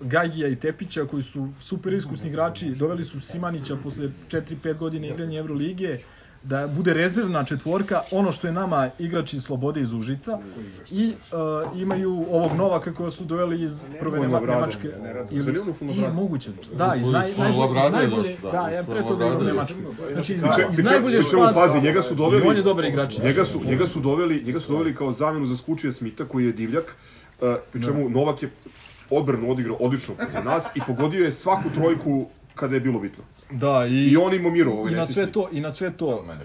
I: uh, Gagija i Tepića koji su super iskusni igrači, doveli su Simanića posle 4-5 godine igranja Evrolige da bude rezervna četvorka, ono što je nama igrači Slobode iz Užica i uh, imaju ovog Novaka koga su doveli iz prvene
D: Fulnov
I: Ma-
D: Radon,
I: Nemačke
D: da ne, ne radi.
I: ili
D: Zanimljivo Fulnov
I: i
D: Radon.
I: moguće da iz
A: Fulnov
I: naj, najbolje iz
A: Radon je došao, da,
I: najbolje da ja
A: iz
I: pre
A: Fulnov
I: toga igrao
A: Radon je
I: Nemačku znači iz,
D: Pri čemu-
I: iz
D: pri čemu-
I: najbolje
D: pri čemu,
I: španske
D: pazi, njega su doveli-
I: on je dobar igrač
D: Njega su, njega su doveli, njega su doveli kao zamenu za Skučija Smita koji je divljak, e,
I: Da.
D: uh, pri čemu Novak je odbranu odigrao odlično protiv nas i pogodio je svaku trojku kada je bilo bitno.
I: Da, i,
D: I on im umirovao,
I: I na
D: nesrećni.
I: sve to, i na sve to. Mene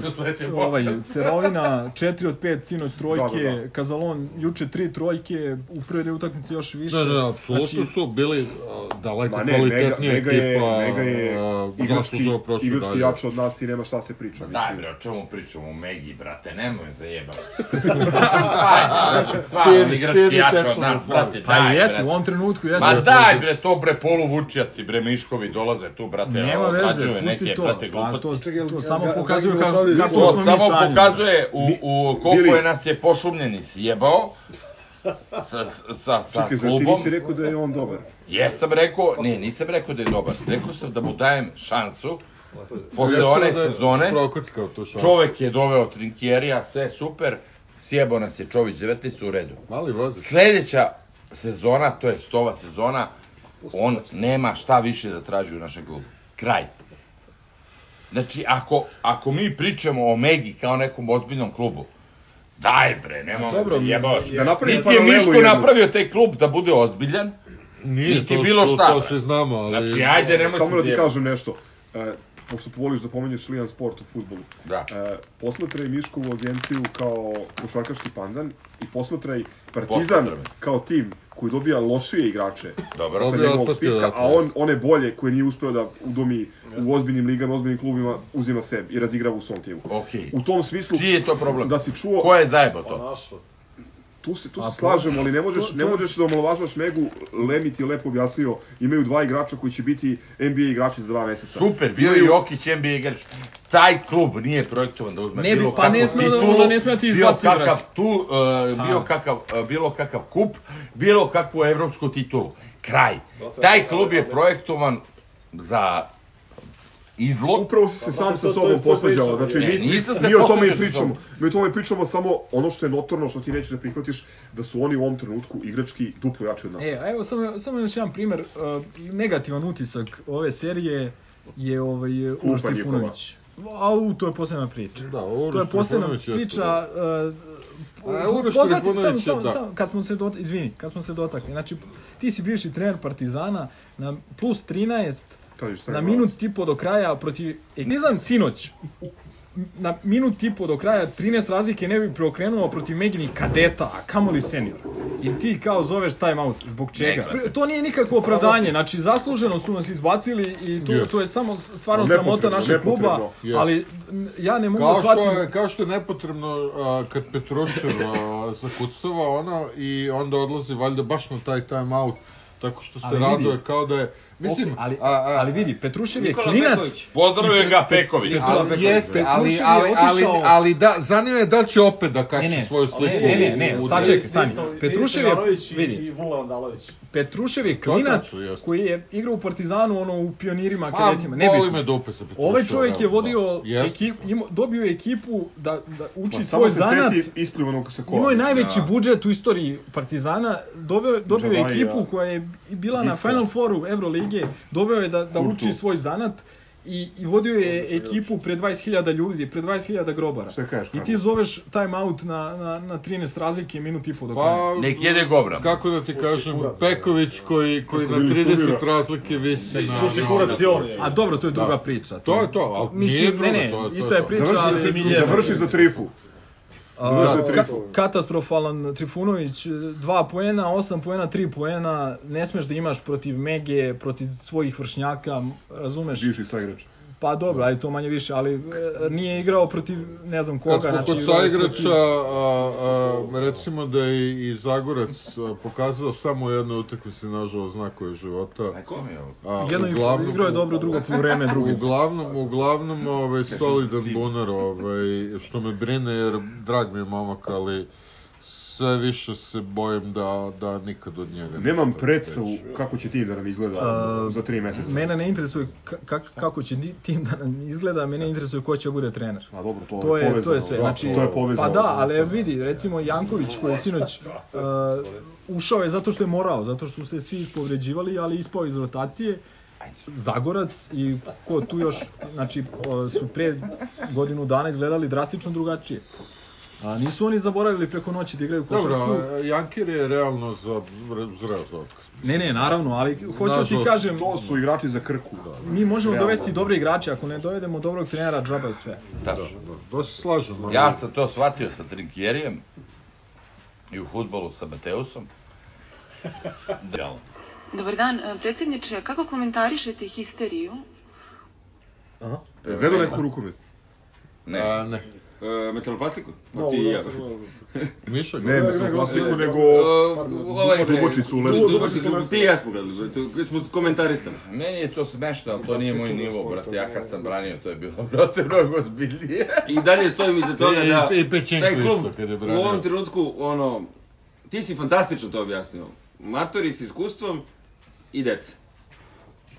B: Čuo sam recimo
I: ovaj,
B: podcast.
I: Cerovina, 4 od 5, sinoć trojke,
B: Da, da, da.
I: Kazalon, juče tri trojke, u prvoj dve utakmice još više.
A: Da, da, apsolutno
I: Znači,
A: su bili a, daleko
D: Ma ne, Mega,
A: kvalitetnija
D: Mega
A: ekipa.
D: je, Mega je
A: a,
D: igrački,
A: zasluženo prošlo
D: igrački
A: dalje.
D: jače od nas i nema šta se
B: Daj
D: priča. mislim.
B: bre, o čemu pričamo, Megi, brate, nemoj zajebati. Ajde, brate, stvarno,
I: Tiri-
B: igrački
I: tiri
B: jače od
I: tečno
B: nas,
I: nas slavi.
B: brate,
I: Pa
B: daj,
I: jeste,
B: brate.
I: u ovom trenutku jeste.
B: Ma
I: Jeste,
B: daj,
I: jeste.
B: bre, to bre, poluvučjaci, bre, Miškovi dolaze tu, brate,
I: Nema veze,
B: odrađuju
I: pusti
B: neke,
I: to.
B: brate,
I: Pa,
B: gluposti.
I: to- to samo
B: ga-
I: pokazuje
B: ga-
I: kako-
B: ga-
I: kako
B: to
I: smo mi
B: samo
I: stanju.
B: pokazuje u, u koliko
I: Bili-
B: je nas je pošumljeni sjebao sa, sa, sa
D: Čekaj, zar ti
B: klubom.
D: nisi rekao da je on dobar?
B: Jesam rekao, ne, nisam rekao da je dobar. Rekao sam da mu dajem šansu. Posle
A: Rekao
B: one
A: da je
B: sezone,
A: prokockao tu šansu.
B: čovek je doveo trinkjerija, sve super, sjebao nas je Čović 19 u redu.
A: Mali vozač.
B: Sljedeća sezona, to je stova sezona, on nema šta više da traži u našem klubu. Kraj. Znači, ako, ako mi pričamo o Megi kao nekom ozbiljnom klubu, daj bre, nema
D: A
B: me
D: dobro,
B: zajebavaš.
D: da napravi
B: Niti je
D: paralelu
B: Miško
D: jednu.
B: napravio taj klub da bude ozbiljan,
A: Nije,
B: niti
A: to-
B: bilo
A: to-
B: šta.
A: to
B: bre.
A: svi znamo, ali-
B: Znači, ajde, nemoj
D: Samo
B: se
D: da ti
B: zajebati.
D: kažem nešto. E, pošto voliš da pomenješ Lijan Sport u futbolu.
B: Da.
D: E, posmatraj Miškovu agenciju kao košarkaški pandan i posmatraj Partizan
B: Posmatraj me.
D: kao tim koji dobija lošije igrače
B: Dobro.
D: sa
B: Dobija
D: njegovog
B: otpustio,
D: spiska,
B: dakle.
D: a on one bolje koje nije uspeo da udomi u ozbiljnim ligama, ozbiljnim klubima, uzima sebi i razigrava u svom timu.
B: Okej.
D: U tom smislu...
B: Čiji je to problem?
D: Da si čuo... Pa,
B: Ko je zajebao to?
D: Tu se, tu
B: A to-
D: se slažem, ali ne možeš,
B: to-
D: ne
B: to-
D: možeš da omalovažavaš Megu, Lemi ti je lepo objasnio, imaju dva igrača koji će biti NBA igrači za dva meseca.
B: Super, bio je
D: Imaju-
B: Jokić NBA igrač. Taj klub nije projektovan da uzme
I: Ne bi-
B: bilo
I: pa
B: kakvu
I: ne sme da-
B: titulu,
I: onda ne sme da ti izbaci,
B: bio kakav
I: brate.
B: tu, uh, bio
I: A.
B: kakav, uh, bilo kakav kup, bilo kakvu evropsku titulu. Kraj. Taj klub je projektovan za izlog.
D: Upravo si se sam sa sobom posvađao, znači
B: Ne,
I: E,
D: mi,
B: nisam se
D: mi o tome
B: posvađao
D: i
B: sa
D: pričamo,
B: sobom.
D: mi o tome pričamo samo ono što je notorno, što ti nećeš da prihvatiš, da su oni u ovom trenutku igrački duplo jači od nas.
I: E, a evo samo, samo još jedan primer, uh, negativan utisak ove serije je ovaj
D: Klupa
I: Uroš Trifunović. Au, to je posebna priča.
A: Da,
I: to je
A: Uroš
I: posebna
A: Trifunović jeste,
I: priča. Uh,
A: A, Uroš
I: poznati-
A: Trifunović
I: samo,
A: je,
I: samo,
A: da.
I: samo, kad smo se dotakli, izvini, kad smo se dotakli. Znači, ti si bivši trener Partizana na plus 13
D: To je šta je
I: na
D: malo.
I: minut i po do kraja protiv Egnizan sinoć u- na minut i po do kraja 13 razlike ne bi preokrenuo protiv Megini kadeta, a kamoli senior. I ti kao zoveš time out, zbog čega?
B: Ne, brate.
I: to nije nikakvo opravdanje, znači zasluženo su nas izbacili i to,
A: Yes.
I: to je samo stvarno
D: Nepotrebno,
I: sramota našeg
D: nepotrebno,
I: kluba,
A: yes.
I: ali n- ja ne mogu
A: Kao
I: da
A: što,
I: shvatim...
A: je, kao što je nepotrebno a, kad Petrušev a, zakucava ono i onda odlazi valjda baš na taj time out tako što se
I: Ali vidi.
A: raduje kao da je mislim
I: Ok, ali,
A: a, a,
I: ali vidi, Petrušev je
N: Nikola
I: klinac,
N: Peković.
B: Pozdravio ga Peković.
I: Nikola
A: ali
I: Peković,
A: jeste,
I: da.
A: ali,
I: Petrušev je
A: ali, ali,
I: otišao-
A: ali da, zanima je da li će opet da
I: Ne,
A: kači
I: ne,
A: svoju sliku.
I: ne, ne, ne,
A: u- u-
I: sad čekaj, stani.
O: Isto-
I: Petrušev
O: isto
I: je,
O: Ivanović i-
I: vidi,
O: I Vula Andalović.
I: Petrušev je
A: To je
I: klinac
A: tačno, jeste.
I: koji je igrao u Partizanu, ono, u pionirima,
A: Ma,
I: kadetima, ne
A: Pa, boli me
I: bitno.
A: dupe sa Petrušev.
I: Ovaj čovjek je vodio
A: da. Jeste. Pa,
I: ekipu, imao- dobio je ekipu da, da uči
D: Ma,
I: svoj
D: Pa, samo se
I: zanat.
D: seti isplivanog sa kola.
I: Imao je najveći
B: Da.
I: budžet u istoriji Partizana, doveo, dobio je
D: Džavaija.
I: ekipu koja je bila na
D: Diska.
I: Final Fouru Evrolige, doveo je da, da
D: Kurtu.
I: uči svoj zanat i, i vodio je ekipu pre 20.000 ljudi, pre 20.000 grobara.
D: Šta kažeš,
I: I ti
D: Karlo?
I: zoveš time out na, na, na 13 razlike minut i po do kraja.
A: Pa,
B: Nek jede govna.
A: Kako da ti kažem, Peković koji, koji na
D: Kako bili
A: 30
D: sumira.
A: razlike visi na... da-
O: Puši
A: na-
O: kurac i on.
I: A dobro, to je druga
A: Da.
I: priča.
A: To je to, ali nije
I: Mislim,
A: druga,
I: ne, ne,
A: to je- to je
I: ista je
A: to.
I: priča,
D: Završi,
I: ali...
D: za, tri, završi za trifu.
I: A,
D: Završio je
I: ka-
D: Trifunović.
I: katastrofalan Trifunović, 2 poena, 8 poena, 3 poena, ne smeš da imaš protiv Mege, protiv svojih vršnjaka, razumeš?
D: Bivši saigrač.
I: Pa dobro, ajde to manje više, ali e, nije igrao protiv ne znam koga. znači, e,
A: Kad smo kod
I: igrao je
A: saigrača,
I: protiv-
A: a, a, recimo da je i Zagorac a, pokazao samo u jednoj utakmici, nažalost, znakove života. A,
I: Jedno
A: uglavnom-
I: igrao je dobro, drugo polovreme, drugo.
A: Uglavnom, uglavnom ovaj, solidan bunar, ovaj, što me brine jer drag mi je momak, ali sve više se bojim da, da nikad od njega
D: Nemam
A: ništa
D: predstavu
A: neće.
D: kako će ti da nam izgleda
I: A,
D: za tri meseca.
I: E, Mene ne interesuje ka- kak- kako će ni- tim da nam izgleda, mene interesuje ko će da bude trener.
D: A Pa dobro, to,
I: to je, to
D: povezano,
I: je sve.
D: da,
I: Znači,
D: to je povezano. Da,
I: Pa da, ali vidi, recimo Janković koji je sinoć uh, ušao je zato što je morao, zato što su se svi ispovređivali, ali ispao iz rotacije. Zagorac i ko tu još, znači, uh, su pre godinu dana izgledali drastično drugačije. A nisu oni zaboravili preko noći da igraju košarku.
A: Dobro, a, Jankir je realno za, zreo za otkaz.
I: Ne, ne, naravno, ali hoću da ti
A: Nažalost,
I: kažem,
D: To su igrači za Krku.
I: mi možemo
D: Realno.
I: dovesti dobre igrače, ako ne dovedemo dobrog trenera, džaba je sve.
B: Tačno.
A: To se slažem. ali-
B: Ja sam to shvatio sa Trinkjerijem i u futbolu sa Mateusom. Da.
P: Dobar dan, e, predsjedniče, a kako komentarišete histeriju?
I: Aha.
D: Gledao neko rukomet?
B: Ne.
C: A, ne. E, metaloplastiku? Ma
D: Da,
C: ti
D: da,
C: i ja.
D: sam gledao.
A: Miša,
D: Ne, metaloplastiku, nego
C: Ovaj
D: dubočicu u ledu.
C: Dubočicu, ti i ja smo gledali, to- smo komentarisali.
B: Meni je to smešno, ali to nije moj nivo, brate. Ja
D: da,
B: kad sam branio, to je bilo, brate, mnogo ozbiljnije.
C: I dalje stojim iza toga
B: I-
C: da
B: E, i Pečenko
C: taj klub
B: isto kad je
C: u
B: branio.
C: ovom trenutku, ono, ti si fantastično to objasnio. Matori s iskustvom i deca.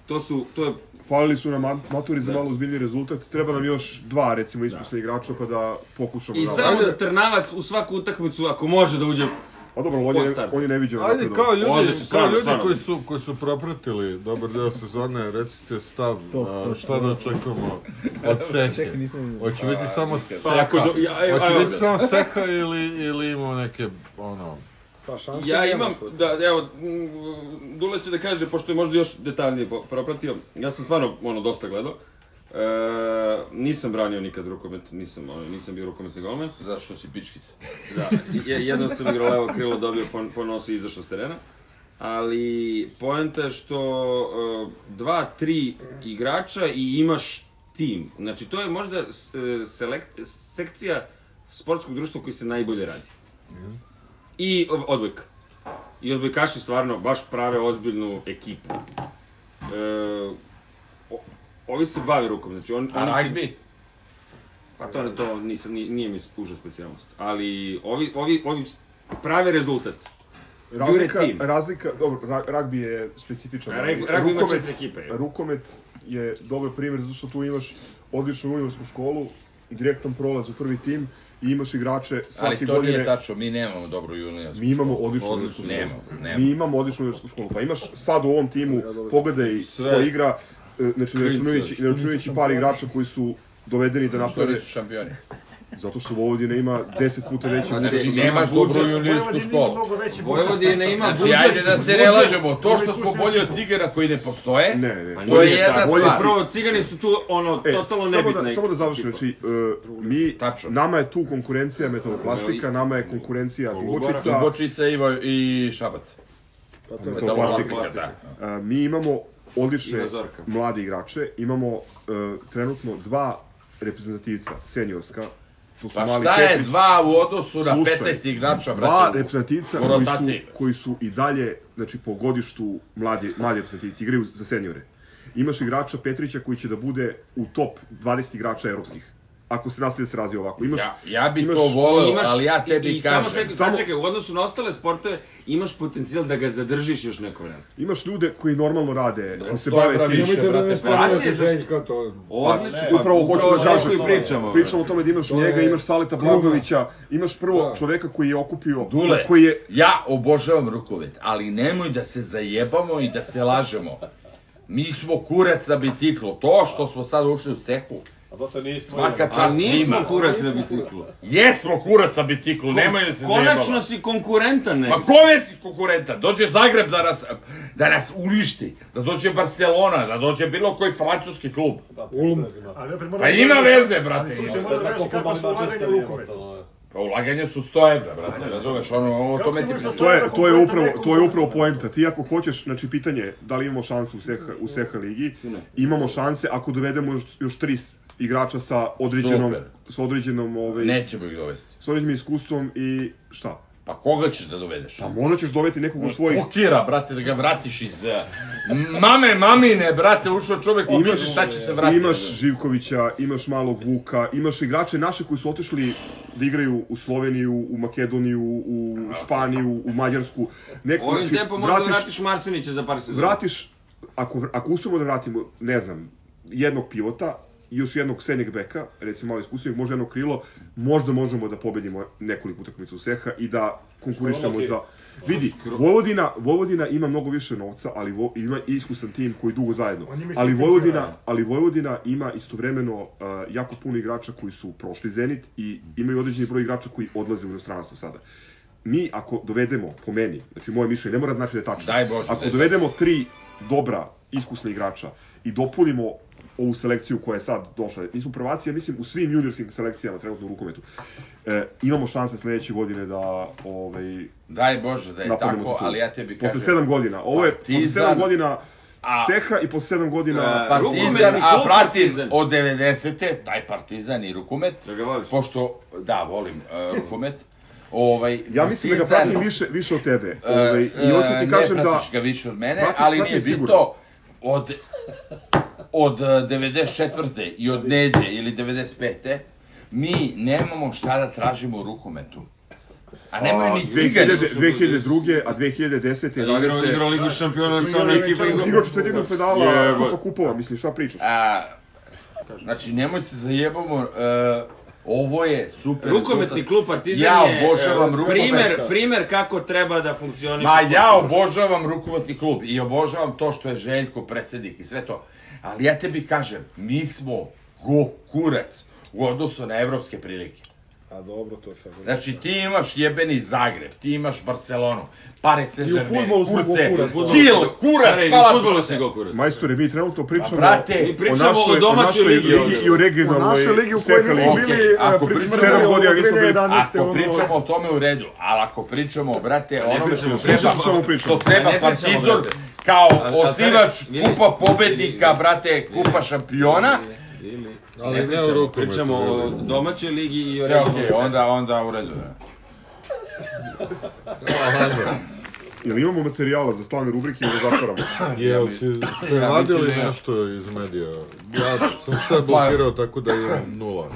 C: To su, to je
D: Palili su nam mat- maturi
C: Da.
D: za malo ozbiljni rezultat. Treba nam još dva, recimo, iskusna igrača pa da pokušamo.
C: I samo da Trnavac u svaku utakmicu, ako može da uđe...
D: A dobro, on je,
C: Postar.
D: on je neviđen.
A: Ajde, kao ljudi,
C: Odlično,
A: kao
C: stvarno,
A: ljudi
C: stvarno.
A: koji, su, koji su propratili dobar deo sezone, recite stav, a, šta da očekujemo od seke.
I: Čekaj, nisam vidio.
A: Hoće
I: A,
A: biti samo
I: nikad.
A: seka,
C: Pa ako
B: da.
C: do- ja- evo,
A: hoće
C: evo
A: biti
C: ga.
A: samo seka ili, ili imamo neke, ono...
G: Pa šanse
C: Ja
G: nema,
C: imam,
G: što-
C: da, evo, mm, Dule će da kaže, pošto je možda još detaljnije po- propratio, ja sam stvarno, ono, dosta gledao. E, nisam branio nikad rukomet, nisam, ono, nisam bio rukometni golman.
B: Zato što si pičkica.
C: Da, je- jednom sam igrao levo krilo, dobio po, po nosu i izašao s terena. Ali poenta je što e, dva, tri igrača i imaš tim. Znači to je možda s- e, selekt, sekcija sportskog društva koji se najbolje radi. I ob- odbojka. I odbojkaši stvarno baš prave ozbiljnu ekipu. E, o- ovi se bave rukom, znači on,
B: A
C: oni će-
B: ragbi?
C: pa to, to nisam, ni- nije mi spuža specijalnost. Ali ovi, ovi, ovi prave rezultat.
D: Razlika,
C: Jure tim.
D: razlika, dobro, ra- ragbi je specifičan.
C: Ra-
D: ali
C: ragbi ima četiri ekipe, je.
D: Rukomet je dobar primjer zato što tu imaš odličnu juniorsku školu, direktan prolaz u prvi tim i imaš igrače svake
B: Ali to
D: godine.
B: nije tačno, mi nemamo dobru juniorsku
D: Mi imamo
B: školu.
D: odličnu juniorsku školu.
B: Nemamo, nemamo.
D: Mi imamo odličnu juniorsku školu. Pa imaš sad u ovom timu, pogledaj
B: Sve.
D: ko igra, e, znači ne
B: Klinci,
D: računajući,
B: što
D: ne
B: nisu
D: računajući par
B: šampioni.
D: igrača koji su dovedeni da
B: Što
D: naprave,
B: nisu šampioni?
D: zato što Vojvodina ima 10 puta veći
B: Pa
D: budžet.
B: znači,
D: od
B: nemaš
D: nas.
B: dobru juniorsku školu.
C: Vojvodina ima
B: Znači,
C: budžet,
B: ajde da se
C: budžet.
B: ne lažemo, to što smo bolji od cigara koji ne postoje,
D: Ne, ne.
B: to je jedna stvar.
C: Prvo, cigani su tu, ono,
D: E,
C: totalno
D: samo
C: nebitna
D: da, samo da završim,
C: ekipa.
D: znači, e, mi, nama je tu konkurencija metaloplastika, nama je konkurencija dubočica,
B: Dubočica i, Voj- i Šabac.
D: to je
B: Metaloplastika,
D: metaloplastika.
B: da.
D: E, mi imamo odlične
C: Ima Zorka.
D: mlade igrače, imamo e, trenutno dva reprezentativca, seniorska, to su
B: Pa
D: mali
B: šta je
D: Petrić.
B: dva u odnosu na
D: Slušaj,
B: 15 igrača,
D: Dva
B: brate, u-
D: reprezentativca
B: u
D: koji su,
B: rotaciji?
D: koji su i dalje, znači po godištu mladi, mladi reprezentativci, igraju za seniore. Imaš igrača Petrića koji će da bude u top 20 igrača evropskih. Ako se nastavi da se razvije ovako. Imaš,
B: Ja- ja bi to voleo, ali ja tebi
C: i, i
B: kažem.
C: Samo
D: Samo-
C: čekaj, samo... čekaj, u odnosu na ostale sportove imaš potencijal da ga zadržiš još neko vreme.
D: Imaš ljude koji normalno rade, koji se
B: to je
D: bave
B: braviše,
D: tim.
B: Nemojte da brate, me spominjate,
C: brate, zašto-
H: Željka, to-
C: Odlično,
D: Pa,
C: pa,
D: upravo hoću da
C: Željko
D: kažem.
C: i pričamo.
D: Pričamo o tome da imaš
H: To je
D: njega, imaš Saleta
H: kruna.
D: Blagovića, imaš prvo čoveka koji je okupio,
B: Da. Dule,
D: koji je
B: ja obožavam rukomet, ali nemoj da se zajebamo i da se lažemo. Mi smo kurac na biciklu, to što smo sad ušli u sehu,
K: A dosta nismo.
B: svaka
K: jedan.
B: čast
C: Ali nismo
B: svima.
C: kurac na biciklu.
B: Jesmo kurac na biciklu, nemoj da se
C: Konačno
B: zajebamo.
C: si konkurentan, ne?
B: Ma kome si konkurenta? Dođe Zagreb da nas, da nas uništi, da dođe Barcelona, da dođe bilo koji francuski klub.
H: Ulm.
E: Ali opet moram
B: Pa
E: da-
B: ima veze, brate.
E: Ali slušaj,
B: ima.
E: moram da kažeš kako su ulaganje u rukomet.
B: Pa ulaganje su 100 evra, brate, razumeš, ono, ovo to me ti...
D: To je, to je upravo, to je upravo poenta. Ti ako hoćeš, znači pitanje je da li imamo šanse u Seha, u Seha ligi, imamo šanse ako dovedemo još, još tri s- igrača sa određenom,
B: Super.
D: sa određenom,
C: da-
D: ovaj,
B: Nećemo ih dovesti.
D: s određenim iskustvom i šta?
B: Pa koga ćeš da dovedeš?
D: Pa možda ćeš doveti nekog u svojih...
B: Kokira, brate, da ga vratiš iz... eh, mame, mamine, brate, ušao čovek u
D: Imaš,
B: biđu, sad će se vratiti.
D: imaš Živkovića, imaš malog Vuka, imaš igrače naše koji su otišli da igraju u Sloveniju, u Makedoniju, u Španiju, u Mađarsku. Neko,
C: Ovim
D: znači,
C: tempom možda
D: vratiš-
C: vratiš Marsenića za par sezona.
D: vratiš, ako, ako uspemo da vratimo, ne znam, jednog pivota, i još jednog srednjeg beka, recimo malo iskusnijeg, možda jedno krilo, možda možemo da pobedimo nekoliko utakmica u Seha i da konkurišemo
J: Što je ono
D: za...
J: ok.
D: Vidi, Vojvodina, Vojvodina ima mnogo više novca, ali vo, ima iskusan tim koji dugo zajedno.
J: On ima
D: Ali
J: sistem
D: Vojvodina,
J: igranja.
D: ali Vojvodina ima istovremeno uh, jako puno igrača koji su prošli Zenit i imaju određeni broj igrača koji odlaze u inostranstvo sada. Mi ako dovedemo, po meni, znači moje mišljenje, ne mora da znači da je tačno,
B: Daj Bože,
D: ako
B: daj.
D: dovedemo tri dobra, iskusna igrača i dopunimo ovu selekciju koja je sad došla, mi smo prvaci, ja mislim, u svim juniorskim selekcijama trenutno u rukometu, e, imamo šanse sledeće godine da ovaj,
B: Daj Bože da je
D: napadnemo
B: tako,
D: titulu.
B: ali ja tebi kažem...
D: Posle sedam godina, ovo je posle
B: Partizan-
D: sedam godina
B: A-
D: Seha i posle sedam godina...
C: Da,
B: E, Partizan, a pratim od 90-te, taj Partizan i rukomet. Da ga voliš? Pošto, da, volim e, rukomet. Ovaj,
D: Ja mislim da ga
B: Partizan-
D: pratim više, više od tebe.
B: E,
D: Ovaj, I hoću
B: e,
D: ti kažem
B: ne
D: da...
B: pratiš ga više od mene,
D: Pratim-
B: ali
D: pratim
B: nije
D: sigurno.
B: bitno. Od, od e, 94. i od Neđe ili 95. mi nemamo šta da tražimo u rukometu. A nemaju ni cigani.
D: 2000, 2002. a 2010.
C: Da,
B: Igrao- igrao Ligu šampiona sa onom ekipom, igrao-
D: Igrao četvrtinu
B: Jebote.
D: pedala, kupa kupova, mislim, šta pričaš?
B: A, znači, nemoj se zajebamo, e, ovo je super
C: Rukometni
B: rezultat.
C: klub Partizan
B: ja
C: je
B: obožavam
C: e,
B: rukomet.
C: primer, primer kako treba da funkcioniše.
B: Ma ja
C: sport.
B: obožavam rukometni klub i obožavam to što je Željko predsednik i sve to. Ali ja tebi kažem, mi smo go kurac u odnosu na evropske prilike.
H: A dobro, to je favorit.
B: Znači ti imaš jebeni Zagreb, ti imaš Barcelonu, pare se žermeni,
D: fudbalu smo go
B: kurce,
D: kurac.
B: kil, kurac,
D: Pare, i u
B: palac,
D: fudbalu
B: brate.
D: Majstore, mi trenutno pričamo
B: Pa, brate, mi pričamo
D: našoj-
B: o domaćoj
D: našoj
B: ligi
D: ligi i o regionalnoj
G: O našoj ligi u kojoj
D: Seha
G: nismo
D: ligi.
G: bili, e,
B: Ako
G: pri
B: pričamo-
G: Smrdelju,
B: sedam
D: godina
G: od
D: nismo bili-
G: 2011. ono-
B: Ako pričamo o tome u redu, ali ako pričamo, brate, o onome
D: pričamo,
B: što treba,
D: pričamo, samo pričamo.
B: što treba
D: Ne pričamo,
B: Partizan
D: brate.
B: kao
D: Ali kad
B: osnivač
D: kažeš-
B: kupa pobednika, brate, kupa šampiona,
C: Ili,
B: Ali
C: ne
B: ne
C: pričamo,
B: u rukometu,
C: pričamo
B: ne u
C: o
B: rukometu.
C: domaćoj ligi i o
B: sve
C: regionalnom
B: okej,
C: centru.
B: onda, onda u redu. da.
D: Jel imamo materijala za stalne rubrike ili da zatvaramo?
A: Jel si
C: da
A: prevadili nešto iz medija? Ja sam
C: pa-
A: sve blokirao tako da imam nula.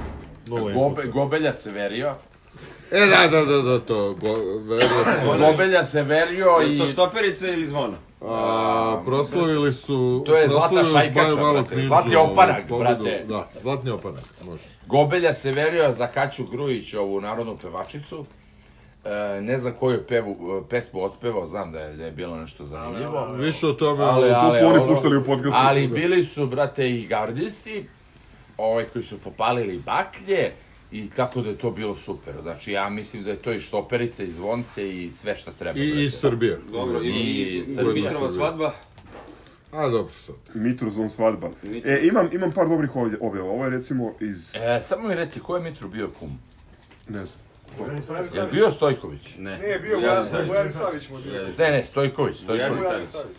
A: Nula
B: Gobe,
A: inputa.
B: gobelja se verio.
A: E, da, da, da, da, to, go, verio sam.
B: Gobelja se verio
C: Je li
B: i...
C: to stoperica ili zvona?
A: A, proslavili su...
B: To je Zlata
A: proslavili su
B: Šajkača,
A: Baju Malu
B: brate.
A: knjižu,
B: Zlatni
A: ovu
B: opanak,
A: pobedu.
B: brate.
A: Da, zlatni opanak, može.
B: Gobelja se verio za Kaću Grujić, ovu narodnu pevačicu. E, ne znam koju pevu, e, pesmu otpevao, znam da je, da je bilo nešto zanimljivo.
A: Više o tome,
B: ali,
A: to
B: ali,
A: Da, su oni
B: ono-
A: puštali u podcastu.
B: Ali
A: Da.
B: bili su, brate, i gardisti, ovaj koji su popalili baklje, i tako da je to bilo super. Znači, ja mislim da je to i štoperice, i zvonce, i sve šta treba.
A: I- i
B: brate.
A: Srbija.
C: Dobro, i,
B: I
C: i,
B: Srbija.
C: Mitrova svadba.
A: A, dobro, sad.
D: Mitrozon svadba. E, imam, imam par dobrih ovdje, objava. Ovo je recimo iz...
B: E, samo mi reci, ko je Mitru bio kum?
D: Ne znam.
B: Je li bio Stojković?
C: Ne.
G: Nije bio
C: Bojan
G: Bojan
C: Savić.
G: Bojan Savić mu je bio.
B: Ne, ne, Stojković,
C: Bojan
B: Stojković.
C: Savić.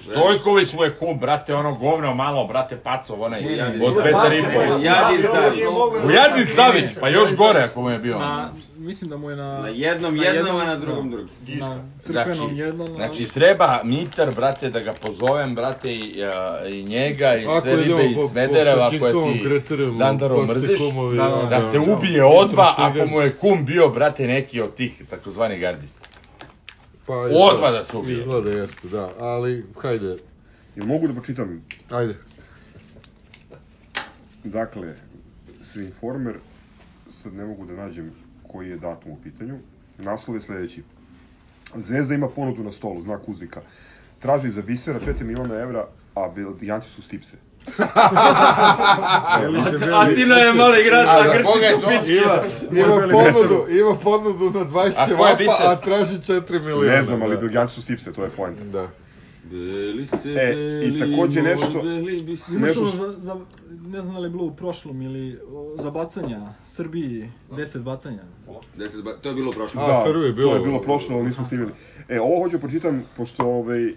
B: Stojković mu je kum, brate, ono govno malo, brate, pacov, onaj,
C: Bujadin
B: od
C: Savić.
B: Petar i Pol.
C: Bujadin Savić.
B: Bujadin Savić, pa još gore ako mu je bio.
I: Na, mislim da mu je na...
C: Na jednom
I: na
C: jednom, a na drugom drugom.
I: Na crkvenom
B: Znači,
I: jednom... na-
B: znači, treba Mitar, brate, da ga pozovem, brate, i, a, i njega, i sve
A: idemo
B: ribe, i
A: da po-
B: Smedereva, koje ti
A: po Čistovom kriterijumu,
B: Dandarov
A: ko ste
B: mrziš,
A: kumovi,
B: da,
A: da,
B: da se
A: da.
B: ubije odmah
A: Kontracigan.
B: ako mu je kum bio, brate, neki od tih takozvani gardista.
A: Pa,
B: Odmah da se ubije.
A: Izgleda jeste, da, ali, hajde,
D: Jel mogu da pročitam?
A: ajde.
D: Dakle, svi informer, sad ne mogu da nađem koji je datum u pitanju. Naslov je sledeći. Zvezda ima ponudu na stolu, znak uzvika. Traži za bisera 4 miliona evra, a Belgijanci su stipse.
C: Atina je mali grad,
B: A
C: a
B: za koga
C: Grci
B: je
C: su
B: to?
C: pičke.
A: Ima, ima
D: Morbeli
A: ponudu, ima ponudu na
B: A
A: 20
B: ko je
A: cevapa,
B: biser?
A: a traži 4 miliona.
D: Ne znam, ali
A: da.
D: Belgijanci su stipse, to je poenta.
A: Da.
C: Beli se,
D: E, i takođe
C: mor,
D: nešto-
C: beli bi se-
I: Imaš
D: nešto
I: ono
D: š-
I: za, za, ne znam da li je bilo u prošlom ili o, za bacanja, Srbiji, 10 bacanja.
C: Deset ba- To je bilo prošlo.
A: A,
D: Da,
A: prvi je bilo-
D: to je bilo prošlo, ali nismo snimili. E, ovo hoću da pročitam, pošto ovaj, uh,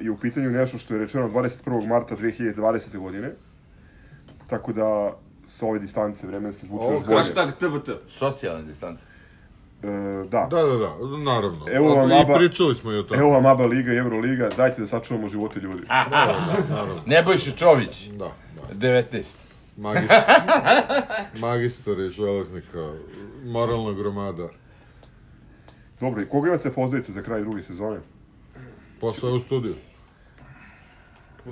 D: je u pitanju nešto što je rečeno 21. marta 2020. godine. Tako da, sa ove distance vremenske zvuči
A: Ovo
D: još bolje.
C: Hashtag TBT.
B: Socijalne distance.
D: E, da.
A: Da, da, da, naravno.
D: Evo vam
A: I
D: aba-
A: pričali smo i o tome.
D: Evo vam ABA Liga i Euroliga, dajte da sačuvamo živote ljudi.
B: Aha,
A: Da, naravno.
B: Nebojša Čović,
A: Da, da.
B: 19.
A: Magistar, magistar je železnika, moralna gromada.
D: Dobro, i koga imate pozdravite za kraj druge sezone?
A: Posao je u studiju.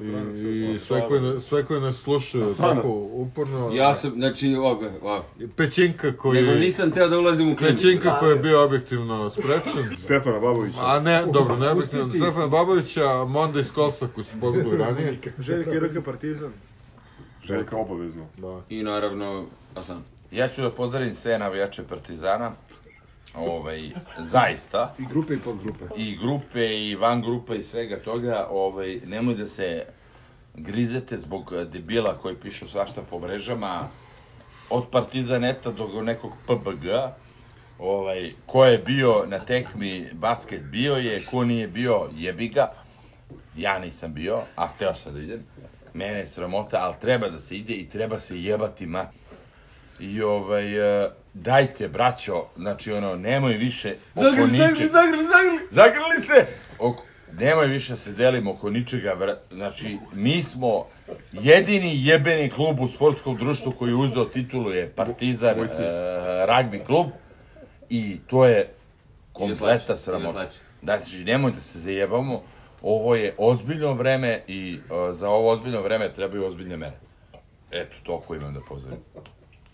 A: I, i sve, koje, na- sve koje nas slušaju
C: Stvarno?
A: tako uporno... e,
C: Ja sam, znači, ovoga, ovoga.
A: Pećinka koji...
C: Nego nisam Da. teo da ulazim u klinicu.
A: Pećinka koji je bio objektivno sprečen.
D: Stefana Babovića.
A: A ne, dobro, ne objektivno.
G: Pustiti.
A: Stefana Babovića, Monda iz Kosa koji su pobjegli ranije.
G: Željka i RK Partizan.
D: Željka obavezno.
A: Da.
B: I naravno, Asan. Ja ću da pozdravim sve navijače Partizana. Ovaj, zaista.
H: I grupe i podgrupe.
B: I grupe i van grupe i svega toga. Ovaj, nemoj da se grizete zbog eh, debila koji pišu svašta po mrežama. Od Partizaneta do nekog PBG. Ovaj, ko je bio na tekmi basket bio je, ko nije bio jebi ga. Ja nisam bio, a hteo sam da idem. Mene je sramota, ali treba da se ide i treba se jebati mat. I ovaj, e, dajte braćo, znači ono, nemoj više oko ničeg.
C: zagrli, zagrli.
B: Zagrli se! Oko, nemoj više da se delimo oko ničega, vra- znači mi smo jedini jebeni klub u sportskom društvu koji je uzeo titulu je Partizan e, ragbi klub i to je kompleta
C: slače, ili
B: sramota.
C: slače.
B: Znači, nemoj da se zajebamo, ovo je ozbiljno vreme i e, za ovo ozbiljno vreme trebaju ozbiljne mere. Eto, toliko imam da pozdravim.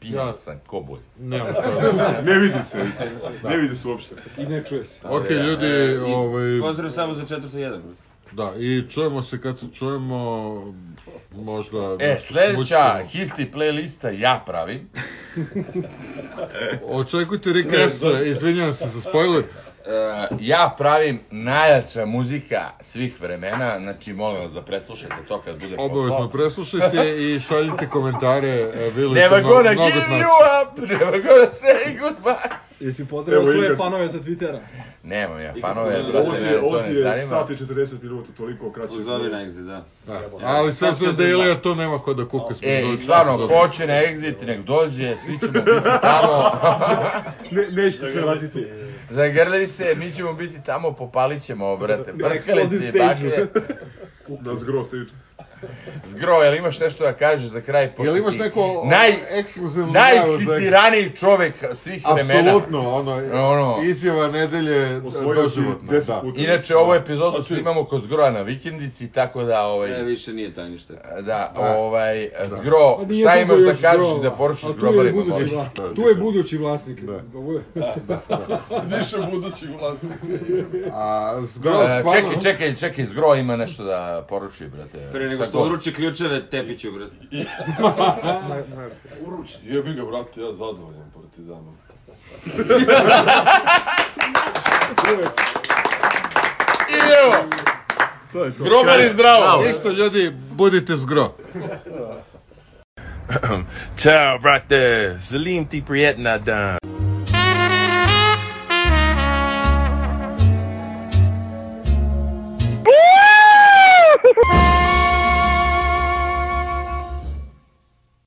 B: Pijan
A: Ja-
B: sam, ko bolj.
A: Nemam šta da-
D: Ne vidi se.
A: Da.
D: Ne vidi se uopšte.
G: I ne čuje se.
A: Ok,
B: E,
A: ljudi,
B: i
A: ovaj...
C: Pozdrav samo za 401.
A: Da, i čujemo se kad se čujemo, možda...
B: E,
A: nešto
B: sljedeća
A: smućkamo.
B: histi playlista ja pravim.
A: Očekujte Rick Astley, izvinjam se za spoiler.
B: E, ja pravim najjača muzika svih vremena, znači molim vas da preslušate to kad bude poslao.
A: Obavezno preslušajte i šaljite komentare. e, Vili,
B: Never
A: to mno-
B: gonna
A: mnogo
B: give
A: znači.
B: you up, never gonna say goodbye.
I: Jesi pozdravio
D: Evo,
I: svoje
D: Igor.
I: fanove sa Twittera?
B: Nemam ja
C: I
B: fanove,
C: kako-
B: brate,
D: Ovo ti
B: mene
D: je,
B: to
D: ovo
B: ne
D: ti je
B: zanima.
D: sat i 40 minuta, toliko kraće.
C: Pozovi na exit, da.
A: Da, Ali s obzirom da Ilija to nema ko da kuka smo
B: E, i stvarno, ko će na exit, nek dođe, svi ćemo biti tamo.
G: Ne, nećete se vratiti.
B: Zagrli se, mi ćemo biti tamo, popalit ćemo, brate. Prskali
G: Explosive
B: se i
G: stage.
B: baklje.
D: Na zgro ste jutro.
B: Zgro, jel imaš nešto da kažeš za kraj? pošto
A: Jel imaš
B: ti
A: neko
B: Naj,
A: ekskluzivno najavu za-
B: najcitiraniji čovek svih vremena.
A: Apsolutno, ono,
B: Ono.
A: izjava nedelje
D: Osvojio si
A: doživotno.
D: 10
A: Da.
D: puta.
B: Inače, ovu epizodu svi imamo kod Zgroja na vikendici, tako da,
C: E,
B: ovaj,
C: više nije tajnište.
B: da,
A: Da.
B: ovaj, Zgro,
H: Pa nije
B: šta
H: dugo
B: imaš da
H: još
B: kažeš
H: grova.
B: i da porušiš
H: A tu je
B: grobarima?
H: budući
B: molim? E,
H: da. vlasnik.
A: Da,
H: Tu je budući vlasnik.
I: Da
H: Ovo je-
J: Više budući vlasnik.
A: A, zgro,
B: E,
A: stvarno,
B: Čekaj, čekaj, čekaj, Zgro ima nešto da poruči, brate.
C: Pre nego
B: Šta
C: što
B: god.
C: uruči ključeve, tepiću, brate.
J: Uruči, jebi ga, brate, ja zadovoljan partizanom.
B: I evo,
D: To je to.
B: grobari zdravo!
A: Ništa ljudi, budite zgro.
Q: Ciao, brate. Salim T. Priet Nadan.